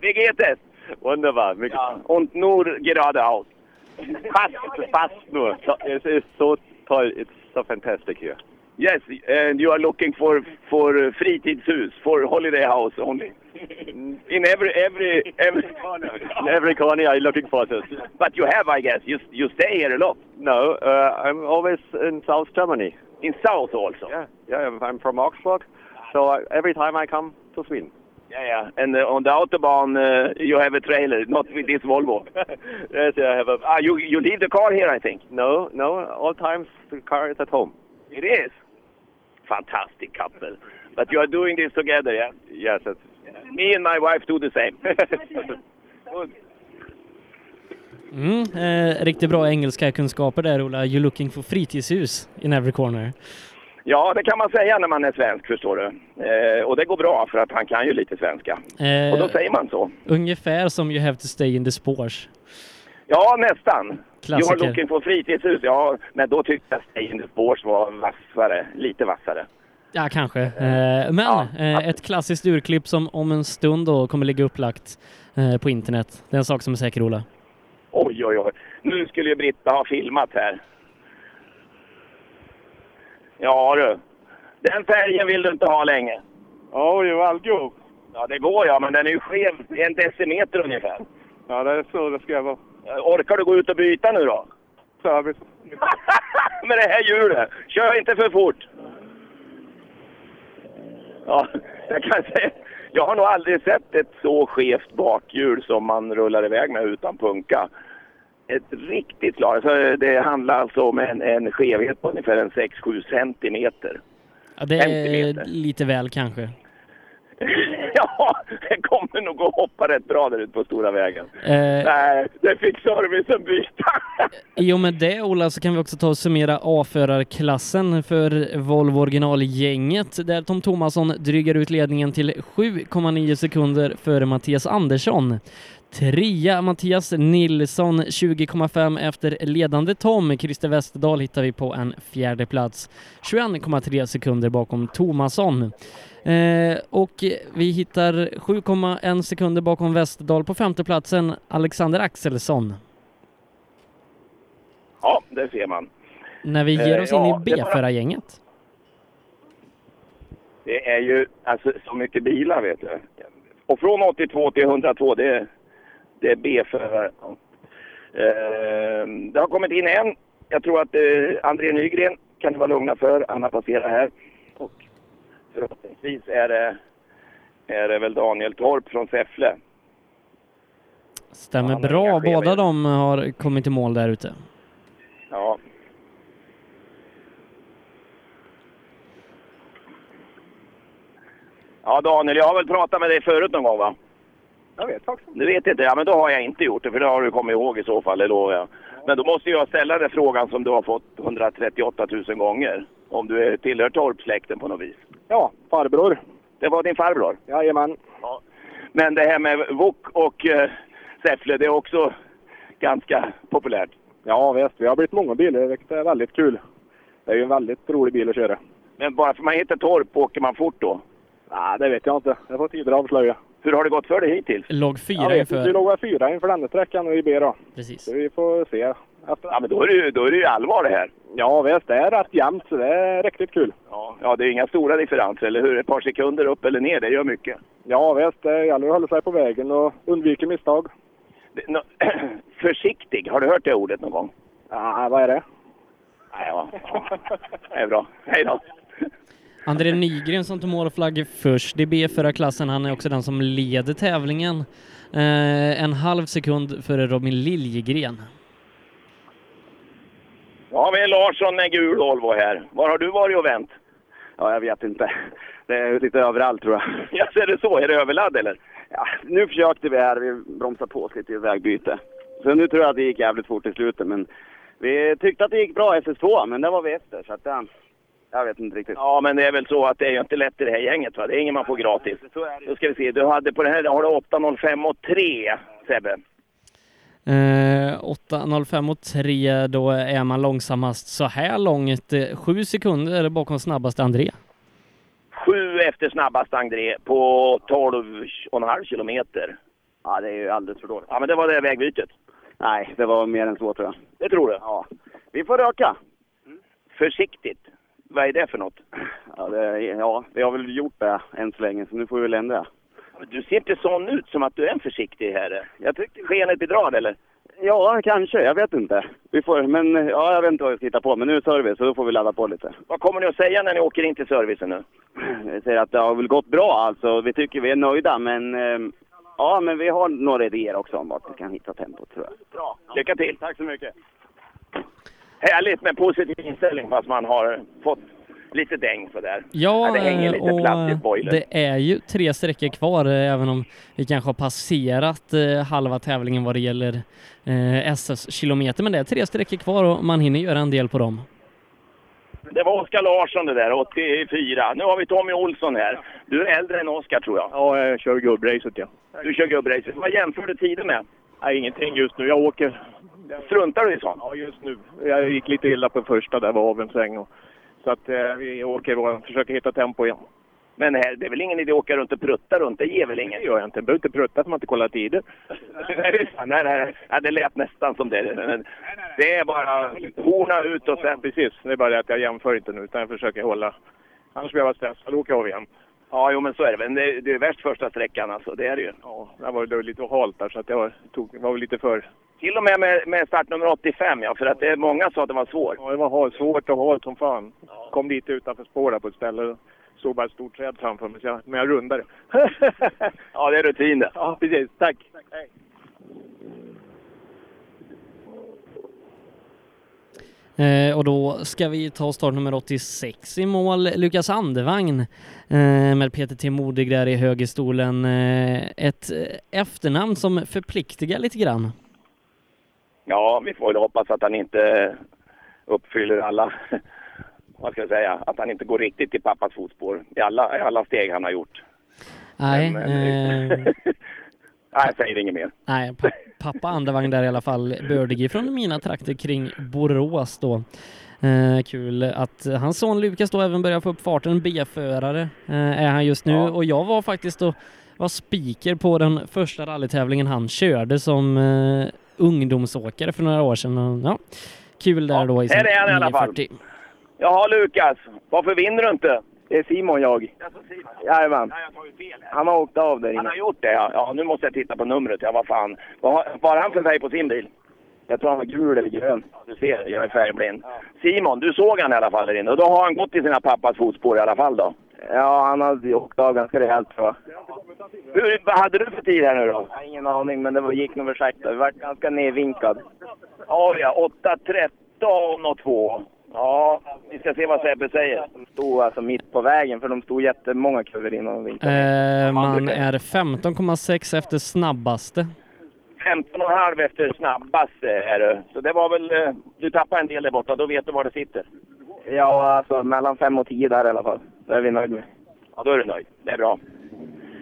Wie geht es? Wunderbar. Ja. Und nur geradeaus. Fast, fast nur. It is so toll. It's so fantastic here. Yes, and you are looking for for fritidshus, for holiday house only. Mm, In every every every In every corner, I'm looking for this. But you have, I guess. You you stay here a lot. No, uh, I'm always in South Germany. In South also. Yeah, yeah. I'm- I'm from Augsburg, so I, every time I come to Sweden. Yeah, yeah. And uh, on the autobahn, uh, you have a trailer, not with this Volvo. Yes, yeah, I have a. Ah, you you leave the car here, I think. No, no. All times the car is at home. It is. Fantastic couple. But you are doing this together, yeah? Yes, that's Me and my wife do the same. Mm, eh, riktigt bra engelska kunskaper där Ola. You're looking for fritidshus in every corner. ja, det kan man säga när man är svensk, förstår du. Eh, och det går bra, för att han kan ju lite svenska. Eh, Och då säger man så. Ungefär som You have to stay in the spores. Ja, nästan. Klassiker. You are looking for fritidshus. Ja, men då tyckte jag Stay in the Spores var vassare. Lite vassare. Ja, kanske. Eh, men eh, ett klassiskt urklipp som om en stund då kommer ligga upplagt eh, på internet. Det är en sak som är säker Ola. Åh, oj, oj, oj. Nu skulle ju Britta ha filmat här. Ja du. Den färgen vill du inte ha länge. Ja, jo, alltihop. Ja, det går ja, men den är ju skev en decimeter ungefär. Ja, det är så det ska vara. Orkar du gå ut och byta nu då? Service. Med det här hjulet! Kör inte för fort! Ja, jag kan säga... Jag har nog aldrig sett ett så skevt bakhjul som man rullar iväg med utan punka. Ett riktigt slag. Alltså, det handlar alltså om en, en skevhet på ungefär en 6-7 centimeter. Ja, det är lite väl kanske. Ja, det kommer nog att hoppa rätt bra där ute på stora vägen. Eh, Nej, det fick servicen byta. I och med det Ola så kan vi också ta och summera A-förarklassen för Volvo originalgänget där Tom Thomasson drygar ut ledningen till 7,9 sekunder före Mattias Andersson. Trea Mattias Nilsson 20,5 efter ledande Tom. Christer Westerdahl hittar vi på en fjärde plats. 21,3 sekunder bakom Thomasson. Eh, och vi hittar 7,1 sekunder bakom Westerdahl på femte platsen Alexander Axelsson. Ja, det ser man. När vi ger Eh, oss ja, in det i är b bara- förargänget Det är ju alltså, så mycket bilar, vet du. Och från 82 till 102, det, är- det är B-förare. Eh, det har kommit in en. Jag tror att eh, André Nygren kan ni vara lugna för. Han har passerat här. Och förhoppningsvis är det, är det väl Daniel Torp från Säffle. Stämmer bra. Båda de har kommit i mål där ute. Ja. Ja, Daniel, jag har väl pratat med dig förut någon gång, va? Jag vet faktiskt Du vet inte, ja men då har jag inte gjort det, för det har du kommit ihåg i så fall, det lovar jag. Men då måste jag ställa den frågan som du har fått 138 000 gånger. Om du är- tillhör torpsläkten på något vis. Ja, farbror. Det var din farbror? Jajamän. Ja. Men det här med Wok och eh, Säffle, det är också ganska populärt. Ja, visst. Vi har blivit många bilar, vilket är väldigt kul. Det är ju en väldigt rolig bil att köra. Men bara för man heter Torp, åker man fort då? Nej, det vet jag inte. Jag får tider avslöja. Hur har det gått för dig hittills? Låg jag fyra vet inte. Vi inför. låg väl fyra inför denna sträckan nu i B då. Precis. Så vi får se. Efter... Ja, men då är, det ju, då är det ju allvar det här. Ja, visst. Det är rätt jämnt, så det är riktigt kul. Ja, ja det är inga stora differenser, eller hur? Ett par sekunder upp eller ner, det gör mycket. Ja, visst. Det gäller att hålla sig på vägen och undvika misstag. Det- nå- Försiktig, har du hört det ordet någon gång? Ja, vad är det? Nej, ja. ja. Det är bra. Hej då. André Nygren som tog målflagg först i B-förarklassen. Han är också den som leder tävlingen. Eh, en halv sekund före Robin Liljegren. Då har vi Larsson med gul Volvo här. Var har du varit och vänt? Ja, jag vet inte. Det är lite överallt tror jag. Ja, så är det så? Är det överladd eller? Ja, nu försökte vi här, vi bromsade på oss lite i vägbyte. Så nu tror jag att det gick jävligt fort i slutet men vi tyckte att det gick bra SS2 men där var vi efter så att ja, jag vet inte riktigt. Ja, men det är väl så att det är ju inte lätt i det här gänget va? Det är ingen man får gratis. Då ska vi se, du hade på den här, har du 805 och 3 Sebbe? Eh, 8.05 och 3, då är man långsammast så här långt. eh, Sju sekunder bakom snabbaste André. Sju efter snabbast André på 12,5 kilometer. Ja, det är ju alldeles för dåligt. Ja, men det var det vägbytet. Nej, det var mer än så tror jag. Det tror du? Ja. Vi får röka. Försiktigt. Vad är det för något? Ja, det, ja, vi har väl gjort det än så länge så nu får vi väl ändra. Du ser inte sån ut som att du är en försiktig herre. Jag tyckte skenet bedrar eller? Ja, kanske. Jag vet inte. Vi får, men ja, jag vet inte vad vi ska hitta på men nu är det service så då får vi ladda på lite. Vad kommer ni att säga när ni åker in till servicen nu? Vi säger att det har väl gått bra alltså. Vi tycker vi är nöjda men ehm, ja, men vi har några idéer också om vart vi kan hitta tempot tror jag. Bra. Lycka till. Tack så mycket. Härligt med positiv inställning fast man har fått lite däng sådär. Ja, det hänger eh, lite och platt i eh, spoilern. det är ju tre sträckor kvar, eh, även om vi kanske har passerat eh, halva tävlingen vad det gäller eh, SS-kilometer. Men det är tre sträckor kvar och man hinner göra en del på dem. Det var Oskar Larsson det där, 84. Nu har vi Tommy Olsson här. Du är äldre än Oskar tror jag. Ja, jag kör gubbracet ja. Du kör gubbracet. Vad jämför du tiden med? Nej, ingenting just nu. Jag åker. Struntar du i sånt? Ja, just nu. Jag gick lite illa på första där, var av en sväng. Och, så att eh, vi åker och försöker hitta tempo igen. Men här, det är väl ingen idé att åka runt och prutta runt? Det ger väl inget? Det gör jag inte. behöver inte prutta för man inte kollar tider. nej, nej, nej. Ja, det lät nästan som det. Men det är bara horna ut och sen... Precis, det är bara det att jag jämför inte nu utan jag försöker hålla. Annars blir jag bara stressad och åker av igen. Ja, jo, men så är det. Men det, det är värst första sträckan alltså. Det är det ju. Det var det var lite halt där så att jag tog, var väl lite för... Till och med med, med startnummer 85, ja. För att det, många sa att den var svår. Ja, det var halt, svårt och halt som fan. Kom dit utanför spår där på ett ställe och såg bara ett stort träd framför mig så jag, men jag rundade. Ja, det är rutin det. Ja, precis. Tack. Eh, och då ska vi ta start nummer 86 i mål, Lukas Andevagn eh, med Peter T Modig där i högerstolen. Eh, ett eh, efternamn som förpliktigar lite grann. Ja, vi får väl hoppas att han inte uppfyller alla, vad ska jag säga, att han inte går riktigt i pappas fotspår i alla, i alla steg han har gjort. Nej, eh, Nej, jag säger inget mer. nej pa pappa Andevagn där i alla fall, bördig från mina trakter kring Borås då. Eh, kul att hans son Lukas då även börjar få upp farten, B-förare eh, är han just nu och jag var faktiskt då var speaker på den första rallytävlingen han körde som eh, ungdomsåkare för några år sedan. Och, ja, kul där då i sin här är han i alla fall. 940. Jaha, Lukas. Varför vinner du inte? Det är Simon jag. Jajamän. Han har åkt av där Han inne. har gjort det, ja. ja. Nu måste jag titta på numret. Ja, vad fan. Vad har vad har han för färg på sin bil? Jag tror han var gul eller grön. Du ser, jag är färgblind. Simon, du såg han i alla fall där inne. Och då har han gått i sina pappas fotspår i alla fall då. Ja, han hade åkt av ganska rejält tror jag. Hur, vad hade du för tid här nu då? Jag har ingen aning, men det var- gick nog för sakta. Vi vart ganska nedvinkad. Ja, ja. 8.13 och 2. Ja, vi ska se vad Sebbe säger. De stod alltså mitt på vägen, för de stod jättemånga kurvor innan de vinklade. Eh, man är 15,6 efter snabbaste. 15,5 efter snabbast eh, är du. Så det var väl... eh, Du tappar en del där borta, då vet du var det sitter. Ja, alltså mellan fem och tio där i alla fall. Det är vi nöjda med. Ja, då är du nöjd. Det är bra.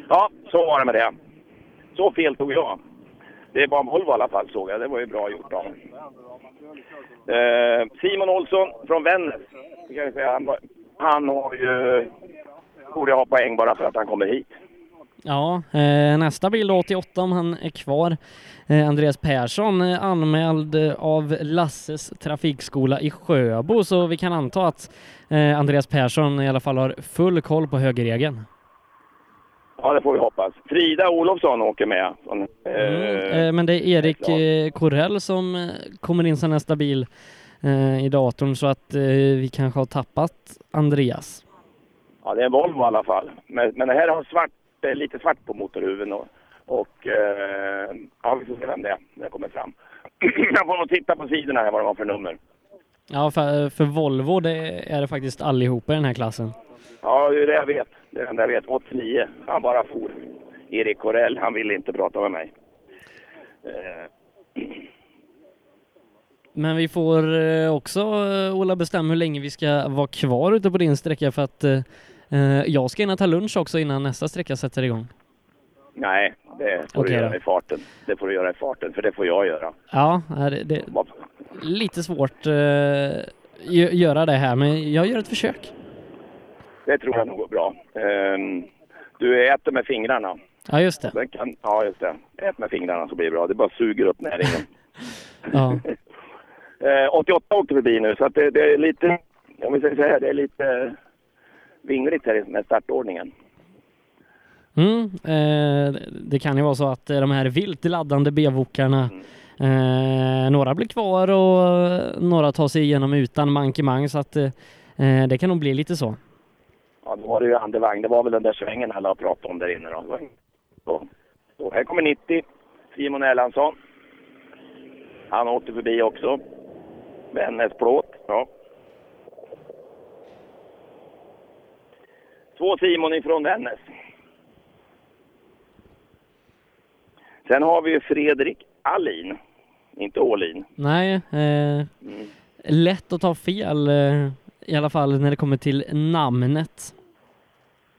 Ja, så var det med det. Så fel tog jag. Det var Volvo i alla fall, såg jag. Det var ju bra gjort av mig. eh, Simon Olsson från Vännäs. Det kan jag säga, Han, var- han har ju... Borde ha poäng bara för att han kommer hit. Ja, eh, nästa bil då, 88 om han är kvar. Eh, Andreas Persson eh, anmäld eh, av Lasses trafikskola i Sjöbo så vi kan anta att eh, Andreas Persson i alla fall har full koll på högerregeln. Ja, det får vi hoppas. Frida Olofsson åker med. Från, eh, Eh, men det är Erik eh, Korell som eh, kommer in som nästa bil eh, i datorn så att eh, vi kanske har tappat Andreas. Ja, det är en Volvo i alla fall. Men, men det här har svart, eh, lite svart på motorhuven. Och, och eh, ja, vi får se vem det är när det kommer fram. Jag får nog titta på sidorna här vad de har för nummer. Ja, för, för Volvo det är det faktiskt allihopa i den här klassen. Ja, det är det jag vet. Det är det enda jag vet. 89. Han bara for. Erik Korell, han ville inte prata med mig. Eh, Men vi får eh, också, eh, Ola, bestämma hur länge vi ska vara kvar ute på din sträcka för att eh, eh, jag ska hinna ta lunch också innan nästa sträcka sätter igång. nej, det får Okej du då. göra i farten. Det får du göra i farten, för det får jag göra. Ja, eh, det, det är lite svårt eh, gö- göra det här, men jag gör ett försök. Det tror jag nog går bra. Ehm, du äter med fingrarna. Ja, just det. Den kan, ja, just det. Ät med fingrarna så blir det bra. Det bara suger upp näringen. Ja. Eh, 88 åkte förbi nu, så att det, det är lite, om vi säger så här, det är lite eh, vingligt här med startordningen. Mm, eh, det kan ju vara så att eh, de här vilt laddande bevokarna eh, några blir kvar och eh, några tar sig igenom utan mankemang så att eh, eh, det kan nog bli lite så. Ja, då var det ju andevagn. Det var väl den där svängen alla har pratat om där inne då. Så, så här kommer 90, Simon Erlandsson. Han åkte förbi också. Vännäs plåt, ja. Två Simon ifrån Vännäs. Sen har vi ju Fredrik Alin, inte Ålin. Nej, eh, lätt att ta fel eh, i alla fall när det kommer till namnet.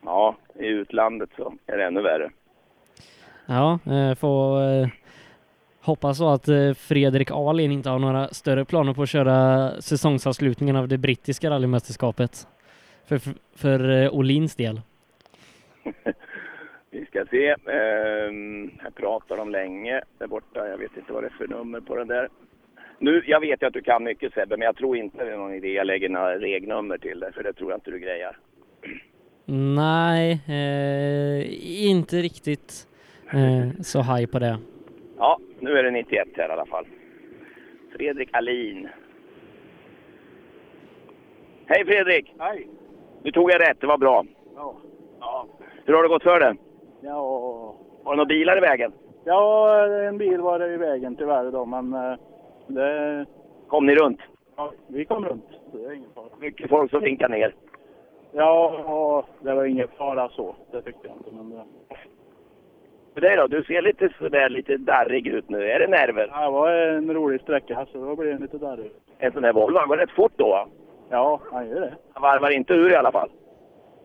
Ja, i utlandet så är det ännu värre. Ja, eh, får eh, hoppas så att eh, Fredrik Alin inte har några större planer på att köra säsongsavslutningen av det brittiska rallymästerskapet för, för, för eh, Olins del. Vi ska se. Ehm, här pratar de länge där borta. Jag vet inte vad det är för nummer på den där. Nu, jag vet ju att du kan mycket Sebbe, men jag tror inte det är någon idé jag lägger några regnummer till dig, för det tror jag inte du grejar. Nej, eh, inte riktigt eh, så haj på det. Ja, nu är det 91 här i alla fall. Fredrik Alin. Hej Fredrik! Hej! Nu tog jag rätt, det var bra. Ja. Hur har det gått för dig? Ja, Har du några bilar i vägen? ja, en bil var det i vägen tyvärr då, men eh, det... Kom ni runt? Ja, vi kom runt. Det är ingen fara. Mycket folk som vinkar ner. Ja, ja, det var ingen fara så. Det tyckte jag inte, men... eh, Det... För dig då? Du ser lite sådär lite darrig ut nu. Är det nerver? Ja, det var en rolig sträcka, så då blev det lite darrig. En sån här Volvo, han går rätt fort då va? Ja, han gör det. Han varvar inte ur i alla fall.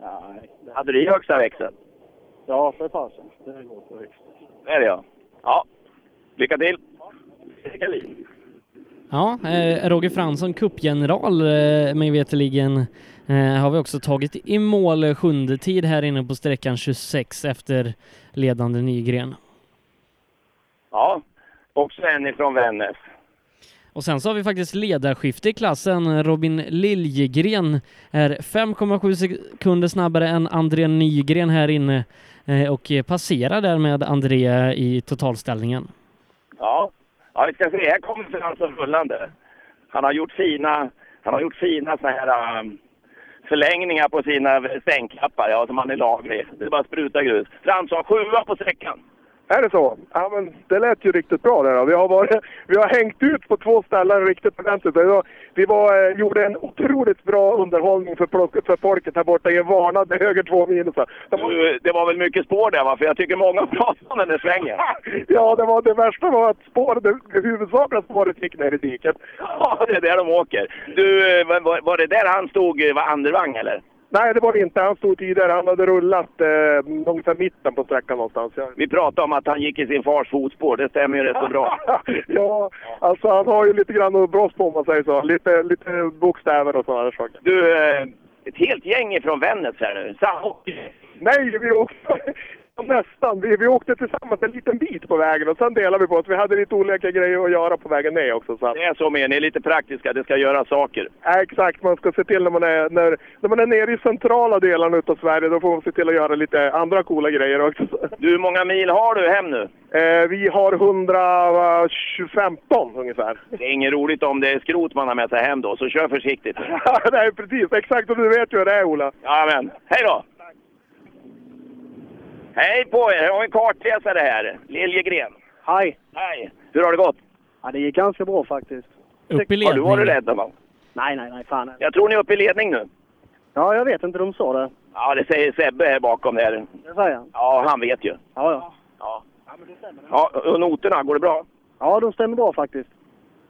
Nej, det... Hade du i högsta växeln? Ja, för fasen. Det går för högst. Det är det ja. Ja. Lycka till! Fredrik Alin. Ja, eh, Roger Fransson, cupgeneral eh, mig veterligen, eh, har vi också tagit i mål sjunde tid här inne på sträckan 26 efter ledande Nygren. Ja, också en ifrån Vännäs. Och sen så har vi faktiskt ledarskifte i klassen. Robin Liljegren är 5,7 sekunder snabbare än André Nygren här inne eh, och passerar därmed André i totalställningen. Ja, ja vi ska se. Här kommer Fransson rullande. Han har gjort fina, han har gjort fina så här um, förlängningar på sina svängklappar, ja, som han är laglig. Det är bara att spruta grus. Fransson, sjua på sträckan. Är det så? Ja, men det lät ju riktigt bra där. då. Vi har, varit, vi har hängt ut på två ställen riktigt ordentligt. Vi, var, vi var, eh, gjorde en otroligt bra underhållning för, plock- för folket här borta. Jag varnade höger två minusar. Du, det var väl mycket spår där va? För jag tycker många pratar om den där svängen. Ja, det, var, det värsta var att spåret, det huvudsakliga spåret gick ner i diket. Ja, det är där de åker. Du, eh, var, var det där han stod, eh, var andevang eller? Nej, det var det inte. Han stod tidigare. Han hade rullat eh, ungefär mitten på sträckan någonstans. Ja. Vi pratade om att han gick i sin fars fotspår, det stämmer ju rätt så bra. ja, alltså han har ju lite grann att brotts på om man säger så. Lite, lite bokstäver och sådana där saker. Du, eh, ett helt gäng från Vännäs här nu. Samåker. Nej, vi åkte nästan. Vi, vi åkte tillsammans en liten bit på vägen och sen delade vi på oss. Vi hade lite olika grejer att göra på vägen ner också. Så att, Det är så med er, ni är lite praktiska, det ska göra saker. Ja, Exakt, man ska se till när man är, när, när man är nere i centrala delarna utav Sverige, då får man se till att göra lite andra coola grejer också. Du, hur många mil har du hem nu? Eh, vi har 115 ungefär. Det är inget roligt om det är skrot man har med sig hem då, så kör försiktigt. Nej, precis. Exakt, och du vet ju hur det är Ola. Jajamän. Hej då! Hej på er! Här har vi en kartläsare här. Liljegren. Hej! Hej! Hur har det gått? Ja, det gick ganska bra faktiskt. Upp i Har du ledning. varit rädd va? Nej, nej, nej, fan. Jag tror ni är uppe i ledning nu. Ja, jag vet inte, de sa det. Ja, det säger Sebbe här bakom där. Det säger han. Ja, han vet ju. Ja, ja. Ja. Ja, och noterna, går det bra? Ja, de stämmer bra faktiskt.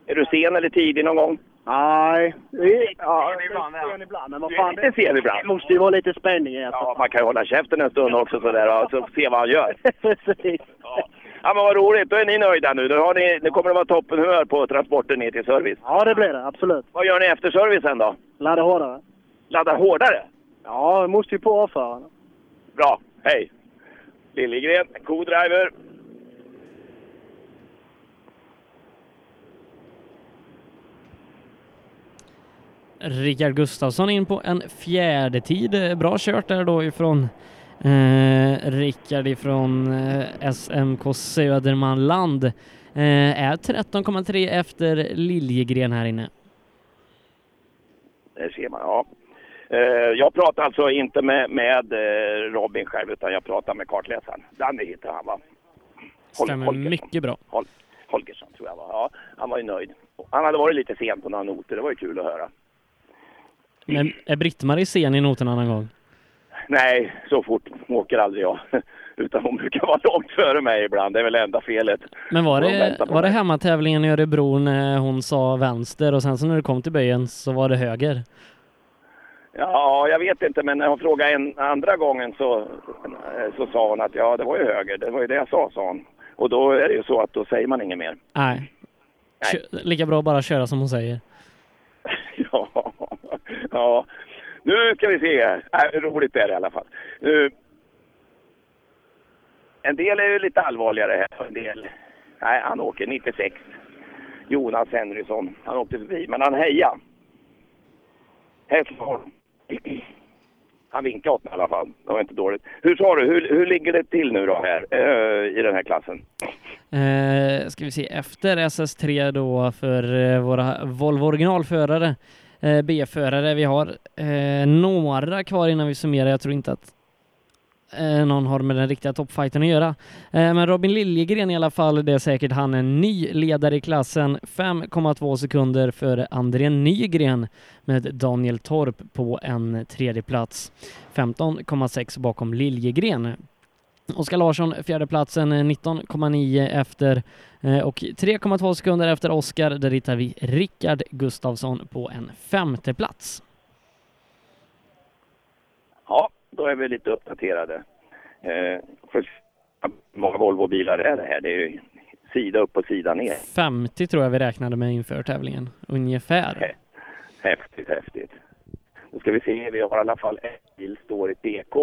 Är du sen eller tidig någon gång? Nej. Det, ja, ibland, men vad fan. Det ser vi ibland. det måste ju vara lite spänning i Ja, man kan ju hålla käften en stund också sådär och så se vad han gör. Ja. ja, men vad roligt. Då är ni nöjda nu. Då, har ni, nu kommer det vara toppenhumör på transporten ner till service. Ja, det blir det. Absolut. Vad gör ni efter servicen då? Ladda hårdare. Laddar hårdare? Ja, det måste ju på avförarna. Bra. Hej! Liljegren, co-driver. Rickard Gustafsson in på en fjärde tid. Eh, Bra kört där då ifrån eh, Rickard ifrån eh, SMK Södermanland. Eh, är 13,3 efter Liljegren här inne. Där ser man, ja. Eh, Jag pratar alltså inte med, med eh, Robin själv, utan jag pratar med kartläsaren. Danny heter han, va? Hol- Stämmer Holgersson. mycket bra. Hol Holgersson, tror jag var. Ja, han var ju nöjd. Han hade varit lite sen på några noter, det var ju kul att höra. Men är Britt-Marie sen i noterna någon gång? Nej, så fort åker aldrig jag. Utan hon brukar vara långt före mig ibland, det är väl enda felet. Men var De det, väntar på var det mig. hemmatävlingen i Örebro när hon sa vänster och sen så när du kom till böjen så var det höger? Ja, jag vet inte, men när hon frågade en andra gången så, eh, så sa hon att ja, det var ju höger, det var ju det jag sa, sa hon. Och då är det ju så att då säger man inget mer. Nej. Kö- Lika bra att bara köra som hon säger. Ja, ja. Nu ska vi se här. Äh, roligt är det i alla fall. Nu, en del är ju lite allvarligare här och en del... Nej, han åker 96. Jonas Henrysson. Han åkte förbi, men han hejade. Hässleholm. Han vinkade åt mig i alla fall. Det var inte dåligt. Hur sa du, hur, hur ligger det till nu då här eh, i den här klassen? Eh, ska vi se, efter SS3 då för eh, våra Volvo originalförare, eh, B-förare, vi har eh, några kvar innan vi summerar. Jag tror inte att eh, någon har med den riktiga toppfighten att göra. Eh, men Robin Liljegren i alla fall, det är säkert han en ny ledare i klassen. 5,2 sekunder före André Nygren med Daniel Torp på en tredje plats. 15,6 bakom Liljegren. Oskar Larsson fjärdeplatsen eh, 19,9 efter eh, och 3,2 sekunder efter Oskar. Där hittar vi Rickard Gustafsson på en femte plats. Ja, då är vi lite uppdaterade. Eh, för hur många Volvo-bilar är det här? Det är ju sida upp och sida ner. 50 tror jag vi räknade med inför tävlingen, ungefär. Häftigt, häftigt. Nu ska vi se, vi har i alla fall en bil står i DK.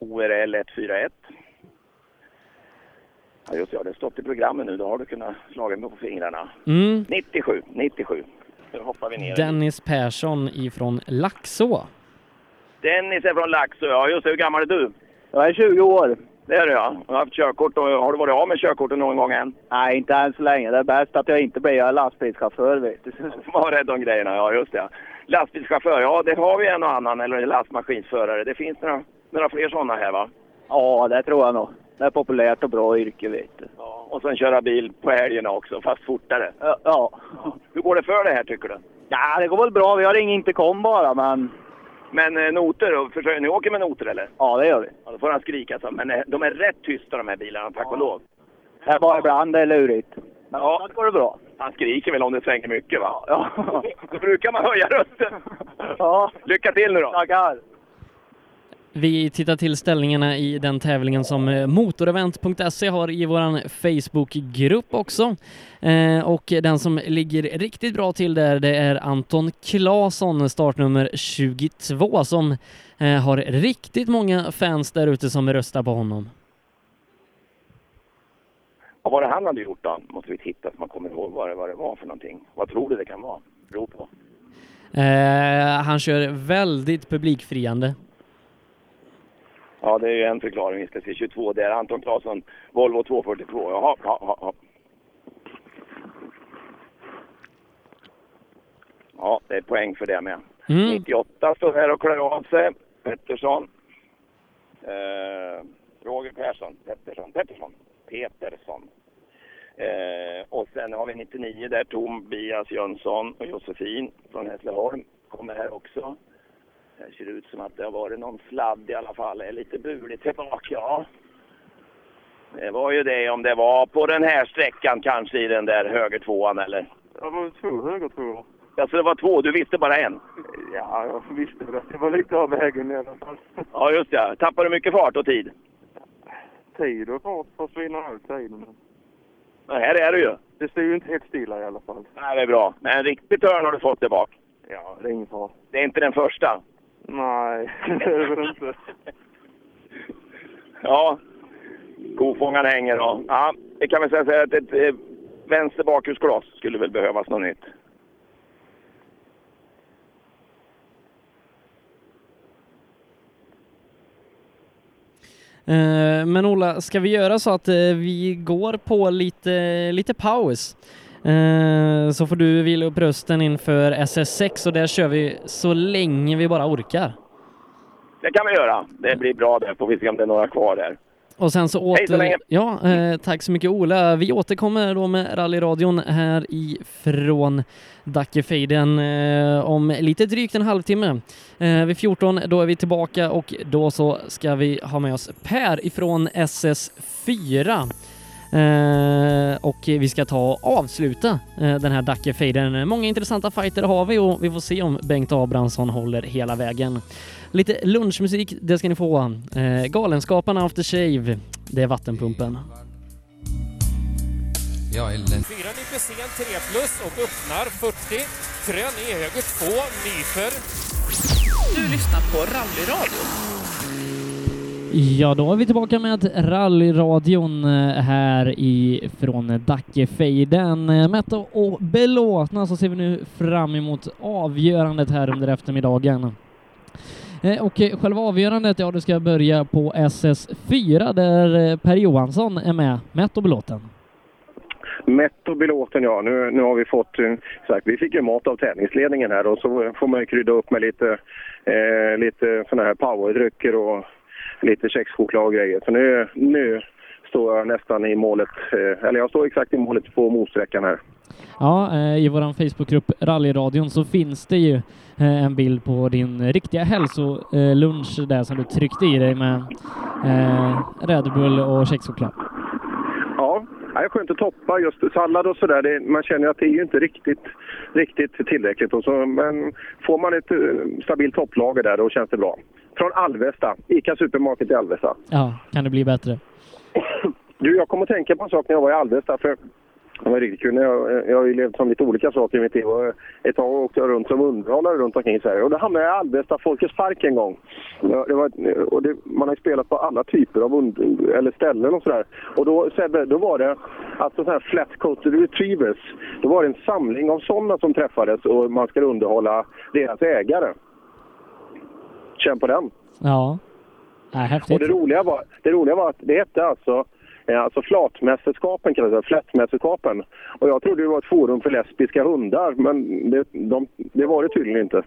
ORL 141. Ja, just det, ja, det har stått i programmet nu. Då har du kunnat slaga mig på fingrarna. Mm. 97, 97. Nu hoppar vi ner. Dennis Persson ifrån Laxå. Dennis är från Laxå, ja. Just det, hur gammal är du? Jag är 20 år. Det är du ja. Du har haft körkort och har du varit av med körkortet någon gång än? Nej, inte än så länge. Det är bäst att jag inte blir. Jag är lastbilschaufför, vet du. Var rädd om grejerna, ja just det. Lastbilschaufför, ja det har vi en och annan. Eller lastmaskinsförare. Det finns några, några fler sådana här va? Ja, det tror jag nog. Det är populärt och bra yrke, vet du. Och sen köra bil på helgerna också, fast fortare. Ja. ja. Hur går det för det här tycker du? Ja, det går väl bra. Vi har ingen intercom bara, men... Men eh, noter, och försöker ni åker med noter eller? Ja, det gör vi. Ja, då får han skrika så. Men eh, de är rätt tysta de här bilarna, tack och lov. Det är bara ibland det är lurigt. Men ja. går det bra. Han skriker väl om det svänger mycket va? Ja. då brukar man höja rösten. Ja. Lycka till nu då! Tackar! Vi tittar till ställningarna i den tävlingen som eh, motorevent.se har i våran Facebookgrupp också. Eh, och den som ligger riktigt bra till där, det är Anton Claesson, startnummer 22, som eh, har riktigt många fans där ute som röstar på honom. Vad var det han hade gjort då? Måste vi titta så man kommer ihåg vad det, vad det var för någonting. Vad tror du det kan vara? Beror på. Eh, han kör väldigt publikfriande. Ja, det är ju en förklaring. Vi ska se 22 där. Anton Claesson, Volvo 242. Jaha, ja, ja, ja. Ja, det är poäng för det med. Mm. 98 står här och klär av sig. Pettersson. Eh, Roger Persson. Pettersson. Pettersson. Petersson. Eh, och sen har vi 99 där. Tobias Jönsson och Josefin från Hässleholm kommer här också. Det ser ut som att det har varit någon sladd i alla fall. Det är lite buligt tillbaka, ja. Det var ju det om det var på den här sträckan kanske i den där högertvåan eller? Ja, men två höger tror jag. Alltså det var två, du visste bara en? Ja, jag visste det. Det var lite av vägen i alla fall. Ja, just det. Tappade du mycket fart och tid? Tid och fart försvinner ut tiden. Ja, här är du ju. Det står ju inte helt stilla i alla fall. Nej, det är bra. Men en riktig törn har du fått där bak. Ja, det är ingen fara. Det är inte den första. Nej, det är väl inte. Ja, kofångaren hänger då. Ja, det kan väl säga så här att ett eh, vänster bakhusglas skulle väl behövas något nytt. Eh, Men Ola, ska vi göra så att eh, vi går på lite, lite paus? Eh, Så får du vila upp rösten inför SS6 och där kör vi så länge vi bara orkar. Det kan vi göra. Det blir bra där. Får vi se om det är några kvar där. Och sen så Hej så åter... länge. ja, eh, tack så mycket Ola. Vi återkommer då med rallyradion här ifrån Dackefejden eh, om lite drygt en halvtimme. Eh, vid 14 då är vi tillbaka och då så ska vi ha med oss Per ifrån SS4. Eh, och vi ska ta och avsluta eh, den här Dackefejden. Många intressanta fighter har vi och vi får se om Bengt Abrahamsson håller hela vägen. Lite lunchmusik, det ska ni få. Eh, Galenskaparna After Shave, det är vattenpumpen. Jag är ledsen. Fyra nyper sen 3 plus och öppnar 40. Krön i höger 2, nyper. Du lyssnar på Rallyradio. Ja, då är vi tillbaka med rallyradion eh, här ifrån Dackefejden. Eh, Mätta och belåtna så ser vi nu fram emot avgörandet här under eftermiddagen. Eh, Och eh, själva avgörandet, ja, det ska börja på SS4 där eh, Per Johansson är med. Mätt och belåten. Mätt och belåten, ja. Nu, nu har vi fått... eh, Sagt, vi fick ju mat av tävlingsledningen här och så får man ju krydda upp med lite, eh, lite såna här powerdrycker och lite kexchoklad och grejer. Så nu, nu står jag nästan i målet. Eh, eller jag står exakt i målet på motsträckan här. Ja, eh, i vår Facebookgrupp Rallyradion så finns det ju eh, en bild på din riktiga hälsolunch där som du tryckte i dig med eh, Red Bull och kexchoklad. Ja, det är skönt att toppa just sallad och sådär. Det- Man känner ju att det är ju inte riktigt, riktigt tillräckligt. Och så, men får man ett eh, stabilt topplager där, då känns det bra. Från Alvesta, ICA Supermarket i Alvesta. Ja, kan det bli bättre? Du, jag kom att tänka på en sak när jag var i Alvesta. För det var riktigt kul. när Jag, jag har ju levt som lite olika saker i mitt liv. Och Ett tag åkte jag runt som underhållare runt omkring i Sverige. Och då hamnade jag i Alvesta Folkets park en gång. Ja, Det var, ett- och det, man har ju spelat på alla typer av und- eller ställen och sådär. Och då, Sebbe, då var det alltså sådana här flat coated retrievers. Då var det en samling av sådana som träffades och man skulle underhålla deras ägare. Känn på den. Ja. Äh, Och häftigt. det roliga var, det roliga var att det hette alltså, eh, alltså flatmästerskapen, kan jag säga, flättmästerskapen. Och jag trodde det var ett forum för lesbiska hundar, men det, de, det var det tydligen inte.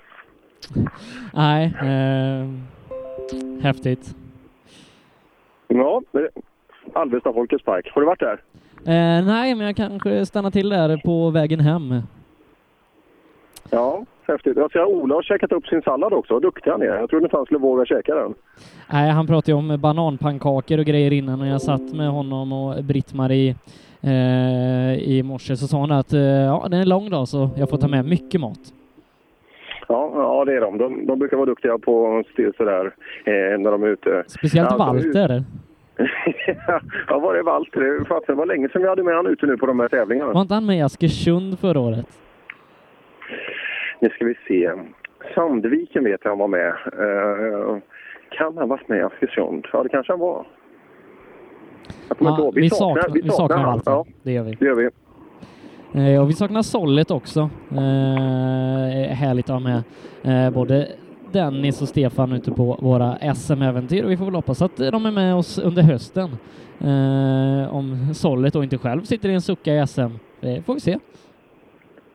Nej, eh, häftigt. Ja, men- Alvesta Folkets Park. Har du varit där? Eh, nej, men jag kanske stannar till där på vägen hem. Ja, häftigt. Jag ser att Ola har käkat upp sin sallad också. Vad duktig han är. Jag trodde inte han skulle våga käka den. Nej, han pratade ju om bananpannkakor och grejer innan och jag satt med honom och Britt-Marie eh, i morse så sa hon att eh, ja, det är en lång dag så jag får ta med mycket mat. Ja, ja det är de. de. De brukar vara duktiga på att se sådär eh, när de är ute. Speciellt Alltså, Walter. ja, var är Walter? Det fasen, Det var länge sedan vi hade med honom ute nu på de här tävlingarna. Var inte han med i Askersund förra året? Nu ska vi se. Sandviken vet jag han var med. Eh, kan han ha varit med i Askersund? Ja, det kanske han var. Jag kommer inte Ja, ihåg. vi, saknar, vi saknar han. Walter. Ja, Det gör vi. det gör vi. Eh, och vi saknar Sollet också. Eh, härligt att ha med eh, både Dennis och Stefan ute på våra SM-äventyr och vi får väl hoppas att de är med oss under hösten. Eh, om Sollet och inte själv sitter i en sucka i SM. Det får vi se.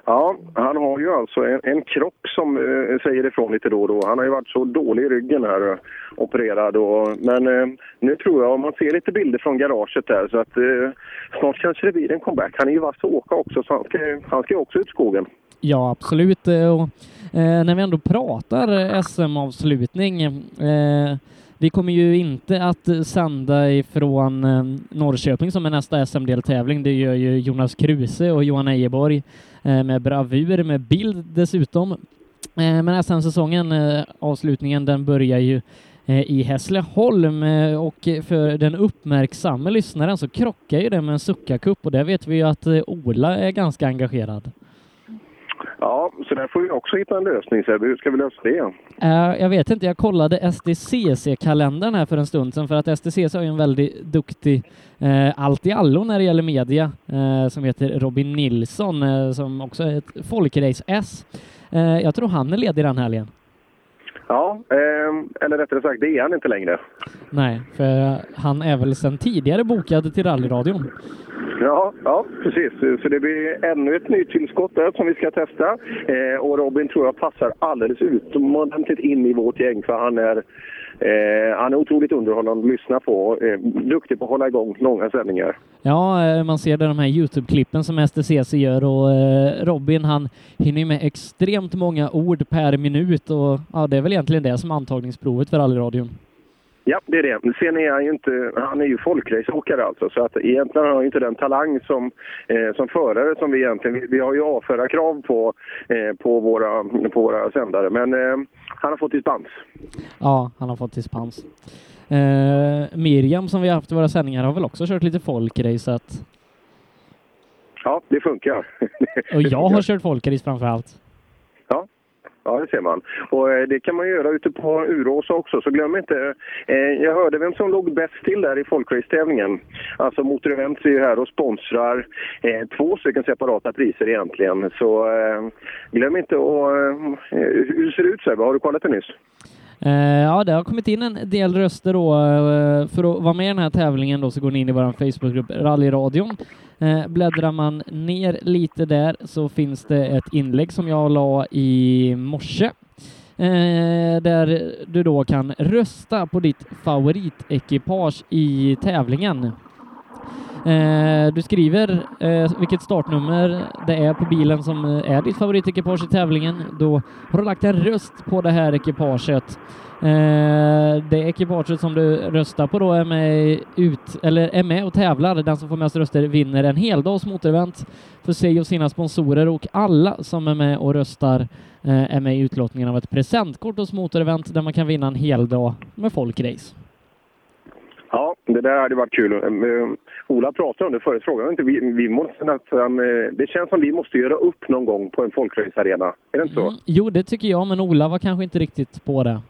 Ja, han har ju alltså en, en krock som eh, säger ifrån lite då och då. Han har ju varit så dålig i ryggen här, eh, opererad. Och, men eh, nu tror jag, om man ser lite bilder från garaget där, så att eh, snart kanske det blir en comeback. Han är ju vass att åka också, så han ska, ju- han ska ju också ut i skogen. Ja, absolut. Eh, Och, eh, när vi ändå pratar SM-avslutning. Eh, vi kommer ju inte att sända ifrån eh, Norrköping som är nästa SM-deltävling. Det gör ju Jonas Kruse och Johan Ejeborg eh, med bravur, med bild dessutom. Eh, men SM-säsongen, eh, avslutningen, den börjar ju eh, i Hässleholm eh, och för den uppmärksamme lyssnaren så krockar ju det med en Succa Cup och där vet vi ju att eh, Ola är ganska engagerad. Ja, så där får vi också hitta en lösning, Sebbe. Hur ska vi lösa det? Eh, jag vet inte, jag kollade STCC-kalendern här för en stund sedan för att STCC har ju en väldigt duktig eh, allt-i-allo när det gäller media eh, som heter Robin Nilsson eh, som också är ett folkrace-S. Eh, jag tror han är ledig den helgen. Ja, ehm, eller rättare sagt, det är han inte längre. Nej, för han är väl sedan tidigare bokad till rallyradion. Ja, ja, precis. Så det blir ännu ett nytt tillskott där som vi ska testa. Eh, och Robin tror jag passar alldeles utomordentligt in i vårt gäng för han är, eh, han är otroligt underhållande att lyssna på. och, Eh, duktig på att hålla igång långa sändningar. Ja, eh, man ser det de här Youtube-klippen som STCC gör och eh, Robin han hinner ju med extremt många ord per minut och ja, det är väl egentligen det som är antagningsprovet för rallyradion. Ja, det är det. Men Sen är han ju inte... Han är ju folkraceåkare alltså, så att egentligen har han ju inte den talang som, eh, som förare som vi egentligen... Vi, vi har ju avföra krav på, eh, på, våra, på våra sändare, men eh, han har fått dispens. Ja, han har fått dispens. Eh, Miriam som vi har haft i våra sändningar har väl också kört lite folkrace. så att- Ja, det funkar. Och jag har kört folkrace framför allt. Ja. Ja, det ser man. Och eh, det kan man göra ute på Uråsa också, så glöm inte. Eh, jag hörde vem som låg bäst till där i folkracetävlingen. Alltså Motor Events är ju här och sponsrar eh, två stycken separata priser egentligen. Så eh, glöm inte att... Eh, hur ser det ut Sebbe? Har du kollat det nyss? Eh, Ja, det har kommit in en del röster då. eh, För att vara med i den här tävlingen då så går ni in i vår Facebookgrupp Rallyradion. Eh, Bläddrar man ner lite där så finns det ett inlägg som jag la i morse. Eh, Där du då kan rösta på ditt favoritekipage i tävlingen. Eh, Du skriver eh, vilket startnummer det är på bilen som eh, är ditt favoritekipage i tävlingen. Då har du lagt en röst på det här ekipaget. Eh, Det ekipaget som du röstar på då är med, ut, eller är med och tävlar. Den som får mest röster vinner en heldags motorevent för sig och sina sponsorer och alla som är med och röstar eh, är med i utlottningen av ett presentkort hos motorevent där man kan vinna en hel dag med folkrace. Ja, det där hade varit kul. Eh, Ola pratade om det förut. Frågade inte vi, vi måste nästan... eh, Det känns som vi måste göra upp någon gång på en folkracearena. Är det inte så? Jo, det tycker jag, men Ola var kanske inte riktigt på det.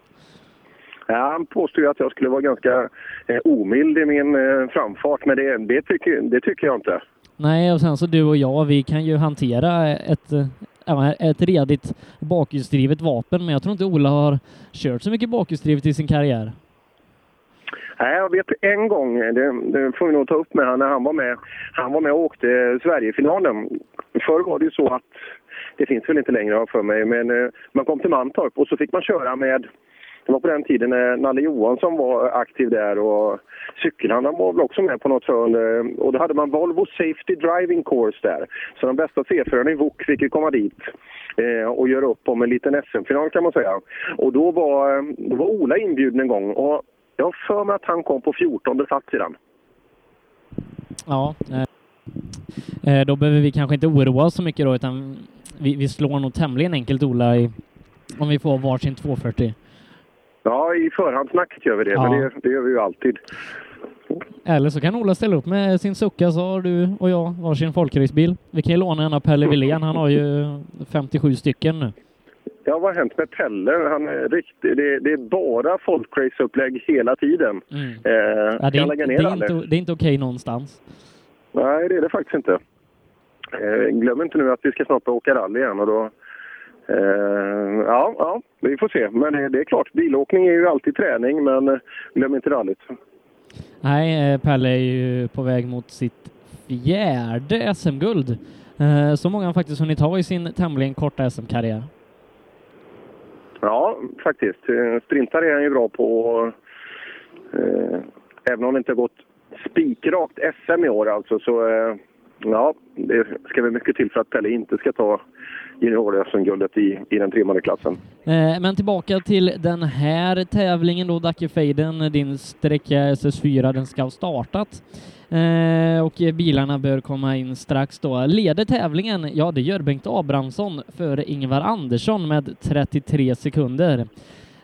Ja, han påstod ju att jag skulle vara ganska eh, omild i min eh, framfart, men det, det, tycker, det tycker jag inte. Nej, och sen så du och jag, vi kan ju hantera ett, eh, ja, ett redigt bakhjulsdrivet vapen, men jag tror inte Ola har kört så mycket bakhjulsdrivet i sin karriär. Nej, jag vet en gång, eh, det, det får vi nog ta upp med han när han var med, han var med och åkte Sverigefinalen. Förr var det ju så att, det finns väl inte längre har jag för mig, men eh, man kom till Mantorp och så fick man köra med det var på den tiden när Nalle Johansson var aktiv där och cykelhandlaren var väl också med på något hörn. eh, Och då hade man Volvo Safety Driving Course där. Så de bästa C-förarna i VOK fick ju komma dit eh, och göra upp om en liten SM-final kan man säga. Och då var, eh, då var Ola inbjuden en gång och jag har för mig att han kom på 14 plats i den. Ja. eh, eh, Då behöver vi kanske inte oroa oss så mycket då, utan vi, vi slår nog tämligen enkelt Ola i, om vi får varsin 240. Ja, i förhandsnacket gör vi det, Ja. men det, det gör vi ju alltid. Eller så kan Ola ställa upp med sin Succa så har du och jag varsin folkracebil. Vi kan ju låna en av Pelle Wilén, han har ju 57 stycken nu. Ja, vad har hänt med Pelle? Han är riktigt, det, det är bara folkrace-upplägg hela tiden. Mm. Eh, Ja, det, kan är, jag inte- lägga det, ner är Alle? inte, det är inte okej någonstans. Nej, det är det faktiskt inte. Eh, glöm inte nu att vi ska snart börja åka rally igen. Och då, eh, ja, ja, vi får se. Men eh, det är klart, bilåkning är ju alltid träning, men eh, glöm inte rallyt. Nej, eh, Pelle är ju på väg mot sitt fjärde SM-guld. Eh, Så många han faktiskt hunnit ha i sin tämligen korta SM-karriär. Ja, faktiskt. Eh, Sprintar är han ju bra på. och, Eh, även om det inte har gått spikrakt SM i år alltså, så eh, ja, det ska väl mycket till för att Pelle inte ska ta junior-SM-guldet i, i den trimmade klassen. Eh, Men tillbaka till den här tävlingen då, Dackefejden. Din sträcka SS4, den ska ha startat. Eh, Och eh, bilarna bör komma in strax då. Leder tävlingen? Ja, det gör Bengt Abrahamsson före Ingvar Andersson med 33 sekunder.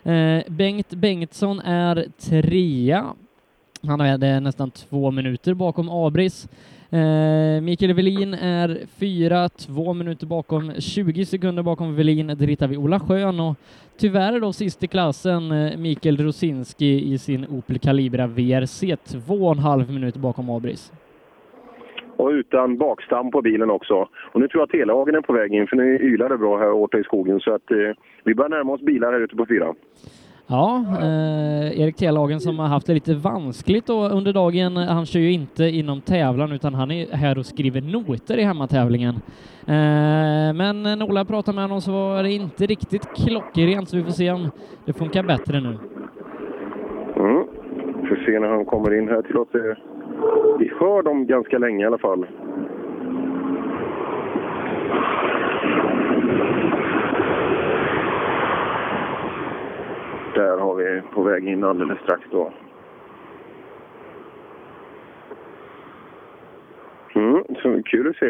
Eh, Bengt Bengtsson är trea. Han hade nästan två minuter bakom Abris. Eh, Mikael Velin är fyra, två minuter bakom, 20 sekunder bakom Velin. Där hittar vi Ola Schön och tyvärr då sist i klassen eh, Mikael Rosinski i sin Opel Calibra VRC, två och en halv minut bakom Abris. Och utan bakstam på bilen också. Och nu tror jag att Telehagen är på väg in, för nu ylar det bra här borta i skogen. Så att eh, vi börjar närma oss bilar här ute på fyran. Ja, eh, Erik Telhagen som har haft det lite vanskligt då under dagen. eh, Han kör ju inte inom tävlan utan han är här och skriver noter i hemmatävlingen. Eh, men när Ola pratade med honom så var det inte riktigt klockrent så vi får se om det funkar bättre nu. Mm. Får se när han kommer in här till oss. Eh, Vi hör dem ganska länge i alla fall. Där har vi på väg in alldeles strax då. Mm, så kul att se,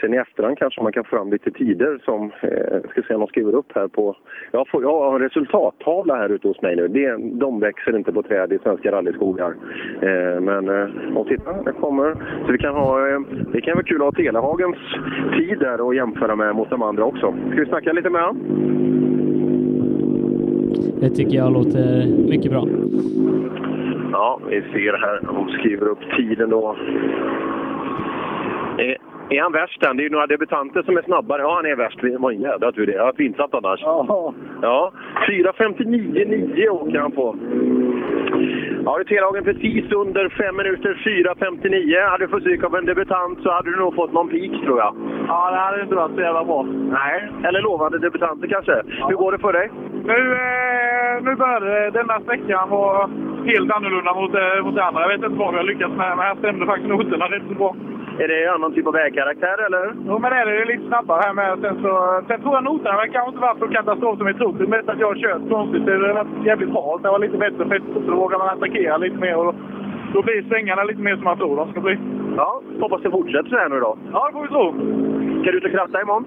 Sen i efterhand kanske man kan få fram lite tider som, eh, ska se om de skriver upp här på... Jag, får, jag har en resultattavla här ute hos mig nu. Det, de växer inte på träd i svenska rallyskogar. Eh, men, eh, och titta, det kommer. Så vi kan ha, eh, det kan vara kul att ha Telehagens tid där och jämföra med mot de andra också. Ska vi snacka lite med honom? Det tycker jag låter mycket bra. Ja, vi ser här. De skriver upp tiden då. Är, är han värst än? Det är ju några debutanter som är snabbare. Ja, han är värst. Det var en jädra tur det. Jag hade pinsamt annars. Ja. ja. 4.59,9 åker han på. Ja, du T-lagen precis under 5 minuter 4.59. Hade du fått stryk av en debutant så hade du nog fått någon pik tror jag. Ja, det hade inte varit så jävla bra. Nej, eller lovande debutanter kanske. Hur går det för dig? Nu, eh, nu började denna sträckan vara helt annorlunda mot, eh, mot det andra. Jag vet inte vad vi har lyckats med, men här stämde faktiskt noterna rätt så bra. Är det annan typ av vägkaraktär eller? Jo, men det är det. Det är lite snabbare här med. Sen, så, sen tror jag noterna men kanske inte varit så katastrof som vi trodde. Mest att jag har kört konstigt. Det har varit jävligt halt. Det var lite bättre fett, så då vågar man attackera lite mer. Och då, då blir svängarna lite mer som man tror de ska bli. Ja, hoppas det fortsätter så här nu då. Ja, det får vi tro. Eh, Ska du ut och kratta imorgon?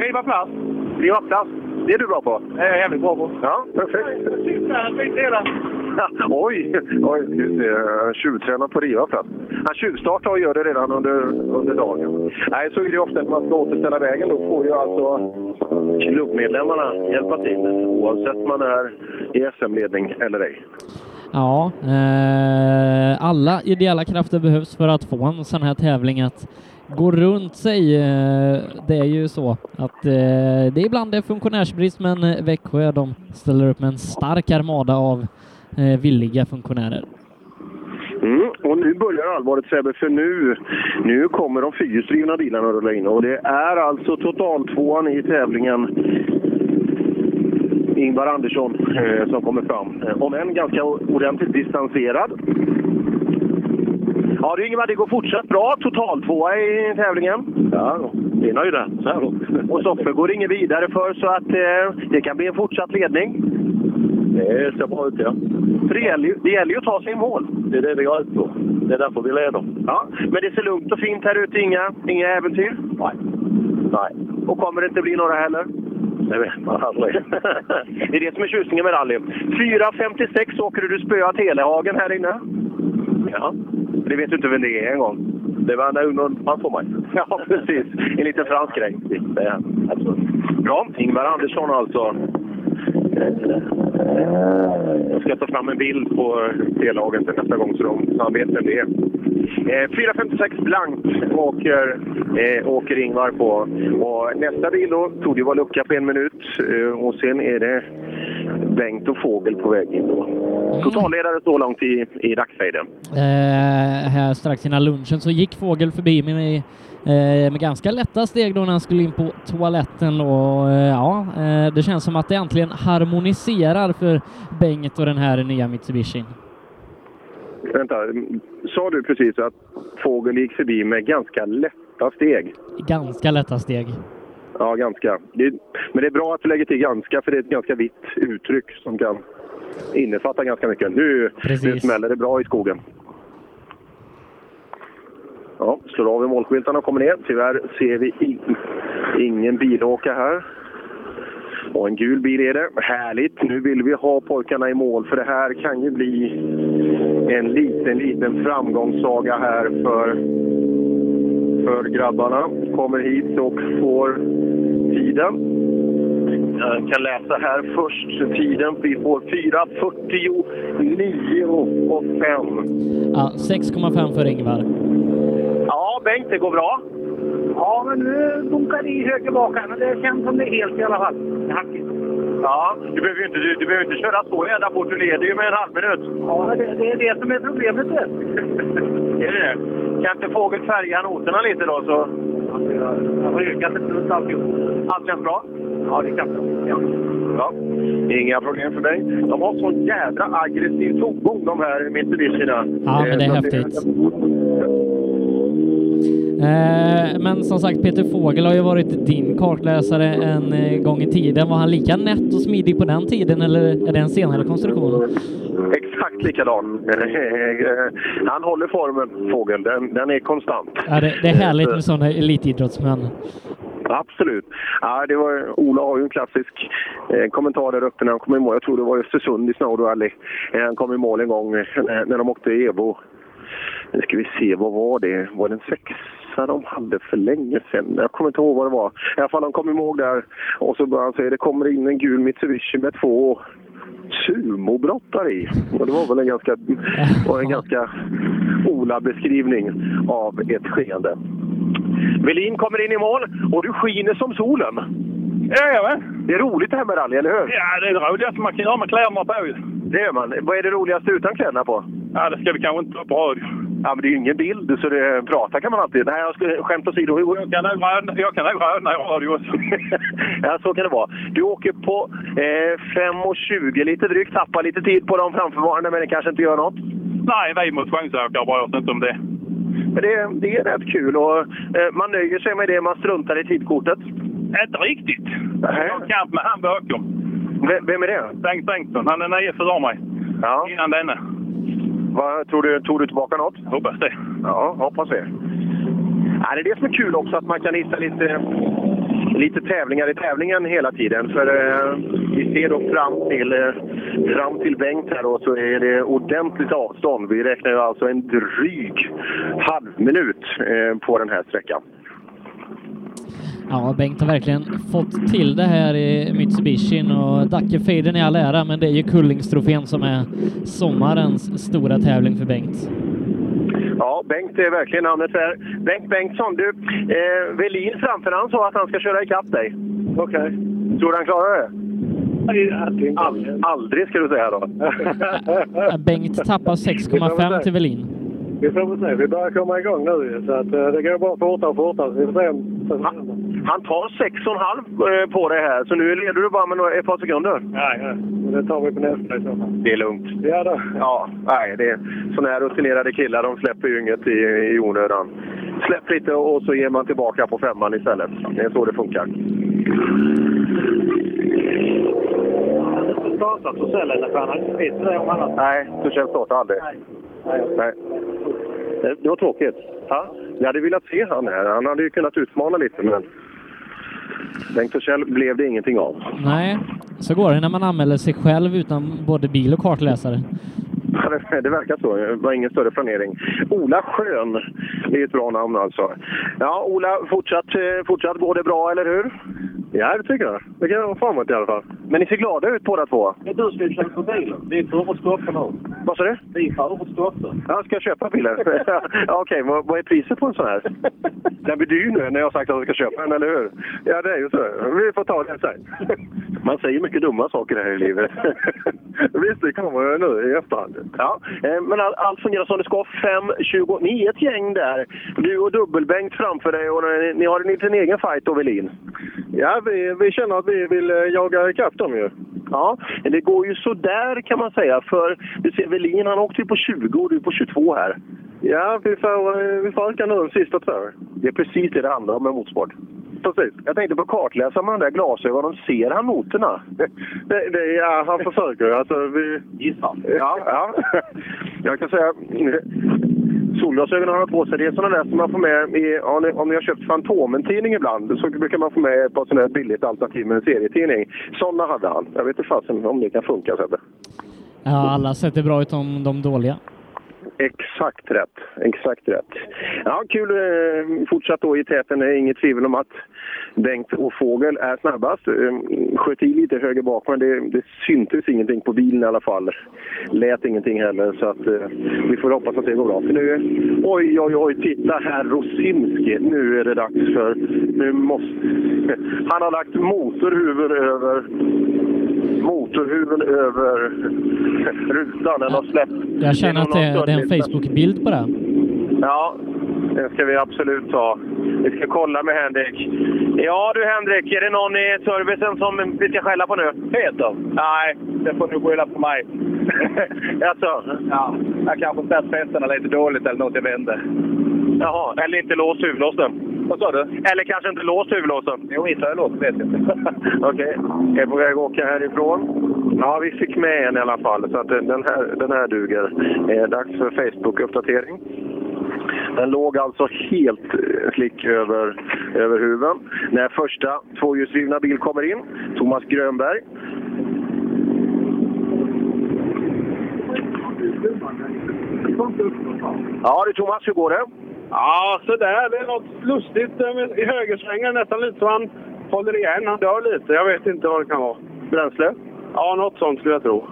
Riva plast. Riva plast? Det är du bra på? Det är jag jävligt bra på. Ja, perfekt. Oj, oj, just det. Han tjuvtränar på riva plats. Han tjuvstartar och gör det redan under, under dagen. Nej, så är det ju ofta när man ska återställa vägen. Då får ju alltså klubbmedlemmarna hjälpa till oavsett man är i SM-ledning eller ej. Ja, eh, alla ideella krafter behövs för att få en sån här tävling att gå runt sig. Eh, det är ju så att eh, det är ibland det är funktionärsbrist, men eh, Växjö de ställer upp med en stark armada av eh, villiga funktionärer. Mm, och nu börjar allvaret Sebbe, för nu, nu kommer de fyrhjulsdrivna bilarna att rulla in. Och det är alltså totaltvåan i tävlingen Ingvar Andersson eh, som kommer fram. Eh, Om än ganska ordentligt distanserad. Ja du Ingvar, det går fortsatt bra. Totaltvåa i tävlingen. Ja, vi är nöjda så här Och Soffe går ingen vidare för så att eh, det kan bli en fortsatt ledning. Det ser bra ut, ja. För det gäller, ju, det gäller ju att ta sig i mål. Det är det vi går ut på. Det är därför vi leder. Ja, men det ser lugnt och fint här ute. Inga, inga äventyr? Nej. Nej. Och kommer det inte bli några heller? Det vet man aldrig. det är det som är tjusningen med rally. 4.56 åker du. Du spöar Telehagen här inne. Ja. Det vet du inte vem det är en gång. Det var när någon framför mig. Ja, precis. En liten fransk grej. Det är han. Absolut. Bra. Ingvar Andersson alltså. Jag ska ta fram en bild på T-lagen till nästa gång så, de, så han vet vem det är. Eh, 4.56 blankt åker, eh, åker Ingvar på. Och nästa bil då tog det var lucka på en minut eh, och sen är det Bengt och Fågel på väg in då. Totalledare så långt i, i dagsfejden. Eh, här strax innan lunchen så gick Fågel förbi mig eh, med ganska lätta steg då när han skulle in på toaletten och eh, ja, eh, det känns som att det äntligen harmoniserar för Bengt och den här nya Mitsubishi. Vänta, mm, sa du precis att Fågel gick förbi med ganska lätta steg? Ganska lätta steg. Ja, ganska. Det, är- men det är bra att du lägger till ganska, för det är ett ganska vitt uttryck som kan innefatta ganska mycket. Nu, nu Precis. smäller det bra i skogen. Ja, slår av i målskyltarna och kommer ner. Tyvärr ser vi in, ingen bilåka här. Och en gul bil är det. Härligt! Nu vill vi ha pojkarna i mål, för det här kan ju bli en liten, liten framgångssaga här för för grabbarna. Kommer hit och får tiden. Jag kan läsa här först tiden. Vi får 4.49 och 5. Ja, 6,5 för Ingvar. Ja, Bengt, det går bra. Ja, men nu dunkar det i höger bak här, men det känns som det är helt i alla fall. Hackigt. Ja, du behöver ju inte, du, du behöver inte köra så jävla fort. Du leder ju med en halv minut. Ja, men det, det är det som är problemet. vet du. Är det det? Kan inte fågel färga noterna lite då? Så... Jag har yrkat ett runt alltihop. Allt känns bra? Ja, det kan det. Ja. Ja. Inga problem för mig. De har sån jädra aggressiv tomgång de här Mitsubishierna. Ja, men det är Eh, häftigt. Eh, men som sagt, Peter Fågel har ju varit din kartläsare en eh, gång i tiden. Var han lika nätt och smidig på den tiden eller är det en senare konstruktion? Ex- exakt likadan. Eh, Han håller formen, fågeln. Den, den är konstant. Ja, det, det är härligt med sådana elitidrottsmän. Absolut. Ja, det var, Ola har ju en klassisk eh, kommentar där uppe när han kom i mål. Jag tror det var Östersund i Snowdo Alley. Eh, han kom i mål en gång eh, när de åkte i Evo. Nu ska vi se, vad var det? Var det en sexa de hade för länge sedan? Jag kommer inte ihåg vad det var. I alla fall, de kom ihåg där och så började han säga det kommer in en gul Mitsubishi med två sumobrottare i. Och det var väl en ganska, var en ganska Ola-beskrivning av ett skeende. Velin kommer in i mål och du skiner som solen. Jajamän. Det är roligt det här med rally, eller hur? Ja, det är det roligaste man kan göra med kläderna på ju. Det gör man. Vad är det roligaste utan kläderna på? Ja, det ska vi kanske inte ta på radio. Ja, men det är ju ingen bild, så det, prata kan man alltid. Nej, jag skulle, skämt åsido. Jag kan nog röna, jag kan röna i radio också. ja, så kan det vara. Du åker på eh, 5.20 lite drygt. Tappar lite tid på de framförvarande, men det kanske inte gör något. Nej, vi motionsåkare bryr oss inte om det. Men det, det är rätt kul och eh, man nöjer sig med det. Man struntar i tidkortet. Inte riktigt. Jag har kamp med han bakom. Vem är det? Bengt Bengtsson. Han är nio före mig. Ja. Innan denne. Va, tror du, tog du tillbaka något? Hoppas det. Ja, hoppas det. Ja, det är det som är kul också, att man kan hitta lite, lite tävlingar i tävlingen hela tiden. För eh, vi ser då fram till, eh, fram till Bengt här då, så är det ordentligt avstånd. Vi räknar ju alltså en dryg halvminut eh, på den här sträckan. Ja, Bengt har verkligen fått till det här i Mitsubishin och Dackefejden i all ära, men det är ju Kullingstrofén som är sommarens stora tävling för Bengt. Ja, Bengt är verkligen namnet där. Bengt Bengtsson, du, eh, Velin framför han sa att han ska köra ikapp dig. Okej. Tror du han klarar det? Ald- aldrig ska du säga då. Bengt tappar 6,5 till Velin. Vi får väl se. Vi börjar komma igång nu ju, så att, eh, det går bara fortare och fortare. Så vi får se om... Han tar 6,5 eh, på det här, så nu leder du bara med några, ett par sekunder. Nej, nej. Men det tar vi på nästa i så fall. Det är lugnt. Ja då. Ja, nej, det är sådana här rutinerade killar, de släpper ju inget i, i onödan. Släpp lite och så ger man tillbaka på femman istället. Det är så det funkar. Startat hos Ellenergin. Han vet inte det om annat. Nej, så känns det aldrig. Nej. Det- Det var tråkigt. Ja. Jag hade velat se han här. Han hade ju kunnat utmana lite, men... Bengt Forsell blev det ingenting av. Nej, så går det när man anmäler sig själv utan både bil och kartläsare. Ja, det- Det verkar så. Det var ingen större planering. Ola Schön är ett bra namn alltså. Ja, Ola, fortsatt, eh, fortsatt går det bra, eller hur? Ja, det tycker jag. Det kan jag framåt i alla fall. Men ni ser glada ut båda två. Men du ska ju köpa bilen. Det är förortsstoppe nu. Vad sa du? Det är förortsstoppe. Ja, ska jag köpa bilen? ja, Okej, vad, vad är priset på en sån här? Den blir dyr nu när jag har sagt att jag ska köpa den, eller hur? Ja, det är ju så. Vi får ta det sen. Man säger mycket dumma saker här i livet. Visst, det kommer jag nu i efterhand. Ja, eh, men all- allt fungerar som det ska. 5.20. Ni är ett gäng där. Du och Dubbelbänkt framför dig och ni, ni har en liten egen fight, då, Velin. Ja, vi, vi känner att vi vill eh, jaga ikapp dem ju. Ja, det går ju sådär kan man säga. För du ser, Velin han åkte ju på 20 och du är på 22 här. Ja, vi får, eh, vi får öka nu de sista två. Det är precis det det handlar om med motorsport. Precis. Jag tänkte på kartläsaren med de där glasögonen. Ser han noterna? Det, det, ja, han försöker. Alltså, vi... Gissa. Ja, ja. Jag kan säga... Solglasögonen har jag på sig. Det är sådana där som man får med i, om ni- om ni har köpt Fantomen-tidning ibland så brukar man få med ett par sådana här billigt alternativ med en serietidning. Sådana hade han. Jag vet inte fasen om det kan funka Sebbe. Ja, alla sätter bra utom de dåliga. Exakt rätt. Exakt rätt. Ja, kul eh, fortsatt då i täten. Det är inget tvivel om att Bengt och Fågel är snabbast. Eh, Sköt i lite höger bak, men det, det syntes ingenting på bilen i alla fall. Lät ingenting heller, så att, eh, vi får hoppas att det går bra. För nu, oj, oj, oj, titta här Rosinski. Nu är det dags för... Nu måste, han har lagt motorhuven över... Motorhuven över rutan. Den har släppt. Jag känner att det, det är en Facebook-bild på det. Ja, den ska vi absolut ta. Vi ska kolla med Henrik. Ja du Henrik, är det någon i servicen som vi ska skälla på nu? Peter? Nej, det får du skylla på mig. Jaså? Ja, jag kanske ställt festerna lite dåligt eller något, jag vet inte. Jaha, eller inte låst huvudlåsen? Vad sa du? Eller kanske inte låst huvudlåsen? Jo, inte har jag låst, vet jag. Okej, jag är på väg att åka härifrån. Ja, vi fick med en i alla fall, så att eh, den, här, den här duger. Eh, dags för Facebook-uppdatering. Den låg alltså helt eh, slick över, över huven när första tvåhjulsdrivna bil kommer in. Thomas Grönberg. Ja du Thomas, hur går det? Ja, så där. Det är något lustigt eh, med- i högersvängen. Nästan lite som han håller igen. Han dör lite. Jag vet inte vad det kan vara. Bränsle? Ja, något sånt skulle jag tro.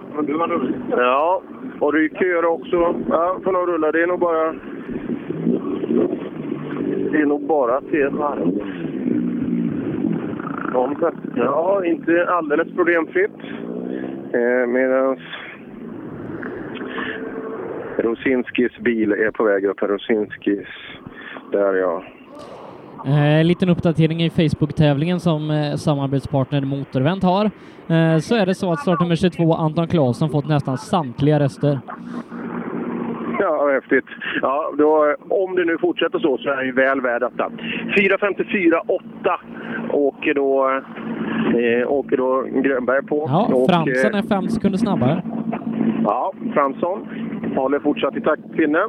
Ja, och du köar också. Ja, får nog rulla. Det är nog bara... Det är nog bara tre varv. Kom, Ja, inte alldeles problemfritt. Eh, Medan Rosinskis bil är på väg upp. Rosinskis... Där ja. Eh, liten uppdatering i Facebook-tävlingen som eh, samarbetspartner Motorvent har. Eh, så är det så att startnummer 22 Anton Claesson fått nästan samtliga röster. Ja, vad häftigt. Ja, då, om det nu fortsätter så så är han ju väl värd detta. 4.54,8 åker då, eh, åker då Grönberg på. Ja, Och, Fransson eh, är fem sekunder snabbare. Ja, Fransson håller fortsatt i taktpinne.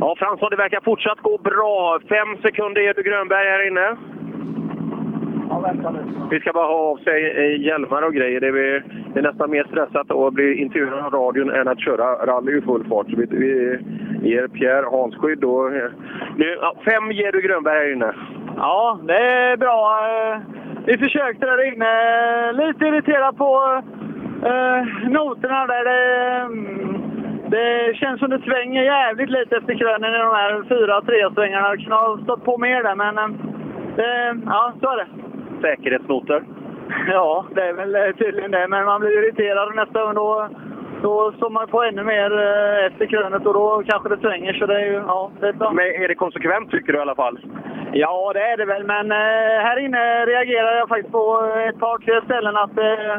Ja, Fransson, det verkar fortsatt gå bra. Fem sekunder är du Grönberg här inne. Vi ska bara ha av sig eh, hjälmar och grejer. Det är, det är nästan mer stressat att bli intervjuad av radion än att köra rally i full fart. Så vi, vi ger Pierre handskydd. Och, eh, nu, ja, fem ger du Grönberg här inne. Ja, det är bra. Eh, Vi försökte där inne. Lite irriterad på eh, noterna där. Det, mm, det känns som det svänger jävligt lite efter krönen i de här fyra tresvängarna. Jag kunde ha stått på mer där, men eh, det, ja, så är det. Säkerhetsnoter. Ja, det är väl eh, tydligen det. Men man blir irriterad nästa gång. Då, då står man på ännu mer eh, efter krönet och då kanske det svänger. Så det är ju, ja, det är bra. Men är det konsekvent tycker du i alla fall? Ja, det är det väl, men eh, här inne reagerade jag faktiskt på ett par, tre ställen att eh,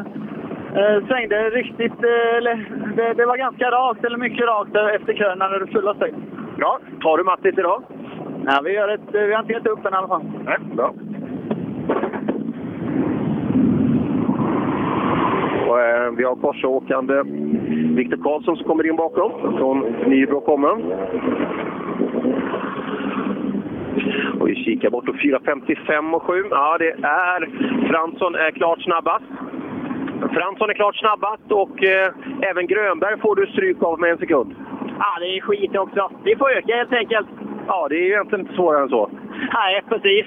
eh, svängde riktigt... Eh, eller, det, det var ganska rakt, eller mycket rakt eh, efter krönen när det fulla steg. Ja, tar du Mattis idag? Nej, vi, gör ett, eh, vi har inte gett upp än i alla fall. Nej, bra. Och, eh, vi har korsåkande Viktor Karlsson som kommer in bakom från Nybro kommun. Och vi kikar bort och 4.55 och 7. Ja, det är Fransson är klart snabbast. Fransson är klart snabbast och eh, även Grönberg får du stryk av med en sekund. Ja, det är skit också. Vi får öka helt enkelt. Ja, det är ju egentligen inte svårare än så. Nej, precis.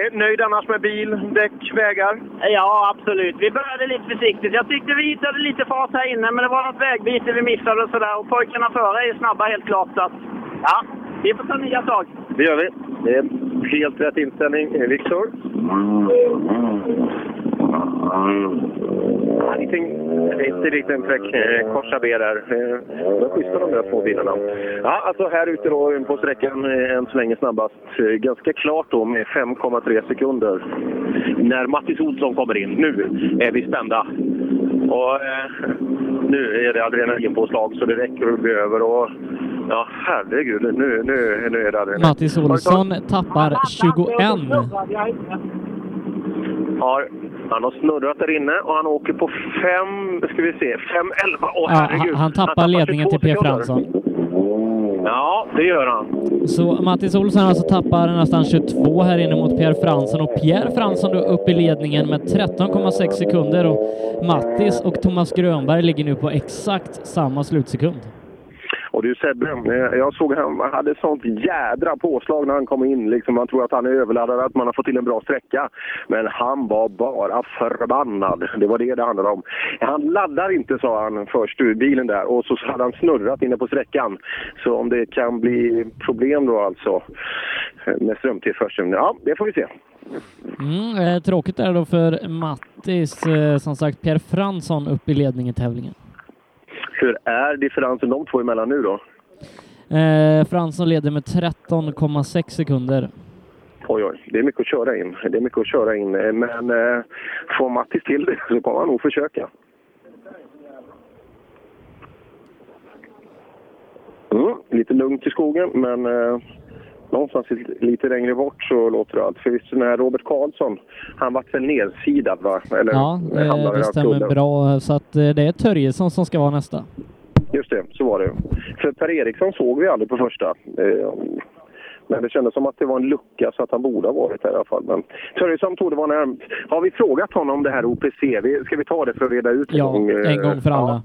Är du nöjd annars med bil, däck, vägar? Ja, absolut. Vi började lite försiktigt. Jag tyckte vi hittade lite fart här inne, men det var något vägbyte vi missade och sådär. Och pojkarna före är snabba helt klart, så att, ja, vi får ta nya tag. Det gör vi. Det är helt rätt inställning, eh, Viktor. Ja, Inte, inte riktigt en fräck eh, korsa B där. Eh, Det är schyssta de där två bilarna. Ja, alltså här ute då på sträckan eh, än så länge snabbast. Eh, Ganska klart då med 5,3 sekunder. När Mattis Olsson kommer in. Nu är vi spända. Och eh, nu är det adrenalinpåslag så det räcker och det blir över. Och, ja, herregud. Nu, nu, nu är det adrenalin. Mattis Olsson tappar 21. Har, han har snurrat där inne och han åker på fem, ska vi se, 5.11. Åh Ja, herregud! han, han tappar ledningen 22 till P. sekunder. Fransson. Ja, det gör han. Så Mattis Olsson alltså tappar nästan 22 här inne mot Pierre Fransson och Pierre Fransson då upp i ledningen med 13,6 sekunder och Mattis och Thomas Grönberg ligger nu på exakt samma slutsekund. Och du Sebbe, eh, jag såg han hade sånt jädra påslag när han kom in. Liksom, man tror att han är överladdad, att man har fått till en bra sträcka. Men han var bara förbannad. Det var det det handlade om. Han laddar inte, sa han först ur bilen där. Och så hade han snurrat inne på sträckan. Så om det kan bli problem då alltså eh, med strömtillförseln, ja det får vi se. Mm, eh, tråkigt är det då för Mattis, eh, som sagt Pierre Fransson upp i ledningen i tävlingen. Hur är differensen de två emellan nu då? Eh, Fransson leder med 13,6 sekunder. Oj, oj, det är mycket att köra in. Det är mycket att köra in. Eh, Men eh, får Mattis till det så kommer han nog försöka. Mm, lite lugnt i skogen, men eh, någonstans lite- lite längre bort så låter det allt. För visst, den här Robert Karlsson, han vart väl nedsidad va? Eller, Ja, eller hamnade eh, i det hans stämmer kulle. bra. Så att eh, det är Törjesson som ska vara nästa. Just det, så var det. För Per Eriksson såg vi aldrig på första. Eh, Men det kändes som att det var en lucka så att han borde ha varit där i alla fall. Men Törjesson tog det var närmt. Har vi frågat honom om det här OPC? Vi- Ska vi ta det för att reda ut en Ja, gång? eh, en gång för alla.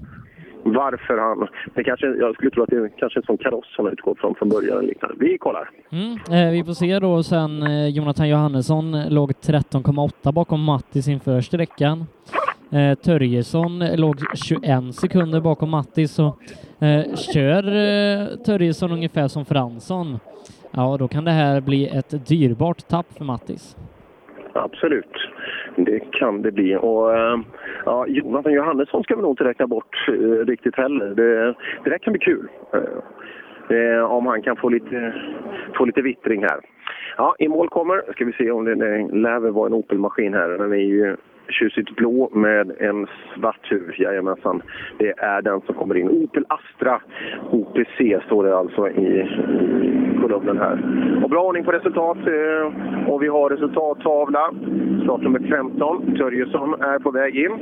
Varför han... Det kanske, jag skulle tro att det är kanske en sån kaross han har utgått från från början. eller liknande. Vi kollar. Mm. Eh, vi får se då sen. Eh, Jonathan Johannesson låg 13,8 bakom Mattis inför sträckan. Eh, Törjesson låg 21 sekunder bakom Mattis och eh, kör eh, Törjesson ungefär som Fransson, ja då kan det här bli ett dyrbart tapp för Mattis. Absolut, det kan det bli. Och, eh, ja, Jonathan Johannesson ska vi nog inte räkna bort eh, riktigt heller. Det, det där kan bli kul. Eh, eh, om han kan få lite, få lite vittring här. Ja, I mål kommer, ska vi se om det det lär väl vara en Opel-maskin här. Den är ju tjusigt blå med en svart huv. Jajamensan, det är den som kommer in. Opel Astra OPC står det alltså i kolumnen här. Och bra ordning på resultat. eh, Och vi har resultattavla. Startnummer 15, Törjesson, är på väg in.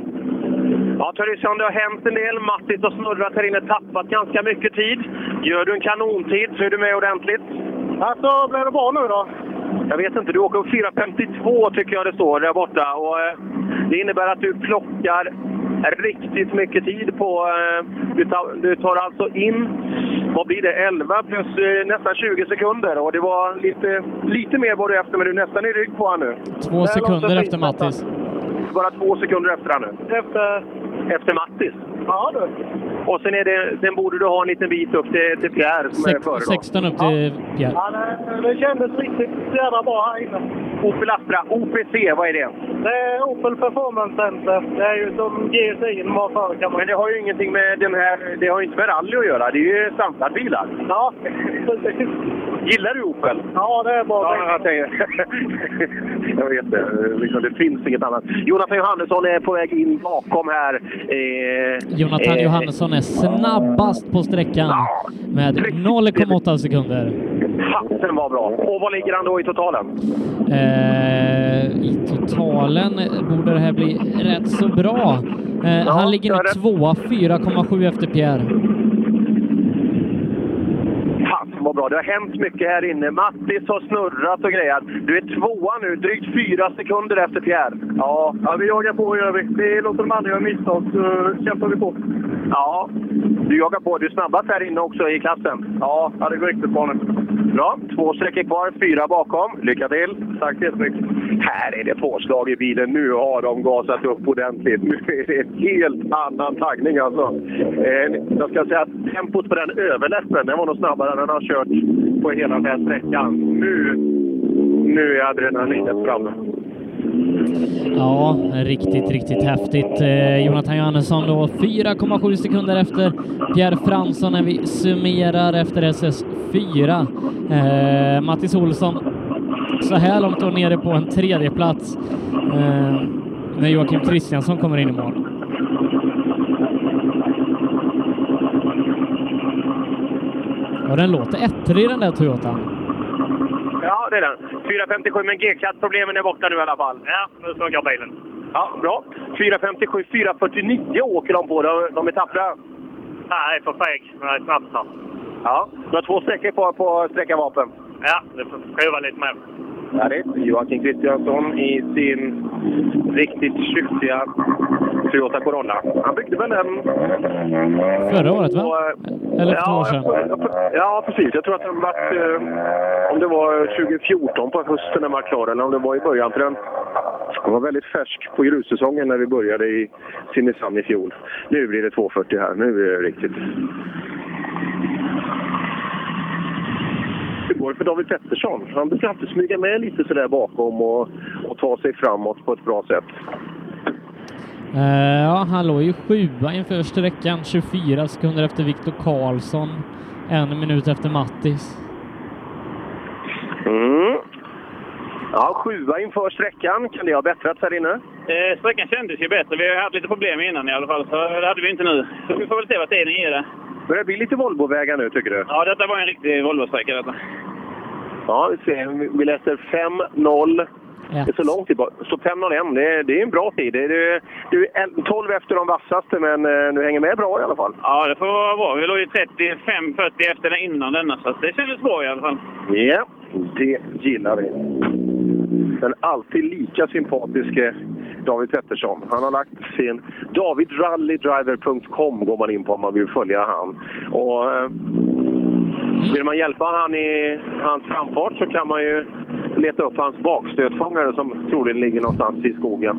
Ja, Törjesson, det har hänt en del. Mattis har snurrat här inne, tappat ganska mycket tid. Gör du en kanontid så är du med ordentligt. Alltså, blir det bra nu då? Jag vet inte, du åker 4.52 tycker jag det står där borta. Och, eh, det innebär att du plockar riktigt mycket tid på... Eh, du, tar, du tar alltså in, vad blir det, 11 plus eh, nästan 20 sekunder. Och det var lite, lite mer var du efter, men du är nästan i rygg på honom nu. Två sekunder efter Mattis. Bara två sekunder efter han nu. Efter? Efter Mattis. Ja, du. Och sen, är det, sen borde du ha en liten bit upp till, till Pierre som är Sex, före. då. 16 upp till Pierre. Ja, det, det kändes riktigt jävla bra här inne. Opel Astra, OPC, vad är det? Det är Opel Performance Center. Det är ju som GSI var förr kan man Men det har ju ingenting med den här... Det har ju inte med rally att göra. Det är ju standardbilar. Ja, precis. Gillar du Opel? Ja, det är bra. Ja, jag, tänker, jag vet det. Liksom, det finns inget annat. Jonathan Johannesson är på väg in bakom här. Eh, Jonathan eh, Johannesson är snabbast på sträckan med 0,8 sekunder. Hatten var bra. Och vad ligger han då i totalen? Eh, I totalen borde det här bli rätt så bra. Eh, han ligger nu tvåa, 4,7 efter Pierre. Hatten var bra. Det har hänt mycket här inne. Mattis har snurrat och grejat. Du är tvåa nu, drygt fyra sekunder efter Pierre. Ja, ja vi jagar på gör vi. Vi låter de andra göra misstag så kämpar vi på. Ja, du jagar på. Du är snabbast här inne också i klassen. Ja, det går riktigt bra nu. Bra. Två sträckor kvar, fyra bakom. Lycka till! Tack så jättemycket. Här är det påslag i bilen. Nu har de gasat upp ordentligt. Nu är det en helt annan taggning alltså. Eh, jag ska säga att tempot på den överläppen den var nog snabbare än han har kört på hela den här sträckan. Nu, nu är adrenalinet framme. Ja, riktigt, riktigt häftigt. Eh, Jonathan Johannesson då 4,7 sekunder efter Pierre Fransson när vi summerar efter SS4. Eh, Mattis Olsson så här långt då nere på en tredje plats eh, när Joakim Kristiansson kommer in i mål. Och den låter ettrig den där Toyotan. Ja, det är den. 4.57, men G-klass-problemen är borta nu i alla fall. Ja, nu funkar bilen. Ja, bra. 4.57, 4.49 åker de på. De, de är tappra. Nej, för feg. Men är snabbt snabbt. Ja, du har två sträckor på, på sträckan vapen. Ja, du får prova lite mer. Härligt. Joakim Kristiansson i sin riktigt tjusiga Toyota Corona. Han byggde väl den... Förra året va? eh, Eller för två år sedan? Ja, precis. Jag tror att den var... Eh, om det var 2014 på hösten den var klar, eller om det var i början. För den den var väldigt färsk på grussäsongen när vi började i Simrishamn i fjol. Nu blir det 240 här. Nu är det riktigt. Hur går det för David Pettersson? Han brukar alltid smyga med lite sådär bakom och, och ta sig framåt på ett bra sätt. Eh, ja, han låg ju sjua inför sträckan, 24 sekunder efter Viktor Karlsson, en minut efter Mattis. Mm. Ja, sjua inför sträckan. Kan det ha bättrats här inne? Eh, sträckan kändes ju bättre. Vi har ju haft lite problem innan i alla fall, så det hade vi inte nu. Så vi får väl se vad tiden ger det. Börjar det bli lite Volvovägar nu, tycker du? Ja, detta var en riktig Volvo-sträcka detta. Ja, vi ser. Vi- Vi läser 5-0. Det är så långt tillbaka. Så 5-0-1, det, är- det är en bra tid. Det är, du är el- 12 efter de vassaste, men eh, du hänger med bra i alla fall. Ja, det får vara bra. Vi låg ju 35-40 efter den innan denna, så att det kändes bra i alla fall. Ja, det gillar vi. Den alltid lika sympatiske David Pettersson. Han har lagt sin davidrallydriver.com går man in på om man vill följa han. Och eh, vill man hjälpa han i hans framfart så kan man ju leta upp hans bakstötfångare som troligen ligger någonstans i skogen.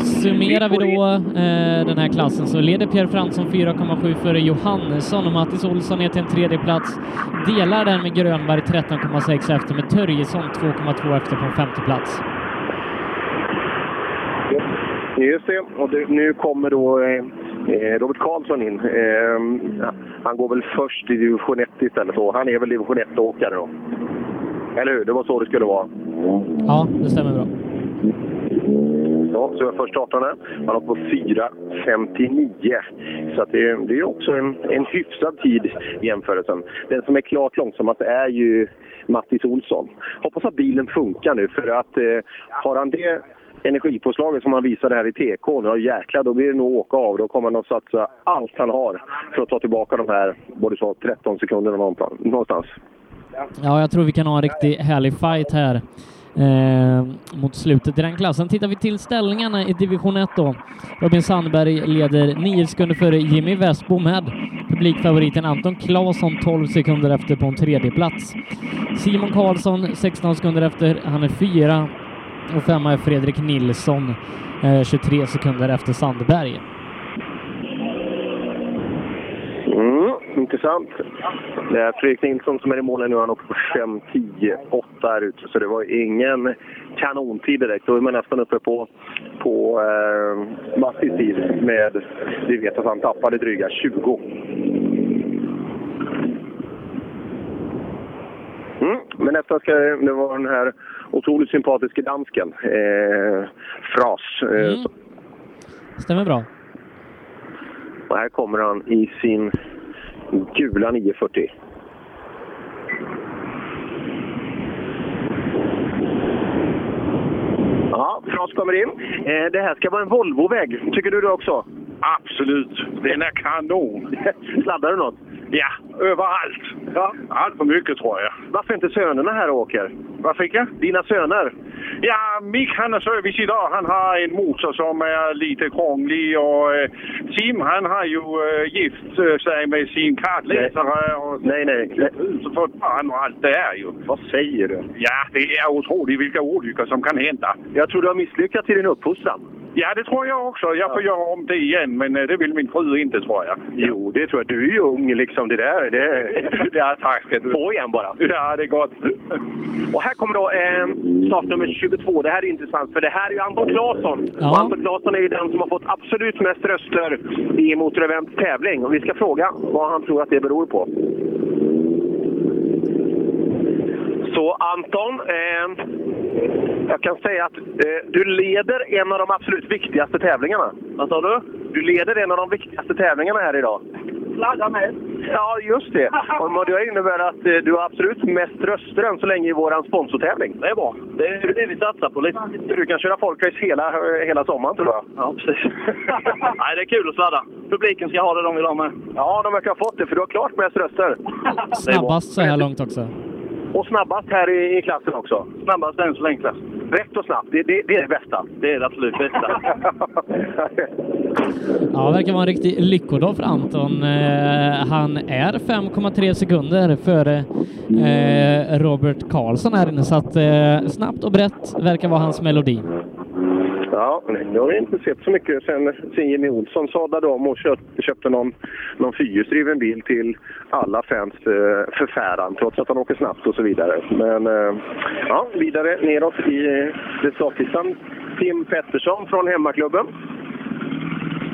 Summerar vi då eh, den här klassen så leder Pierre Fransson 4,7 före Johannesson och Mattis Olsson ner till en tredje plats. Delar den med Grönberg 13,6 efter med Törjesson 2,2 efter på en femte plats. Just det. Och det, nu kommer då eh, eh, Robert Karlsson in. Eh, ja, han går väl först i division 1 istället. Då. Han är väl division 1-åkare då. Eller hur? Det var så det skulle vara. Ja, det stämmer bra. Ja, så är först 18 här. Han har på 4.59. Så att det, är- det är också en, en hyfsad tid i jämförelsen. Den som är klart långsammast är ju Mattis Olsson. Hoppas att bilen funkar nu för att eh, har han det energipåslaget som han visade här i TK, då jäklar då blir det nog åka av. Då kommer han att satsa allt han har för att ta tillbaka de här, både så 13 sekunderna någonstans- någonstans. Ja, jag tror vi kan ha en riktigt härlig fight här eh, mot slutet i den klassen. Tittar vi till ställningarna i division 1 då. Robin Sandberg leder 9 sekunder före Jimmy Westbo med publikfavoriten Anton Claesson 12 sekunder efter på en tredje plats. Simon Karlsson 16 sekunder efter, han är fyra. Och femma är Fredrik Nilsson eh, 23 sekunder efter Sandberg. Mm, intressant. Det är Fredrik Nilsson som är i målen nu. Han åker på 5.10,8 här ute. Så det var ingen kanontid direkt. Då är man nästan uppe på, på eh, Mattis tid. Med, vi vet att han tappade dryga 20. Mm. Men nästa ska det var den här otroligt sympatiske dansken. Eh, Fras. Eh, som- Stämmer bra. och här kommer han i sin gula 940. Ja, Fras kommer in. Eh, det här ska vara en Volvo-väg. Tycker du det också? Absolut. Den är kanon. Sladdar du något? Ja, överallt. Ja. Allt för mycket tror jag. Varför inte sönerna här och åker? Varför inte? Dina söner? Ja, Mick han är service idag. Han har en motor som är lite krånglig och eh, Tim han har ju eh, gift eh, sig med sin kartläsare och nej, nej. Så fått barn och allt det är ju. Vad säger du? Ja, det är otroligt vilka olyckor som kan hända. Jag tror du har misslyckats i din uppfostran. Ja, det tror jag också. Jag får göra om det igen, men eh, det vill min fru inte tror jag. Jo, det tror jag. Du är ju ung liksom. Det där... Det... ja, tack ska du På igen bara. Ja, det är gott. Och här kommer då eh, startnummer 22. Det här är intressant, för det här är ju Anton Claesson. Ja. Och Anton Claesson är ju den som har fått absolut mest röster i Motorevents tävling. Och vi ska fråga vad han tror att det beror på. Så Anton, eh, jag kan säga att eh, du leder en av de absolut viktigaste tävlingarna. Vad sa du? Du leder en av de viktigaste tävlingarna här idag. Ladda med. Ja, just det. Och vad det innebär att eh, du har absolut mest röster än så länge i vår sponsortävling. Det är bra. Det är det vi satsar på lite. Du kan köra folkrace hela, eh, hela sommaren tror jag. Ja, precis. Nej, det är kul att sladda. Publiken ska ha det de vill ha med. Ja, de verkar ha fått det för du har klart mest röster. Det är bra. Snabbast så här långt också. Och snabbast här i, i klassen också. Snabbast än så länge klass. Rätt och snabbt, det, det, det är det bästa. Det är det absolut bästa. Ja, verkar vara en riktig lyckodag för Anton. Eh, han är 5,3 sekunder före eh, Robert Karlsson här inne, så att eh, snabbt och brett verkar vara hans melodi. Ja, nej, det har vi inte sett så mycket sen, sen Jimmy Olsson sadlade om och köpt, köpte någon, någon fyrhjulsdriven bil till alla fans eh, förfäran, trots att han åker snabbt och så vidare. Men eh, ja, vidare neråt i eh, resultatlistan. Tim Pettersson från hemmaklubben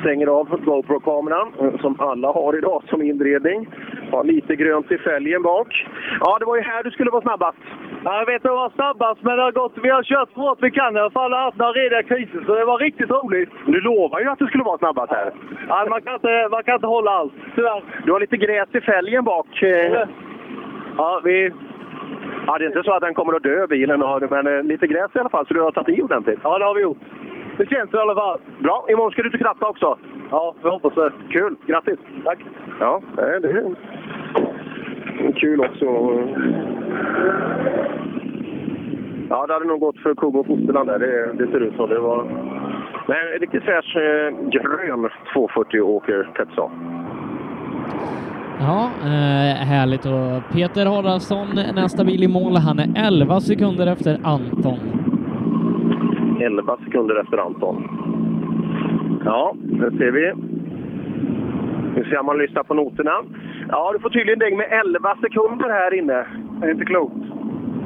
stänger av GoPro-kameran eh, som alla har idag som inredning. Har lite grönt i fälgen bak. Ja, det var ju här du skulle vara snabbast. Ja, jag vet att det var snabbast, men det har gått, vi har kört så hårt vi kan. I alla fall har haft några rediga kriser, så det var riktigt roligt. Du lovar ju att du skulle vara snabbast här. Ja, man, kan inte, man kan inte hålla allt, tyvärr. Du har lite gräs i fälgen bak. eh. Ja, vi, Ja, det är inte så att den kommer att dö bilen, har du, men eh, lite gräs i alla fall så du har tagit i ordentligt. Ja, det har vi gjort. Det känns i alla fall. Bra. Imorgon ska du till Kratta också. Ja, vi hoppas det. Kul. Grattis. Tack. Ja, nej, det är kul också. Ja, det hade nog gått för Kobo och Fosterland där. Det, det ser ut så. Det var... Men en riktigt fräsch eh, grön 240 åker Petzon. Ja, eh, härligt. Och Peter Haraldsson, nästa bil i mål. Han är 11 sekunder efter Anton. 11 sekunder efter Anton. Ja, det ser vi. Nu ser man lyssna på noterna. Ja, du får tydligen däng med 11 sekunder här inne. Det är inte klokt.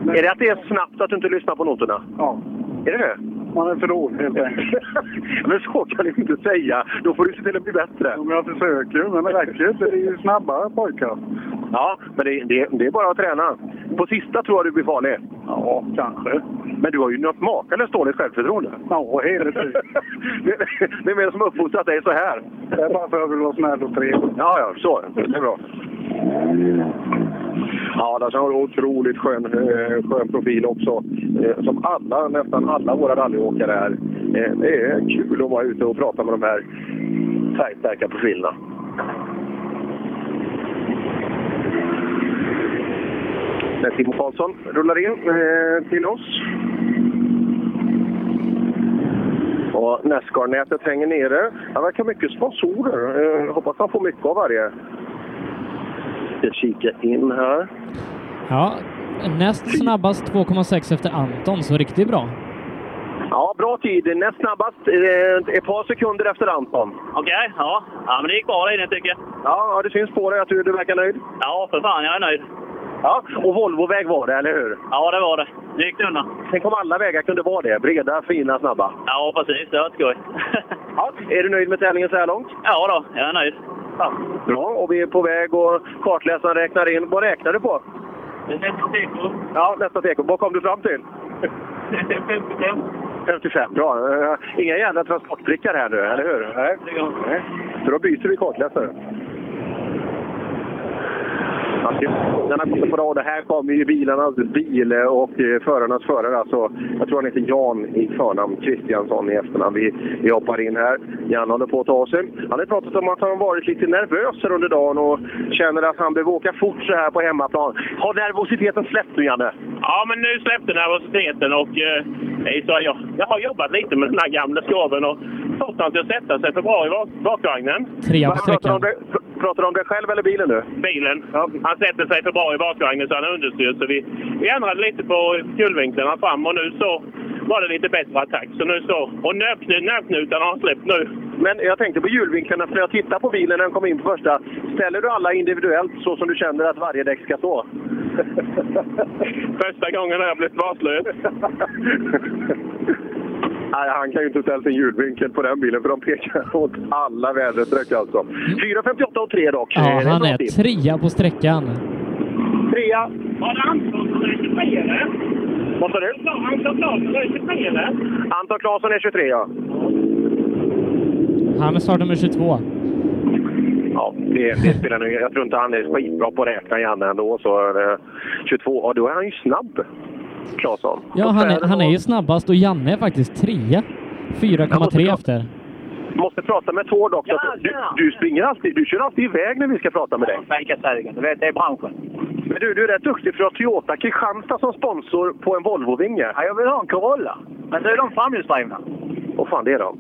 Är det att det är snabbt att du inte lyssnar på noterna? Ja. Är det det? Man är för dålig helt enkelt. men så kan du inte säga. Då får du se till att bli bättre. Men jag försöker ju, men det räcker ju inte. Det är ju snabbare pojkar. Ja, men det, det, det är bara att träna. På sista tror jag du blir farlig. Ja, kanske. Men du har ju något makalöst dåligt självförtroende. Ja, hela tiden. det är mer som har uppfostrat dig så här. Det är bara för att jag vill vara snäll och trevlig. Ja, ja, så. Det är bra. Ja, där har du otroligt skön, eh, skön profil också. Eh, Som alla, nästan alla våra rallyåkare är. Eh, Det är kul att vara ute och prata med de här färgstarka profilerna. När Timo Karlsson rullar in eh, till oss. Och Nascar-nätet hänger nere. Han verkar ha mycket sponsorer. Eh, hoppas han får mycket av varje. Ska kika in här. Ja, näst snabbast 2,6 efter Anton, så riktigt bra. Ja, bra tid. Näst snabbast. eh, Ett par sekunder efter Anton. Okej, ja. ja. men det gick bra där inne tycker jag. Ja, ja, det syns på dig att du, du verkar nöjd. Ja, för fan jag är nöjd. Ja, och Volvoväg var det, eller hur? Ja, det var det. Nu gick det undan. Tänk om alla vägar kunde vara det. Breda, fina, snabba. Ja, precis. Det var skoj. ja, Är du nöjd med tävlingen så här långt? ja då, jag är nöjd. Ja. Bra, och vi är på väg och kartläsaren räknar in. Vad räknar du på? Nästa teko. Ja, nästa teko. Vad kom du fram till? 55. 55, bra. Eh, Inga jävla transportprickar här nu, eller hur? Nej. Nej. Så då byter vi kartläsare. Alltså, Den här på rad, här kommer ju bilarnas bil och eh, förarnas förare. Alltså, jag tror han heter Jan i förnamn, Kristiansson i efternamn. Vi, vi hoppar in här. Jan håller på att ta sig. Han har pratat om att han varit lite nervös här under dagen och känner att han behöver åka fort så här på hemmaplan. Har nervositeten släppt nu, Janne? Ja, men nu släppte nervositeten och eh, nej, så jag, jag har jobbat lite med den här gamla skaven och fått han till att sätta sig för bra i bak- bakvagnen. Trea på Pratar sträckan. om det- Pratar du om dig själv eller bilen nu? Bilen. Han sätter sig för bra i bakvagnen så han är understyrd. Så vi, vi ändrade lite på kulvinklarna fram och nu så var det lite bättre attack. Så nu så, och nöpknu- nöpknutarna har släppt nu. Men jag tänkte på hjulvinklarna, för när jag tittade på bilen när den kom in på första. Ställer du alla individuellt så som du känner att varje däck ska stå? Första gången har jag blivit varslös. Nej, han kan ju inte ställa sin ljudvinkel på den bilen för de pekar åt alla väderstreck alltså. 4.58 och 3 dock. Det Ja, en han bra är tid. trea på sträckan. Trea. Var det Anton som rökte fel? Vad sa du? Anton Claesson rökte fel? Anton Claesson är 23 ja. Han är startnummer 22. Ja, det, det spelar nu. Jag tror inte han är skitbra på att räkna Janne ändå. Så, eh, 22, ja då är han ju snabb. Claesson. Ja, han är, han är ju snabbast och Janne är faktiskt trea. 4,3 efter. Måste prata med Tord också. du, du springer alltid, du kör alltid iväg när vi ska prata med dig. Svenska Sverige, du vet, det är branschen. Men du, du är rätt duktig för att ha Toyota Kristianstad som sponsor på en Volvo-vinge. Ja, jag vill ha en Corolla. Men så är de framhjulsdrivna. Åh fan, det är de.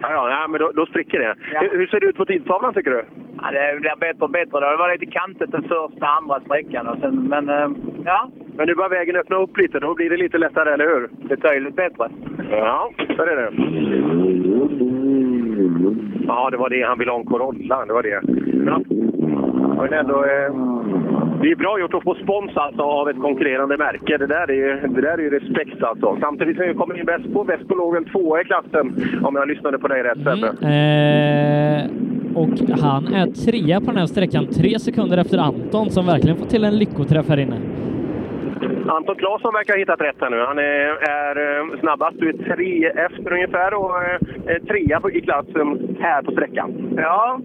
ja, ja, nej, men då, då spricker det. Hur, hur ser det ut på tidtavlan tycker du? Ja, det blir bättre och bättre. då. Det var lite kantigt den första, andra sträckan. Och sen, men eh, ja, Men nu börjar vägen öppna upp lite. Då blir det lite lättare, eller hur? Betydligt bättre. Ja, där är det. Ja, det var det. Han ville ha en Corolla. Det var det. Ja. Men ändå, eh, det är bra gjort att få spons alltså av ett konkurrerande märke. Det där är ju, det där är ju respekt alltså. Samtidigt som jag kom in Vespo. Vespo låg väl tvåa i klassen, om jag lyssnade på dig rätt Sebbe. Eh, och han är trea på den här sträckan, tre sekunder efter Anton som verkligen får till en lyckoträff här inne. Anton Claesson verkar ha hittat rätt här nu. Han är, är eh, snabbast. Du är tre efter ungefär och eh, är trea på- i klassen här på sträckan. Ja.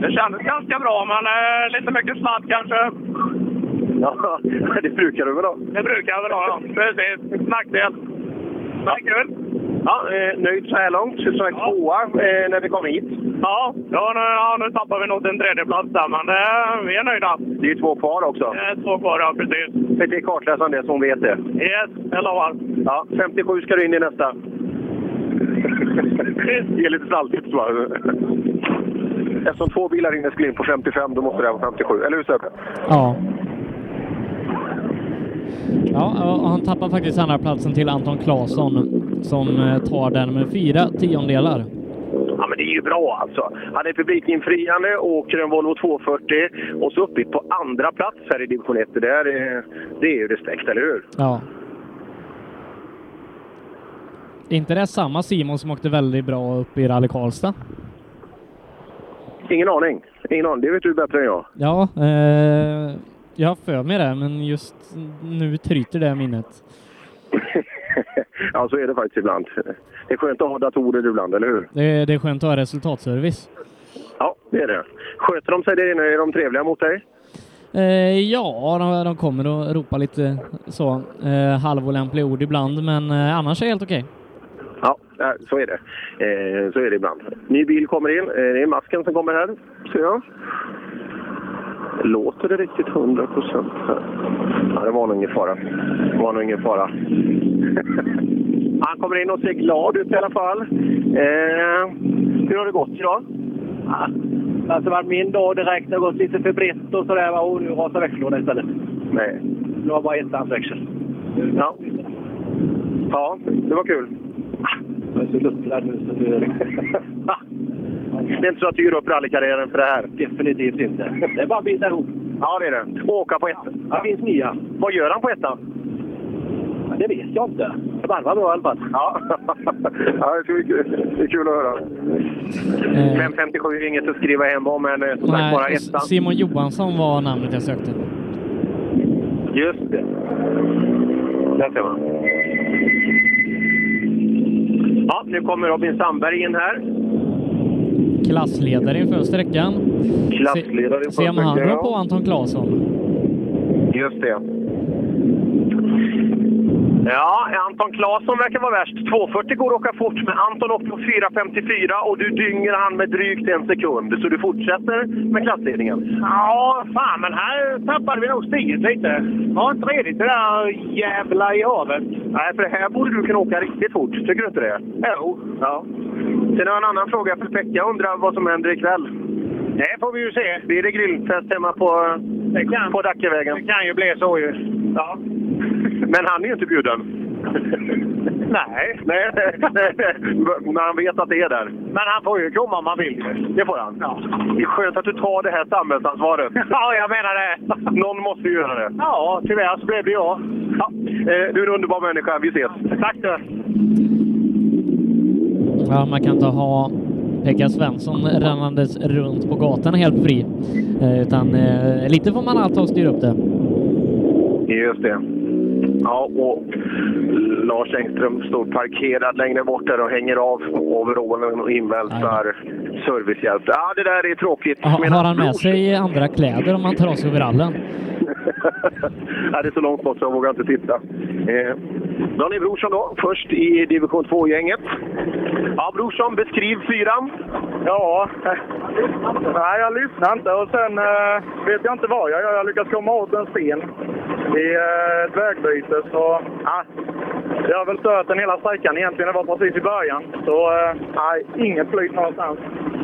Det kändes ganska bra, men eh, lite mycket sladd kanske. Ja, det brukar du väl ha? Det brukar jag väl ha, ja. Precis. Nackdel. Nackdel. Ja, eh, nöjd så här långt. Så sagt tvåa eh, när vi kom hit. Ja, ja, nu, ja, nu tappar vi nog en tredjeplats där, men eh, vi är nöjda. Det är två kvar också. Det är två kvar, ja, precis. Säg till kartläsaren det så hon vet det. Yes, jag lovar. Ja, 57 ska du in i nästa. Ge lite stalltips bara. Eftersom två bilar inne skulle in på 55, då måste det här vara 57. Eller hur Sebbe? Ja. Ja, och han tappar faktiskt andra platsen till Anton Claesson som eh, tar den med fyra tiondelar. Ja, men det är ju bra alltså. Han är publikinfriande, åker en Volvo 240 och så uppe på andra plats här i division 1. Det, där är, det är ju respekt, eller hur? Ja. Är inte det samma Simon som åkte väldigt bra upp i Rally Karlstad? Ingen aning. Ingen aning. Det vet du bättre än jag. Ja, eh, jag har för mig det, men just nu tryter det minnet. ja, så är det faktiskt ibland. Det är skönt att ha datorer ibland, eller hur? Det, är- det är skönt att ha resultatservice. Ja, det är det. Sköter de sig där inne? Är de trevliga mot dig? Eh, ja, de, de kommer och ropar lite så eh, halvolämpliga ord ibland, men eh, annars är det helt okej. Ja, eh, så är det. Eh, så är det ibland. Ny bil kommer in. Eh, det är masken som kommer här, ser jag. Låter det riktigt 100 procent här? Ja, det var nog ingen fara. Det var nog ingen fara. Han kommer in och ser glad ut i alla fall. Eh, hur har det gått idag? Ja, alltså var min dag direkt. Det har gått lite för brett och sådär. va. Och nu rasar växellådan istället. Nej. Nu har bara ettans växel. Ja. Ja, det var kul. Jag är så luttrad nu så det Det är inte så att du ger upp rallykarriären för det här? Definitivt inte. Det är bara att bita ihop. Ja, det är det. Och åka på ettan. Det finns nya. Vad gör han på ettan? Det vet jag inte. Det varvar bra i alla fall. Ja, ja det ska bli kul. Det är kul att höra. 557 är inget att skriva hem om, men eh, som sagt bara Eh. S- ettan. Simon Johansson var namnet jag sökte. Just det. Där ser man. Ja, nu kommer Robin Sandberg in här. Klassledare inför sträckan. Klassledare inför Se om han sträckan, drar ja. på Anton Claesson. Just det. Ja, Anton Claesson verkar vara värst. 240 går att åka fort, men Anton åkte på 4.54 och du dynger han med drygt en sekund. Så du fortsätter med klassledningen. Ja, fan, men här tappade vi nog stiget lite. Var inte redigt det där jävla i havet. Nej, för här borde du kunna åka riktigt fort. Tycker du inte det? Jo. Ja. Sen har jag en annan fråga för Pekka. Undrar vad som händer ikväll? Det får vi ju se. Blir det grillfest hemma på, på Dackevägen? Det kan ju bli så ju. Ja. Men han är ju inte bjuden. nej. nej. Men han vet att det är där. Men han får ju komma om han vill. Det får han. Ja. Det är skönt att du tar det här samhällsansvaret. ja, jag menar det. Någon måste ju göra det. Ja, tyvärr så blev det jag. Ja. Eh, du är en underbar människa. Vi ses. Tack du. Ja, man kan inte ha Pekka Svensson rannandes runt på gatan helt fri. Eh, utan eh, lite får man alltid styra upp det. Just det. Ja, och Lars Engström står parkerad längre bort där och hänger av overallen och inväntar servicehjälp. Ja, det där är tråkigt. Ha, Medan har han med Brors- sig andra kläder om han tar av sig overallen? ja, det är så långt bort så jag vågar inte titta. Eh, Daniel Brorsson då, först i division 2-gänget. Ja, Brorsson, beskriv fyran. Ja, nej jag lyssnar inte och sen eh, vet jag inte vad jag gör. Jag lyckas komma åt en sten i eh, ett vägbyte så ah, jag har väl stört den hela sträckan egentligen. Det var precis i början. Så eh, nej, inget flyt någonstans.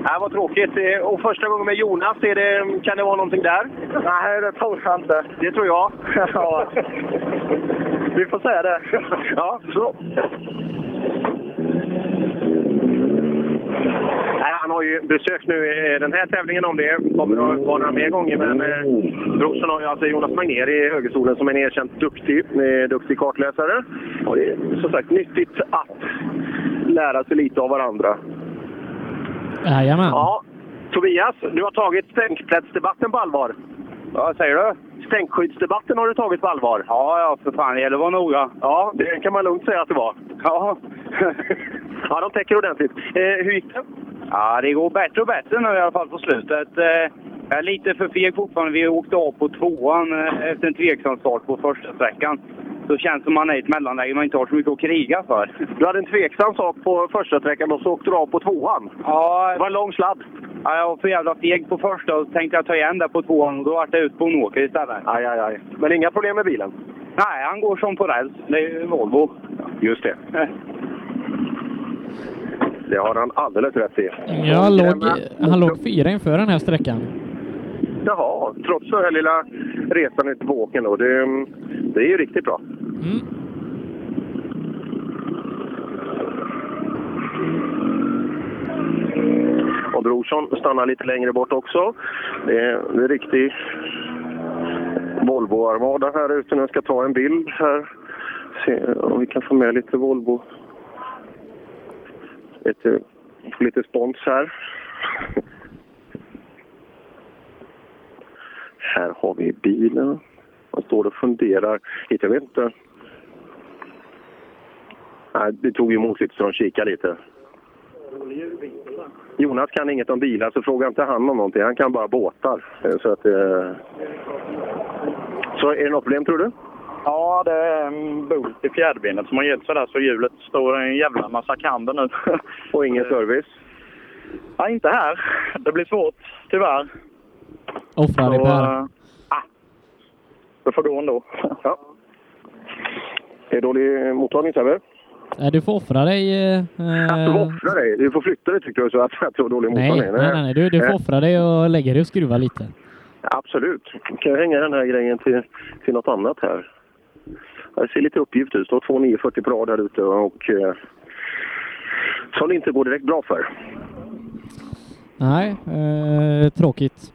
Ja, vad tråkigt. Eh, Och första gången med Jonas, är det, kan det vara någonting där? Nej, det tror jag inte. Det tror jag. ja. Vi får se det. ja, så. Nej, han har ju besök nu i den här tävlingen om det kommer att vara några mer gånger. Men eh, Brorsson har ju alltså Jonas Magnér i högerstolen som är en erkänt duktig, eh, duktig kartläsare. Och det är som sagt nyttigt att lära sig lite av varandra. Jajamän. Ja, Tobias, du har tagit stänkplättsdebatten på allvar. Vad säger du? Stänkskyddsdebatten har du tagit på allvar. Ja, ja, för fan. Det gäller att vara noga. Ja, det kan man lugnt säga att det var. Ja. ja, de täcker ordentligt. Eh, hur gick det? Ja, det går bättre och bättre nu i alla fall på slutet. Eh, Jag är lite för feg fortfarande. Vi åkte av på tvåan eh, efter en tveksam start på första sträckan. Så känns det som man är i ett mellanläge man inte har så mycket att kriga för. Du hade en tveksam sak på första sträckan och så åkte du av på tvåan. Ja, Det var en lång sladd. ja, jag var för jävla feg på första och så tänkte jag ta igen där på tvåan och då vart det ut på en åker istället. Aj, aj, aj. Men inga problem med bilen? Nej, han går som på räls. Det är ju Volvo. Just det. Det har han alldeles rätt i. Ja, han låg, han låg fyra inför den här sträckan. Jaha, trots den här lilla resan ute på åken då. Det, det är ju riktigt bra. Och Brorsson stannar lite längre bort också. Det är en riktig Volvo-armada här ute. Nu ska jag ta en bild här. Se om vi kan få med lite Volvo. Lite, eh, få lite spons här. Här har vi bilen. Man står och funderar. Hit, jag vet inte. Nej, det tog emot lite så de kikade lite. Jonas kan inget om bilar, så fråga inte han om någonting. Han kan bara båtar. Eh, Så, att, eh... så är det något problem, tror du? Ja, det är en bolt i fjäderbenet som har gett sig där så hjulet står en jävla massa kamber nu. Och Eh, ingen service? Ja, inte här. Det blir svårt, tyvärr. Offrar dig Så, Per. eh, ah, det får gå ändå. Ja. Det är dålig mottagning, Sebbe. Nej, du får offra dig. eh, Du får offra dig. Du får flytta dig, tycker du, så att att du har dålig Nej, nej, mottagning. Eh, nej, nej. Du, du får Nej. offra dig och lägga dig och skruva lite. Absolut. Kan jag hänga den här grejen till, till något annat här? Det ser lite uppgift ut. Det står 2940 på rad här ute och eh, som det inte går direkt bra för. Nej, eh, tråkigt.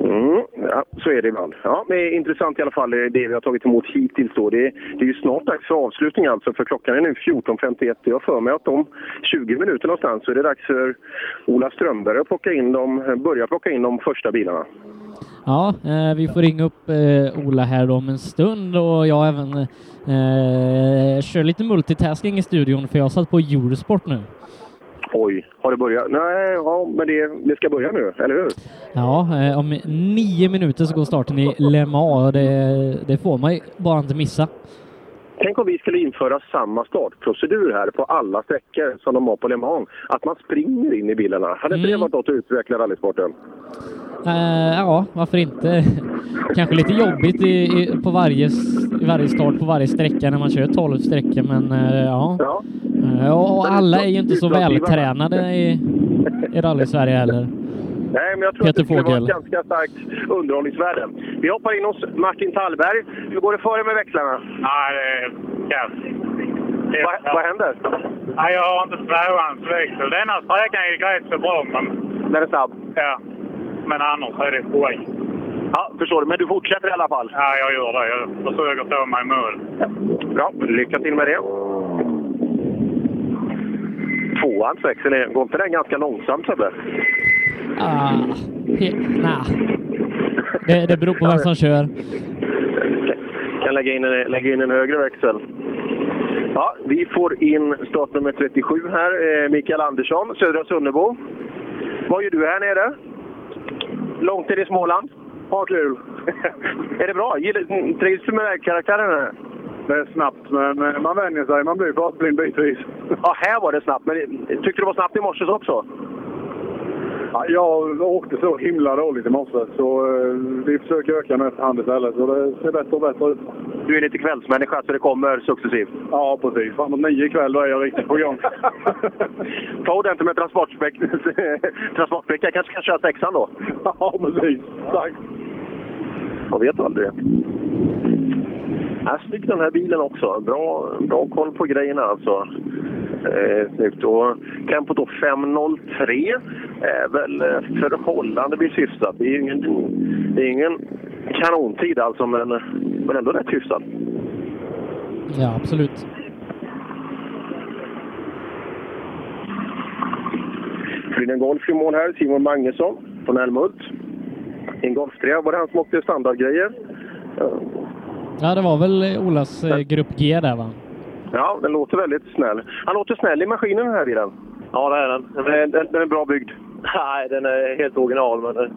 Mm, ja, så är det ibland. Ja, men det är intressant i alla fall eh, det vi har tagit emot hittills. Då. Det, är, det är ju snart dags för avslutning alltså, för klockan är nu 14.51 och jag har för mig att om 20 minuter någonstans så är det dags för Ola Strömberg att plocka in de, börja plocka in de första bilarna. Ja, eh, vi får ringa upp eh, Ola här då om en stund och jag även eh, kör lite multitasking i studion för jag satt på Eurosport nu. Oj, har det börjat? Nej, ja, men det, det ska börja nu, eller hur? Ja, eh, om nio minuter så går starten i Le Mans och det, det får man ju bara inte missa. Tänk om vi skulle införa samma startprocedur här på alla sträckor som de har på Le Mans. Att man springer in i bilarna. Hade inte det varit något att utveckla rallysporten? Eh, ja, varför inte? Kanske lite jobbigt i, i, på varje, s- i varje start på varje sträcka när man kör 12 sträckor, men eh, ja. Eh, och, och alla är ju inte så vältränade i, i rally-Sverige heller. Nej, men jag tror Peter att det skulle vara ett Fågel. ganska starkt underhållningsvärde. Vi hoppar in hos Martin Tallberg. Hur går det för dig med växlarna? Nej, det är kass. Vad, vad händer? Nej, jag har inte tvåhandsväxel. Denna sträckan gick rätt så bra, men... Den är snabb? Ja. Men annars är det poäng. Ja, förstår du. Men du fortsätter i alla fall? Ja, jag gör det. Jag försöker ta mig i mål. Bra, lycka till med det. Tvåans växel, är- går inte den ganska långsamt Sebbe? Ah, he- nah. det, det beror på vem som kör. Kan lägga in, en, lägga in en högre växel. Ja, vi får in startnummer 37 här, eh, Mikael Andersson, Södra Sunnebo. Vad gör du här nere? Långt ner i Småland? Har kul! är det bra? Gillar, mm, trivs du med vägkaraktären här? Det är snabbt, men eh, man vänjer sig. Man blir fartblind bitvis. Ja, här var det snabbt. Men tyckte du det var snabbt i morse också? Ja, jag åkte så himla dåligt i morse, så eh, vi försöker öka nu efterhand istället. Så det ser bättre och bättre ut. Du är lite kvällsmänniska, så det kommer successivt? Ja, precis. Framåt nio ikväll, då är jag riktigt på gång. Ta ordentligt med transportbricka. kanske kan köra sexan då? ja, precis. Tack! Man vet aldrig. Ja, snygg den här bilen också. Bra, bra koll på grejerna alltså. Eh, snyggt. Och tempot då 5.03 är väl eh, förhållandevis hyfsat. Det är ju ingen, det är ingen kanontid alltså, men, men ändå rätt hyfsat. Ja, absolut. blir det en Golf i mål här. Simon Magnusson från Älmhult. I en Golf 3 var det han som åkte standardgrejer. Ja, det var väl Olas eh, grupp G där va? Ja, den låter väldigt snäll. Han låter snäll i maskinen den här bilen. Ja, det är den. Den är, den, den är bra byggd. Nej, den är helt original. Men, eh, Är,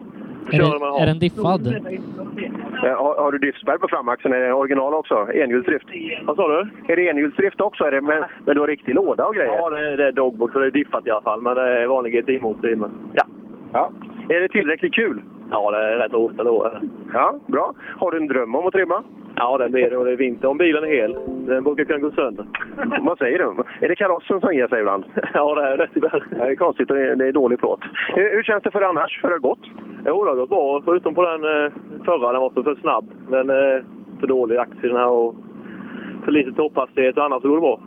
kör man den- har. är den diffad? Eh, Har, har du driftspärr på framaxeln? Är det original också? Enhjulsdrift? Vad sa du? Är det enhjulsdrift också? Är det med, men du har riktig låda och grejer? Ja, det är, det är dogbox så det är diffat i alla fall. Men det är vanlig GTI-motor i. Men, ja. ja. Är det tillräckligt kul? Ja, det är rätt roligt ändå. Ja, bra. Har du en dröm om att trimma? Ja, det blir det. Och det är vinter om bilen är hel. Den brukar kunna gå sönder. Vad säger du? Är det karossen som ger sig ibland? Ja, det är det tyvärr. Ja, Det är konstigt, och det är, det är dålig plåt. Hur, hur känns det för dig annars? Hur har det gått? Jo, det har gått bra. Förutom på den eh, förra, den var för, för snabb. Den eh, för dålig axeln här och för lite topphastighet och annars så går det bra.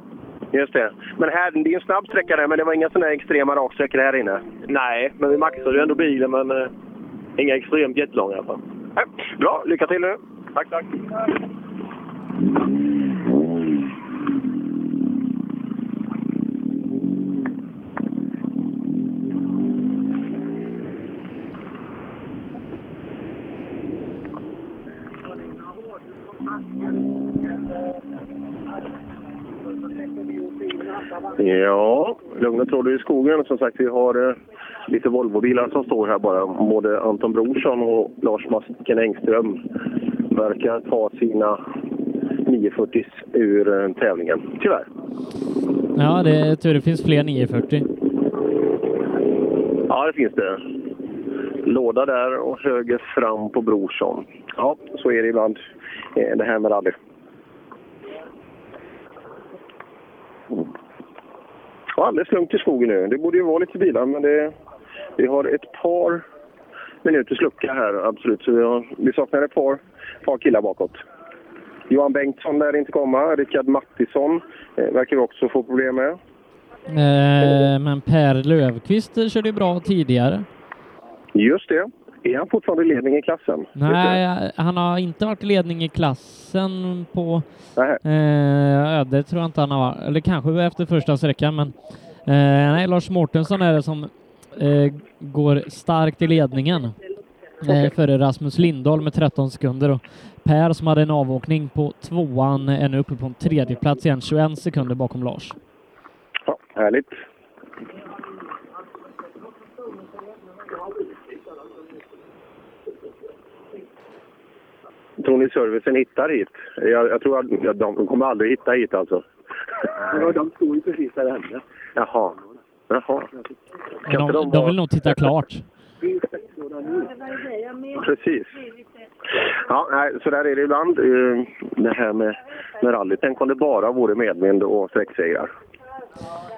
Just det. Men här, det är en snabb sträcka där, men det var inga sådana här extrema raksträckor här inne. Nej, men vi maxade ju ändå bilen, men eh, inga extremt jättelånga i alla fall. Nej, Bra, lycka till nu! Tack, tack. Ja, lugn och tråd i skogen. Som sagt, vi har eh, lite Volvobilar som står här bara. Både Anton Brorsson och Lars Masken Engström verkar ta sina 940 ur eh, tävlingen. Tyvärr. Ja, det är tur det finns fler 940. Ja, det finns det. Låda där och höger fram på Brorsson. Ja, så är det ibland. eh, Det här med rally. Ja, alldeles lugnt i skogen nu. Det borde ju vara lite bilar, men det, vi har ett par minuters lucka här, absolut. Så vi, har, vi saknar ett par, par killar bakåt. Johan Bengtsson lär inte komma. Rickard Mattisson eh, verkar vi också få problem med. Eh, men Per Löfqvist körde ju bra tidigare. Just det. Är han fortfarande i ledning i klassen? Nej, han har inte varit i ledning i klassen på... Nej. Eh, ja, det tror jag inte han har varit. Eller kanske efter första sträckan, men... Eh, nej, Lars Mårtensson är det som eh, går starkt i ledningen. Eh, före Rasmus Lindahl med 13 sekunder och Per som hade en avåkning på tvåan är nu uppe på en tredje plats igen, 21 sekunder bakom Lars. Ja, härligt. Tror ni servicen hittar hit? Jag, jag tror att ja, de kommer aldrig hitta hit alltså. Ja, de står ju precis där hemma. Jaha. Jaha. Men De, de vill nog titta klart. Precis. Ja, nej, så där är det ibland. eh, Det här med, med rally. Tänk om det bara vore medvind och sträcksegrar.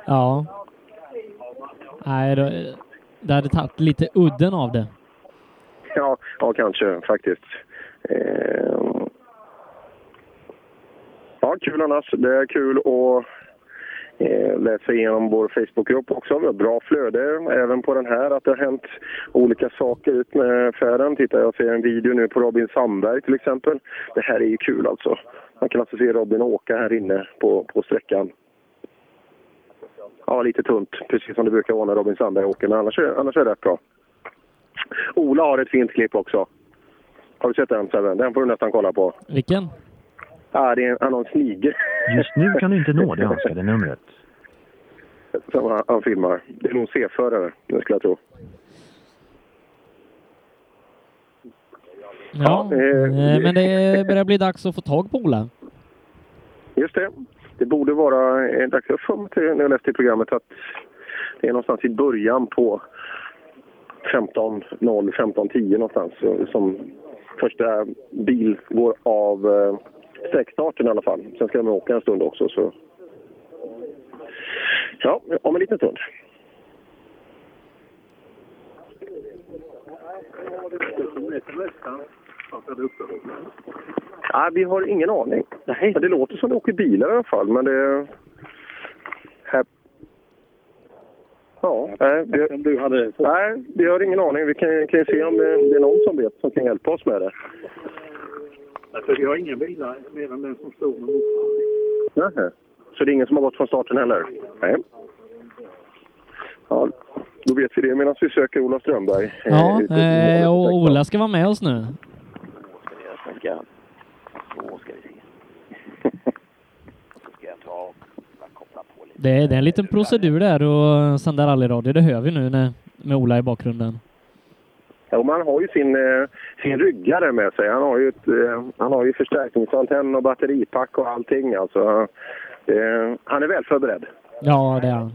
Ja. Nej, det, det hade tagit lite udden av det. Ja, ja kanske faktiskt. Eh, ja, kul annars. Det är kul att eh, läsa igenom vår Facebookgrupp också. Vi har bra flöde även på den här. Att det har hänt olika saker ut med färden. Titta, jag ser en video nu på Robin Sandberg till exempel. Det här är ju kul alltså. Man kan alltså se Robin åka här inne på, på sträckan. Ja, lite tunt, precis som det brukar vara när Robin Sandberg åker, men annars är, annars är det rätt bra. Ola har ett fint klipp också. Har du sett den Sebbe? Den får du nästan kolla på. Vilken? Ja, det är en, han har en snigel Just nu kan du inte nå det önskade numret. som han, han filmar. Det är nog C-förare, det skulle jag tro. Ja, eh, men det börjar bli dags att få tag på Ola. Just det. Det borde vara eh, dags. Jag har för mig till- när jag läste i programmet att det är någonstans i början på 15.0, 15.10 någonstans eh, som första bil går av eh, sträckstarten i alla fall. Sen ska de åka en stund också. Så. Ja, om en liten stund. Nej, vi har ingen aning. Men det låter som det åker bilar i alla fall. Men det... Här... Ja, nej, vi... Du hade... nej, vi har ingen aning. Vi kan, kan ju se om det, det är någon som vet som kan hjälpa oss med det. Alltså, För vi har inga bilar mer än den som står med Nähä. Så det är ingen som har gått från starten heller? Nej. Ja, då vet vi det medan vi söker Ola Strömberg. eh, Ja, ute i eh, målet. och Ola ska vara med oss nu. Då ska vi se. Då ska jag ta och bara koppla på lite. Det är, det är en liten procedur där och sända rallyradio, det hör vi nu när, med Ola i bakgrunden. Jo, men han har ju sin, eh, sin ryggare med sig. Han har ju, ett, eh, han har ju förstärkningsantenn och batteripack och allting. Alltså, eh, han är väl förberedd. Ja, det är han.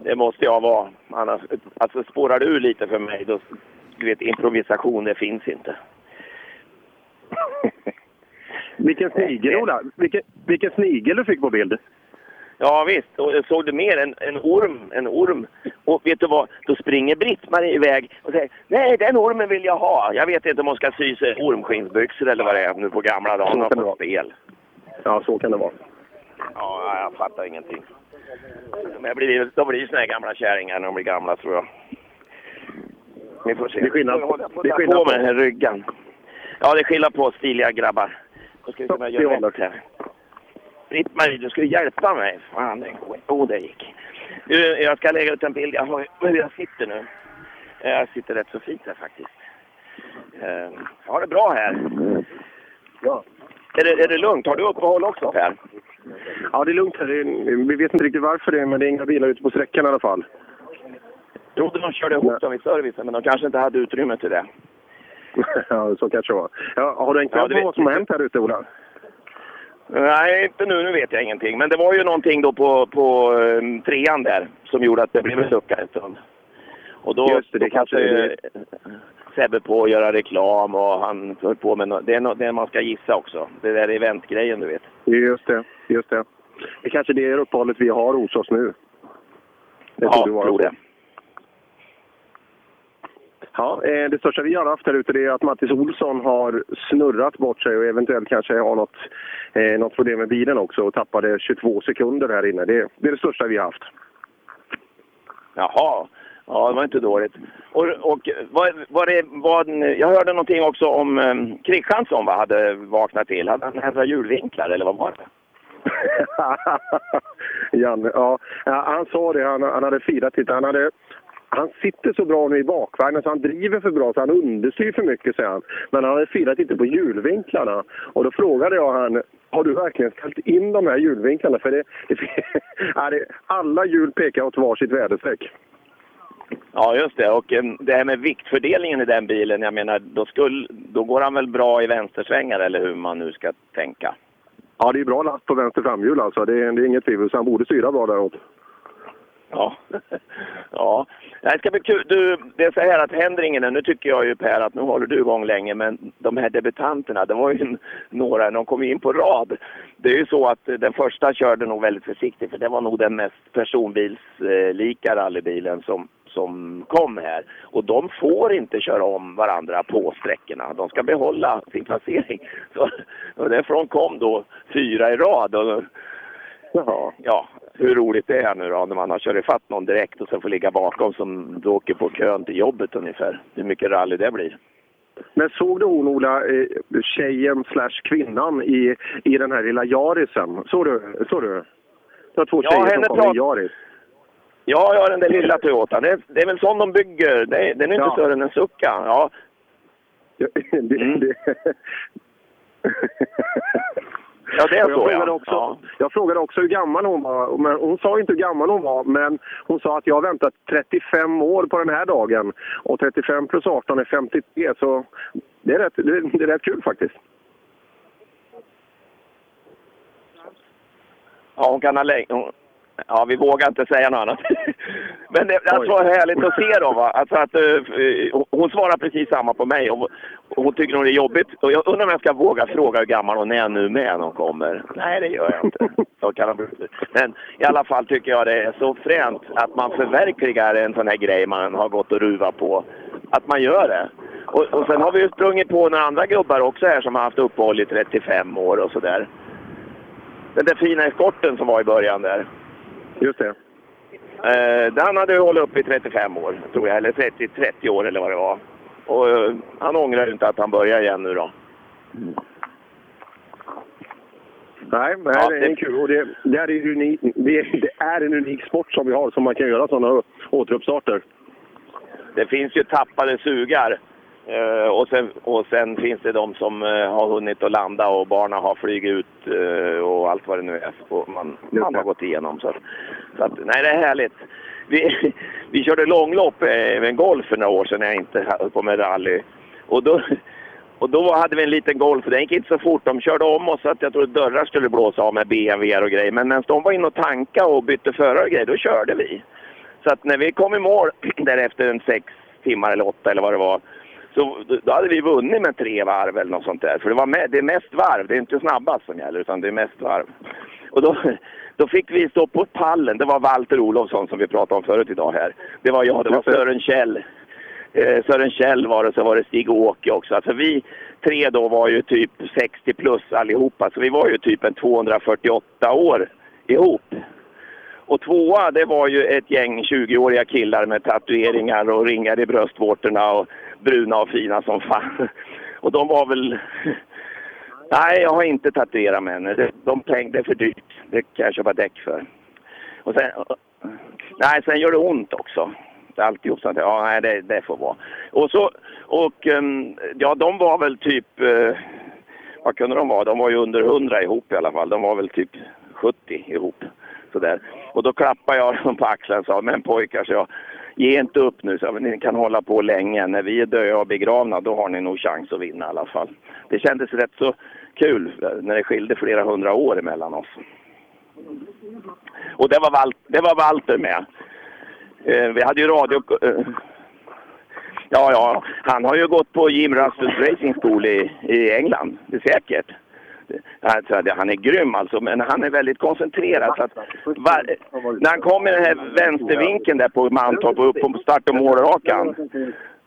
Det måste jag vara. Annars, alltså spårar det ur lite för mig, då, du vet, improvisation, det finns inte. Vilken snigel, Ola! Vilken, vilken snigel du fick på bild! Ja visst, och jag såg det mer, en, en orm, en orm. Och vet du vad, då springer Britt-Marie iväg och säger Nej, den ormen vill jag ha! Jag vet inte om hon ska sy sig ormskinnsbyxor eller vad det är nu på gamla dagen. Hon har fått spel. Ja, så kan det vara. Ja, jag fattar ingenting. Men jag blir, de blir såna här gamla kärringar när de blir gamla tror jag. Vi får se. Det är skillnad- Jag håller på, det är att skillnad på med på- den här ryggen. Ja, det är skillnad på stiliga grabbar. Då ska vi se om jag gör rätt här. Britt-Marie, du ska ju hjälpa mig. Fan, det går inte. Oh, det gick. Du, Jag ska lägga ut en bild. Jag har hur jag sitter nu. Eh, Jag sitter rätt så fint här faktiskt. Eh, Jag har det bra här. Ja. Är det, är det lugnt? Har du uppehåll också Per? Ja, det är lugnt här. Det är- Vi vet inte riktigt varför det är, men det är inga bilar ute på sträckan i alla fall. Jag trodde de körde ihop dem i servicen, men de kanske inte hade utrymme till det. ja, så kanske det var. Ja, har du hängt med Ja, det på vet vad som har hänt här ute, Ola? Nej, inte nu. Nu vet jag ingenting. Men det var ju någonting då på, på eh, trean där som gjorde att det blev en lucka en stund. Och då, Just det, det då kanske kanske är Sebbe på att göra reklam och han höll på med no- det, är no- det man ska gissa också. Det där eventgrejen du vet. Just det, just det. Det kanske är det uppehållet vi har hos oss nu. Det Ja, vara tror så. det. Ja, eh, det största vi har haft här ute det är att Mattis Olsson har snurrat bort sig och eventuellt kanske har något, eh, något problem med bilen också och tappade 22 sekunder här inne. Det, det är det största vi har haft. Jaha, ja det var inte dåligt. Och, och vad, vad det, vad, jag hörde någonting också om um, Kristiansson vad hade vaknat till. Hade han ändrat hjulvinklar eller vad var det? Janne, ja, Ja, han sa det, han, han hade firat lite. Han, hade, han sitter så bra nu i bakvagnen så han driver för bra så han understyr för mycket, säger han. Men han hade firat inte på hjulvinklarna. Och då frågade jag han, har du verkligen ställt in de här hjulvinklarna? För det, det, ja, det, alla hjul pekar åt varsitt väderstreck. Ja, just det. Och eh, det här med viktfördelningen i den bilen, jag menar, då, skulle, då går han väl bra i vänstersvängar eller hur man nu ska tänka. Ja, det är bra last på vänster framhjul alltså. Det, är- det är inget tvivel, så han borde styra bra däråt. Ja. ja. Det ska bli kul. Du, det är så här att händer ingen än. Nu tycker jag ju Per att nu håller du igång länge, men de här debutanterna, det var ju en- några, de kom ju in på rad. Det är ju så att eh, den första körde nog väldigt försiktigt, för det var nog den mest personbilslika rallybilen som som kom här. Och de får inte köra om varandra på sträckorna. De ska behålla sin placering. Så, och därifrån kom då fyra i rad. Och, Ja, hur roligt det är nu då när man har kört ifatt någon direkt och sen får ligga bakom som då åker på kön till jobbet ungefär. Hur mycket rally det blir. Men såg du hon, Ola, eh, tjejen slash kvinnan i, i den här lilla Jarisen? Såg du? Såg du? Det var två Ja, tjejer som henne kom i prat- Jaris. Ja, ja, den där lilla Toyotan. Det, är- det är väl sån de bygger. Det, är- den är inte Ja. större än en sucka. Ja. det, Mm. det. ja, det är Och jag så frågade ja. också, ja. Jag frågade också hur gammal hon var. Men hon sa inte hur gammal hon var, men hon sa att jag har väntat 35 år på den här dagen. Och 35 plus 18 är 53, så det är rätt, det, det är rätt kul faktiskt. Ja, hon kan ha länge. hon- Ja, vi vågar inte säga något annat. Men det det alltså, var härligt att se dem. Va? Alltså att, eh, hon- hon svarar precis samma på mig. Och, och hon tycker nog det är jobbigt. Och jag undrar om jag ska våga fråga hur gammal hon är nu med när hon kommer. Nej, det gör jag inte. Så kan de, men i alla fall tycker jag det är så fränt att man förverkligar en sån här grej man har gått och ruvat på. Att man gör det. Och, och sen har vi ju sprungit på några andra gubbar också här som har haft uppehåll i 35 år och sådär. Den där fina eskorten som var i början där. Just det. Eh, den hade ju hållit upp i 35 år, tror jag. Eller 30, 30 år eller vad det var. Och eh, han ångrar ju inte att han börjar igen nu då. Nej, nej Ja, det det- är kul. Och det, det, här är ju unik, det, det är en unik sport som vi har, som man kan göra sådana återuppstarter. Det finns ju tappade sugar. Eh, och, sen, och sen finns det de som eh, har hunnit att landa och barnen har flugit ut eh, och allt vad det nu är och man, man har gått igenom. Så, att- så att, nej, det är härligt. Vi, vi körde långlopp, eh, med en golf för några år sedan när jag inte höll på med rally. Och då, och då hade vi en liten golf, den gick inte så fort. De körde om oss så att jag trodde dörrar skulle blåsa av med BMW och grejer. Men medan de var inne och tanka och bytte förare och grejer, då körde vi. Så att när vi kom i mål därefter en sex timmar eller åtta eller vad det var, så då hade vi vunnit med tre varv eller något sånt där. För det, var med, det är mest varv, det är inte snabbast som gäller utan det är mest varv. Och då, då fick vi stå på pallen, det var Walter Olofsson som vi pratade om förut idag här. Det var jag, det var Sören Kjell. Eh, Sören Kjell var det, så var det Stig och Åke också. Alltså vi tre då var ju typ 60 plus allihopa, så vi var ju typ en 248 år ihop. Och tvåa, det var ju ett gäng 20-åriga killar med tatueringar och ringar i bröstvårtorna och bruna och fina som fan. Och de var väl... Nej, jag har inte tatuerat mig ännu. Det- De tänkte det är för dyrt. Det kan jag köpa däck för. Och sen... Nej, sen gör det ont också. Alltihop sånt där. Ja, nej, det, det får vara. Och så... Och ehm, ja, de var väl typ... eh, Vad kunde de vara? De var ju under 100 ihop i alla fall. De var väl typ 70 ihop. Sådär. Och då klappade jag dem på axeln och sa, men pojkar, så jag, ge inte upp nu, så jag, men ni kan hålla på länge. När vi är döda och begravna, då har ni nog chans att vinna i alla fall. Det kändes rätt så kul eh, när det skilde flera hundra år emellan oss. Och det var, Val- det var Walter med. Eh, vi hade ju radio... Eh, ja, ja, han har ju gått på Jim Russells Racing School i, i England, det är säkert. Alltså, det- han är grym alltså, men han är väldigt koncentrerad. Så att var, när han kom i den här vänstervinkeln där på Mantorp och upp på start och målrakan.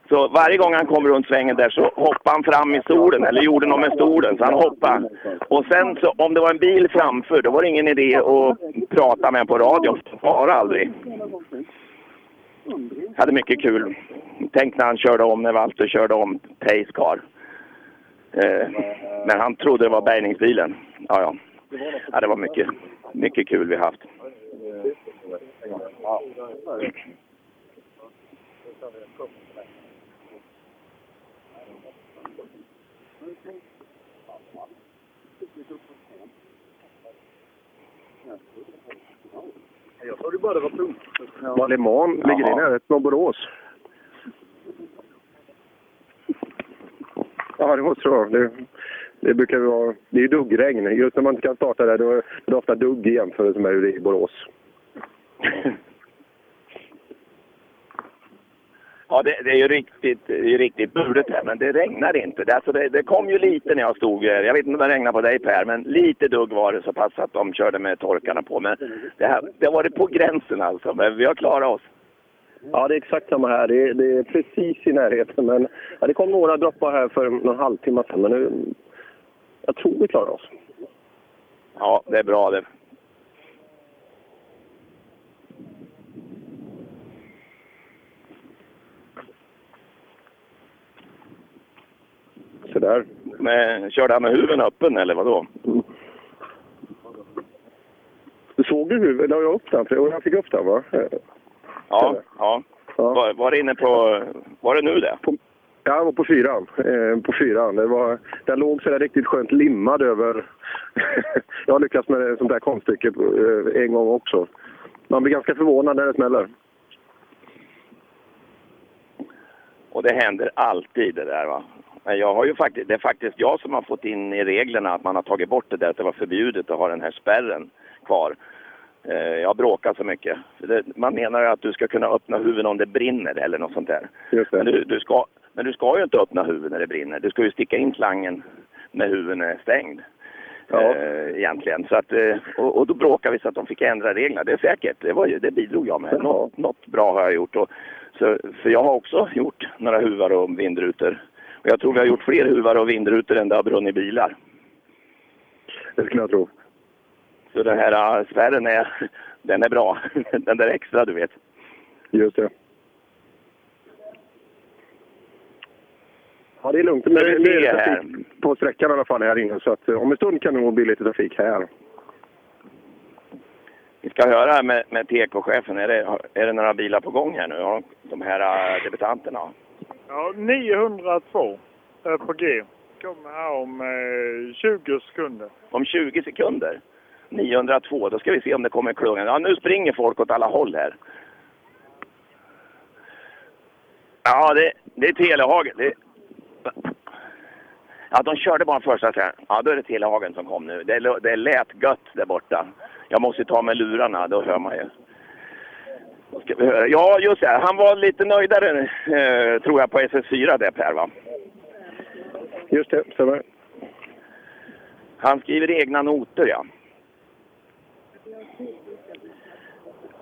Så varje gång han kom runt svängen där så hoppade han fram i stolen, eller gjorde något med stolen, så han hoppade. Och sen så, om det var en bil framför, då var det ingen idé att prata med honom på radio. Svara aldrig. Hade mycket kul. Tänk när han körde om, när Walter körde om Pace Car. Eh, men han trodde det var bärgningsbilen. Ja, ja. ja det var mycket, mycket kul vi haft. Jag trodde bara det var tungt. Valimon ligger i Jaha. närheten av Borås. Ja, det måste det vara. Det, det brukar ju vara... Det är ju duggregn. Just när man inte kan starta där, då är det ofta dugg i jämförelse med hur det är i Borås. Ja, det, det är ju riktigt, det är ju riktigt buret här, men det regnar inte. Det, alltså det, det kom ju lite när jag stod här. Jag vet inte om det regnade på dig Per, men lite dugg var det så pass att de körde med torkarna på. Men det, här, det var det på gränsen alltså, men vi har klarat oss. Ja, det är exakt samma här. Det är, det är precis i närheten. Men, ja, det kom några droppar här för någon halvtimme sedan, men nu, jag tror vi klarar oss. Ja, det är bra det. Så där. Men, körde han med huven öppen eller vadå? Såg du hur la jag upp den? För Jag fick upp den, va? Ja, ja. Var, var det inne på... Var det nu det? Ja, jag var på fyran. Eh, på fyran. Det var, den låg så där riktigt skönt limmad över... jag har lyckats med ett sånt där konststycke eh, en gång också. Man blir ganska förvånad när det smäller. Och det händer alltid det där va. Men jag har ju faktiskt, det är faktiskt jag som har fått in i reglerna att man har tagit bort det där att det var förbjudet att ha den här spärren kvar. Eh, Jag bråkar så mycket. För det- Man menar ju att du ska kunna öppna huven om det brinner eller något sånt där. Just Men du, du, ska, men du ska ju inte öppna huven när det brinner. Du ska ju sticka in slangen när huven är stängd. Ja. Eh, egentligen. Så att, eh, och, och då bråkade vi så att de fick ändra reglerna. Det är säkert. Det, var ju, det bidrog jag med. Något, något bra har jag gjort. Och, så, för jag har också gjort några huvar och vindrutor. Och jag tror vi har gjort fler huvar och vindrutor än det har brunnit bilar. Det skulle jag tro. Så den här eh, spärren är, den är bra. Den där extra du vet. Just det. Ja, det är lugnt. Men Ska vi nu är se det här. trafik på sträckan i alla fall här inne. Så att, eh, om en stund kan det nog bli lite trafik här. Vi ska höra med, med TK-chefen. Är det, är det några bilar på gång här nu? Har de- De här eh, debutanterna? Ja, 902 är på G. Kommer här om eh, 20 sekunder. Om 20 sekunder. 902, då ska vi se om det kommer klungan. Ja, nu springer folk åt alla håll här. Ja, det, det är Telehagen. Det... Ja, de körde bara första sen. Ja, då är det Telehagen som kom nu. Det, lå- det lät gött där borta. Jag måste ju ta med lurarna, då hör man ju. Då Ska vi höra. Ja, just det. Han var lite nöjdare, eh, tror jag, på SS4 där Per, va? Just det, stämmer. Han skriver egna noter, ja.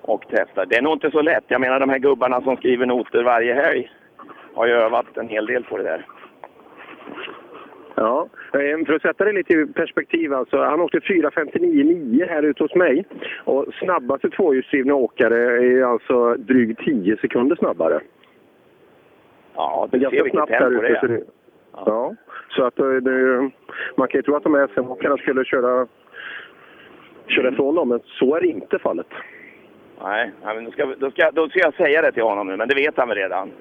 Och testar. Det är nog inte så lätt. Jag menar, de här gubbarna som skriver noter varje helg har ju övat en hel del på det där. Ja, eh, för att sätta det lite i perspektiv alltså. Han åkte 4.59,9 här ute hos mig. Och snabbaste tvåhjulsdrivna åkare är alltså drygt 10 sekunder snabbare. Ja, Det är du ser ganska vilket snabbt här tempo det ute. Så är. det, ja. så att eh, det, man kan ju tro att de här SM-åkarna skulle köra, köra ifrån dem, men så är inte fallet. Nej, nej, men då, ska, vi- då, ska, då ska jag säga det till honom nu, men det vet han väl redan.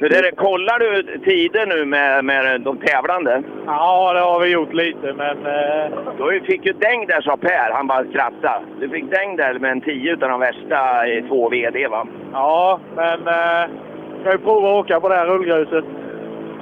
Hur är det, kollar du tider nu med, med de tävlande? Ja, det har vi gjort lite, men... eh, Du fick ju däng där, sa Per. Han bara skrattade. Du fick däng där med en 10 utan de värsta i två VD, va? Ja, men... Eh, ska vi prova att åka på det här rullgruset?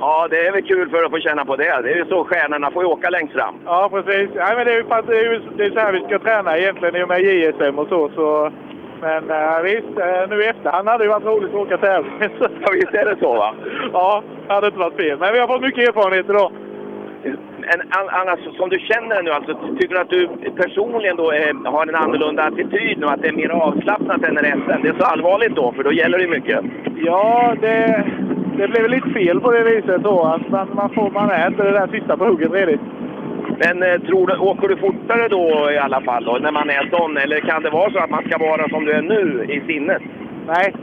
Ja, det är väl kul för att få känna på det. Det är ju så stjärnorna får ju åka längst fram. Ja, precis. Nej, men det är ju för att det är, ju- det är så här vi ska träna egentligen, i och med JSM och så. så. Men eh, visst, eh, nu i efterhand hade det ju varit roligt att åka tävling. Ja, visst är det så, va? Ja, det hade inte varit fel. Men vi har fått mycket erfarenhet idag. Men an- annars, som du känner nu, alltså, tycker du att du personligen då eh, har en annorlunda attityd nu? Att det är mer avslappnat än när det är SM? Det är så allvarligt då, för då gäller det mycket. Ja, det, det blev lite fel på det viset då. Att man, man, får, man är inte det där sista på hugget redigt. Men eh, tror du, åker du fortare då i alla fall, då, när man är sån? Eller kan det vara så att man ska vara som du är nu i sinnet? Nej,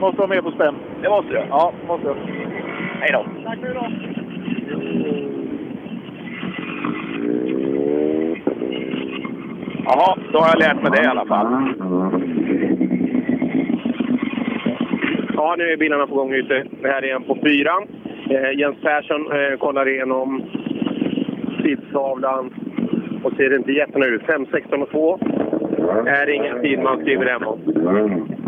måste vara mer på spänn. Det måste du? Ja, måste jag. Hej då! Tack för idag. Jaha, då har jag lärt mig det i alla fall. Ja, nu är bilarna på gång ute. Det här är en på fyran. Eh, Jens Persson eh, kollar igenom tidstavlan och ser inte jättenöjd ut. 5.16,2 är ingen tid man skriver hem om.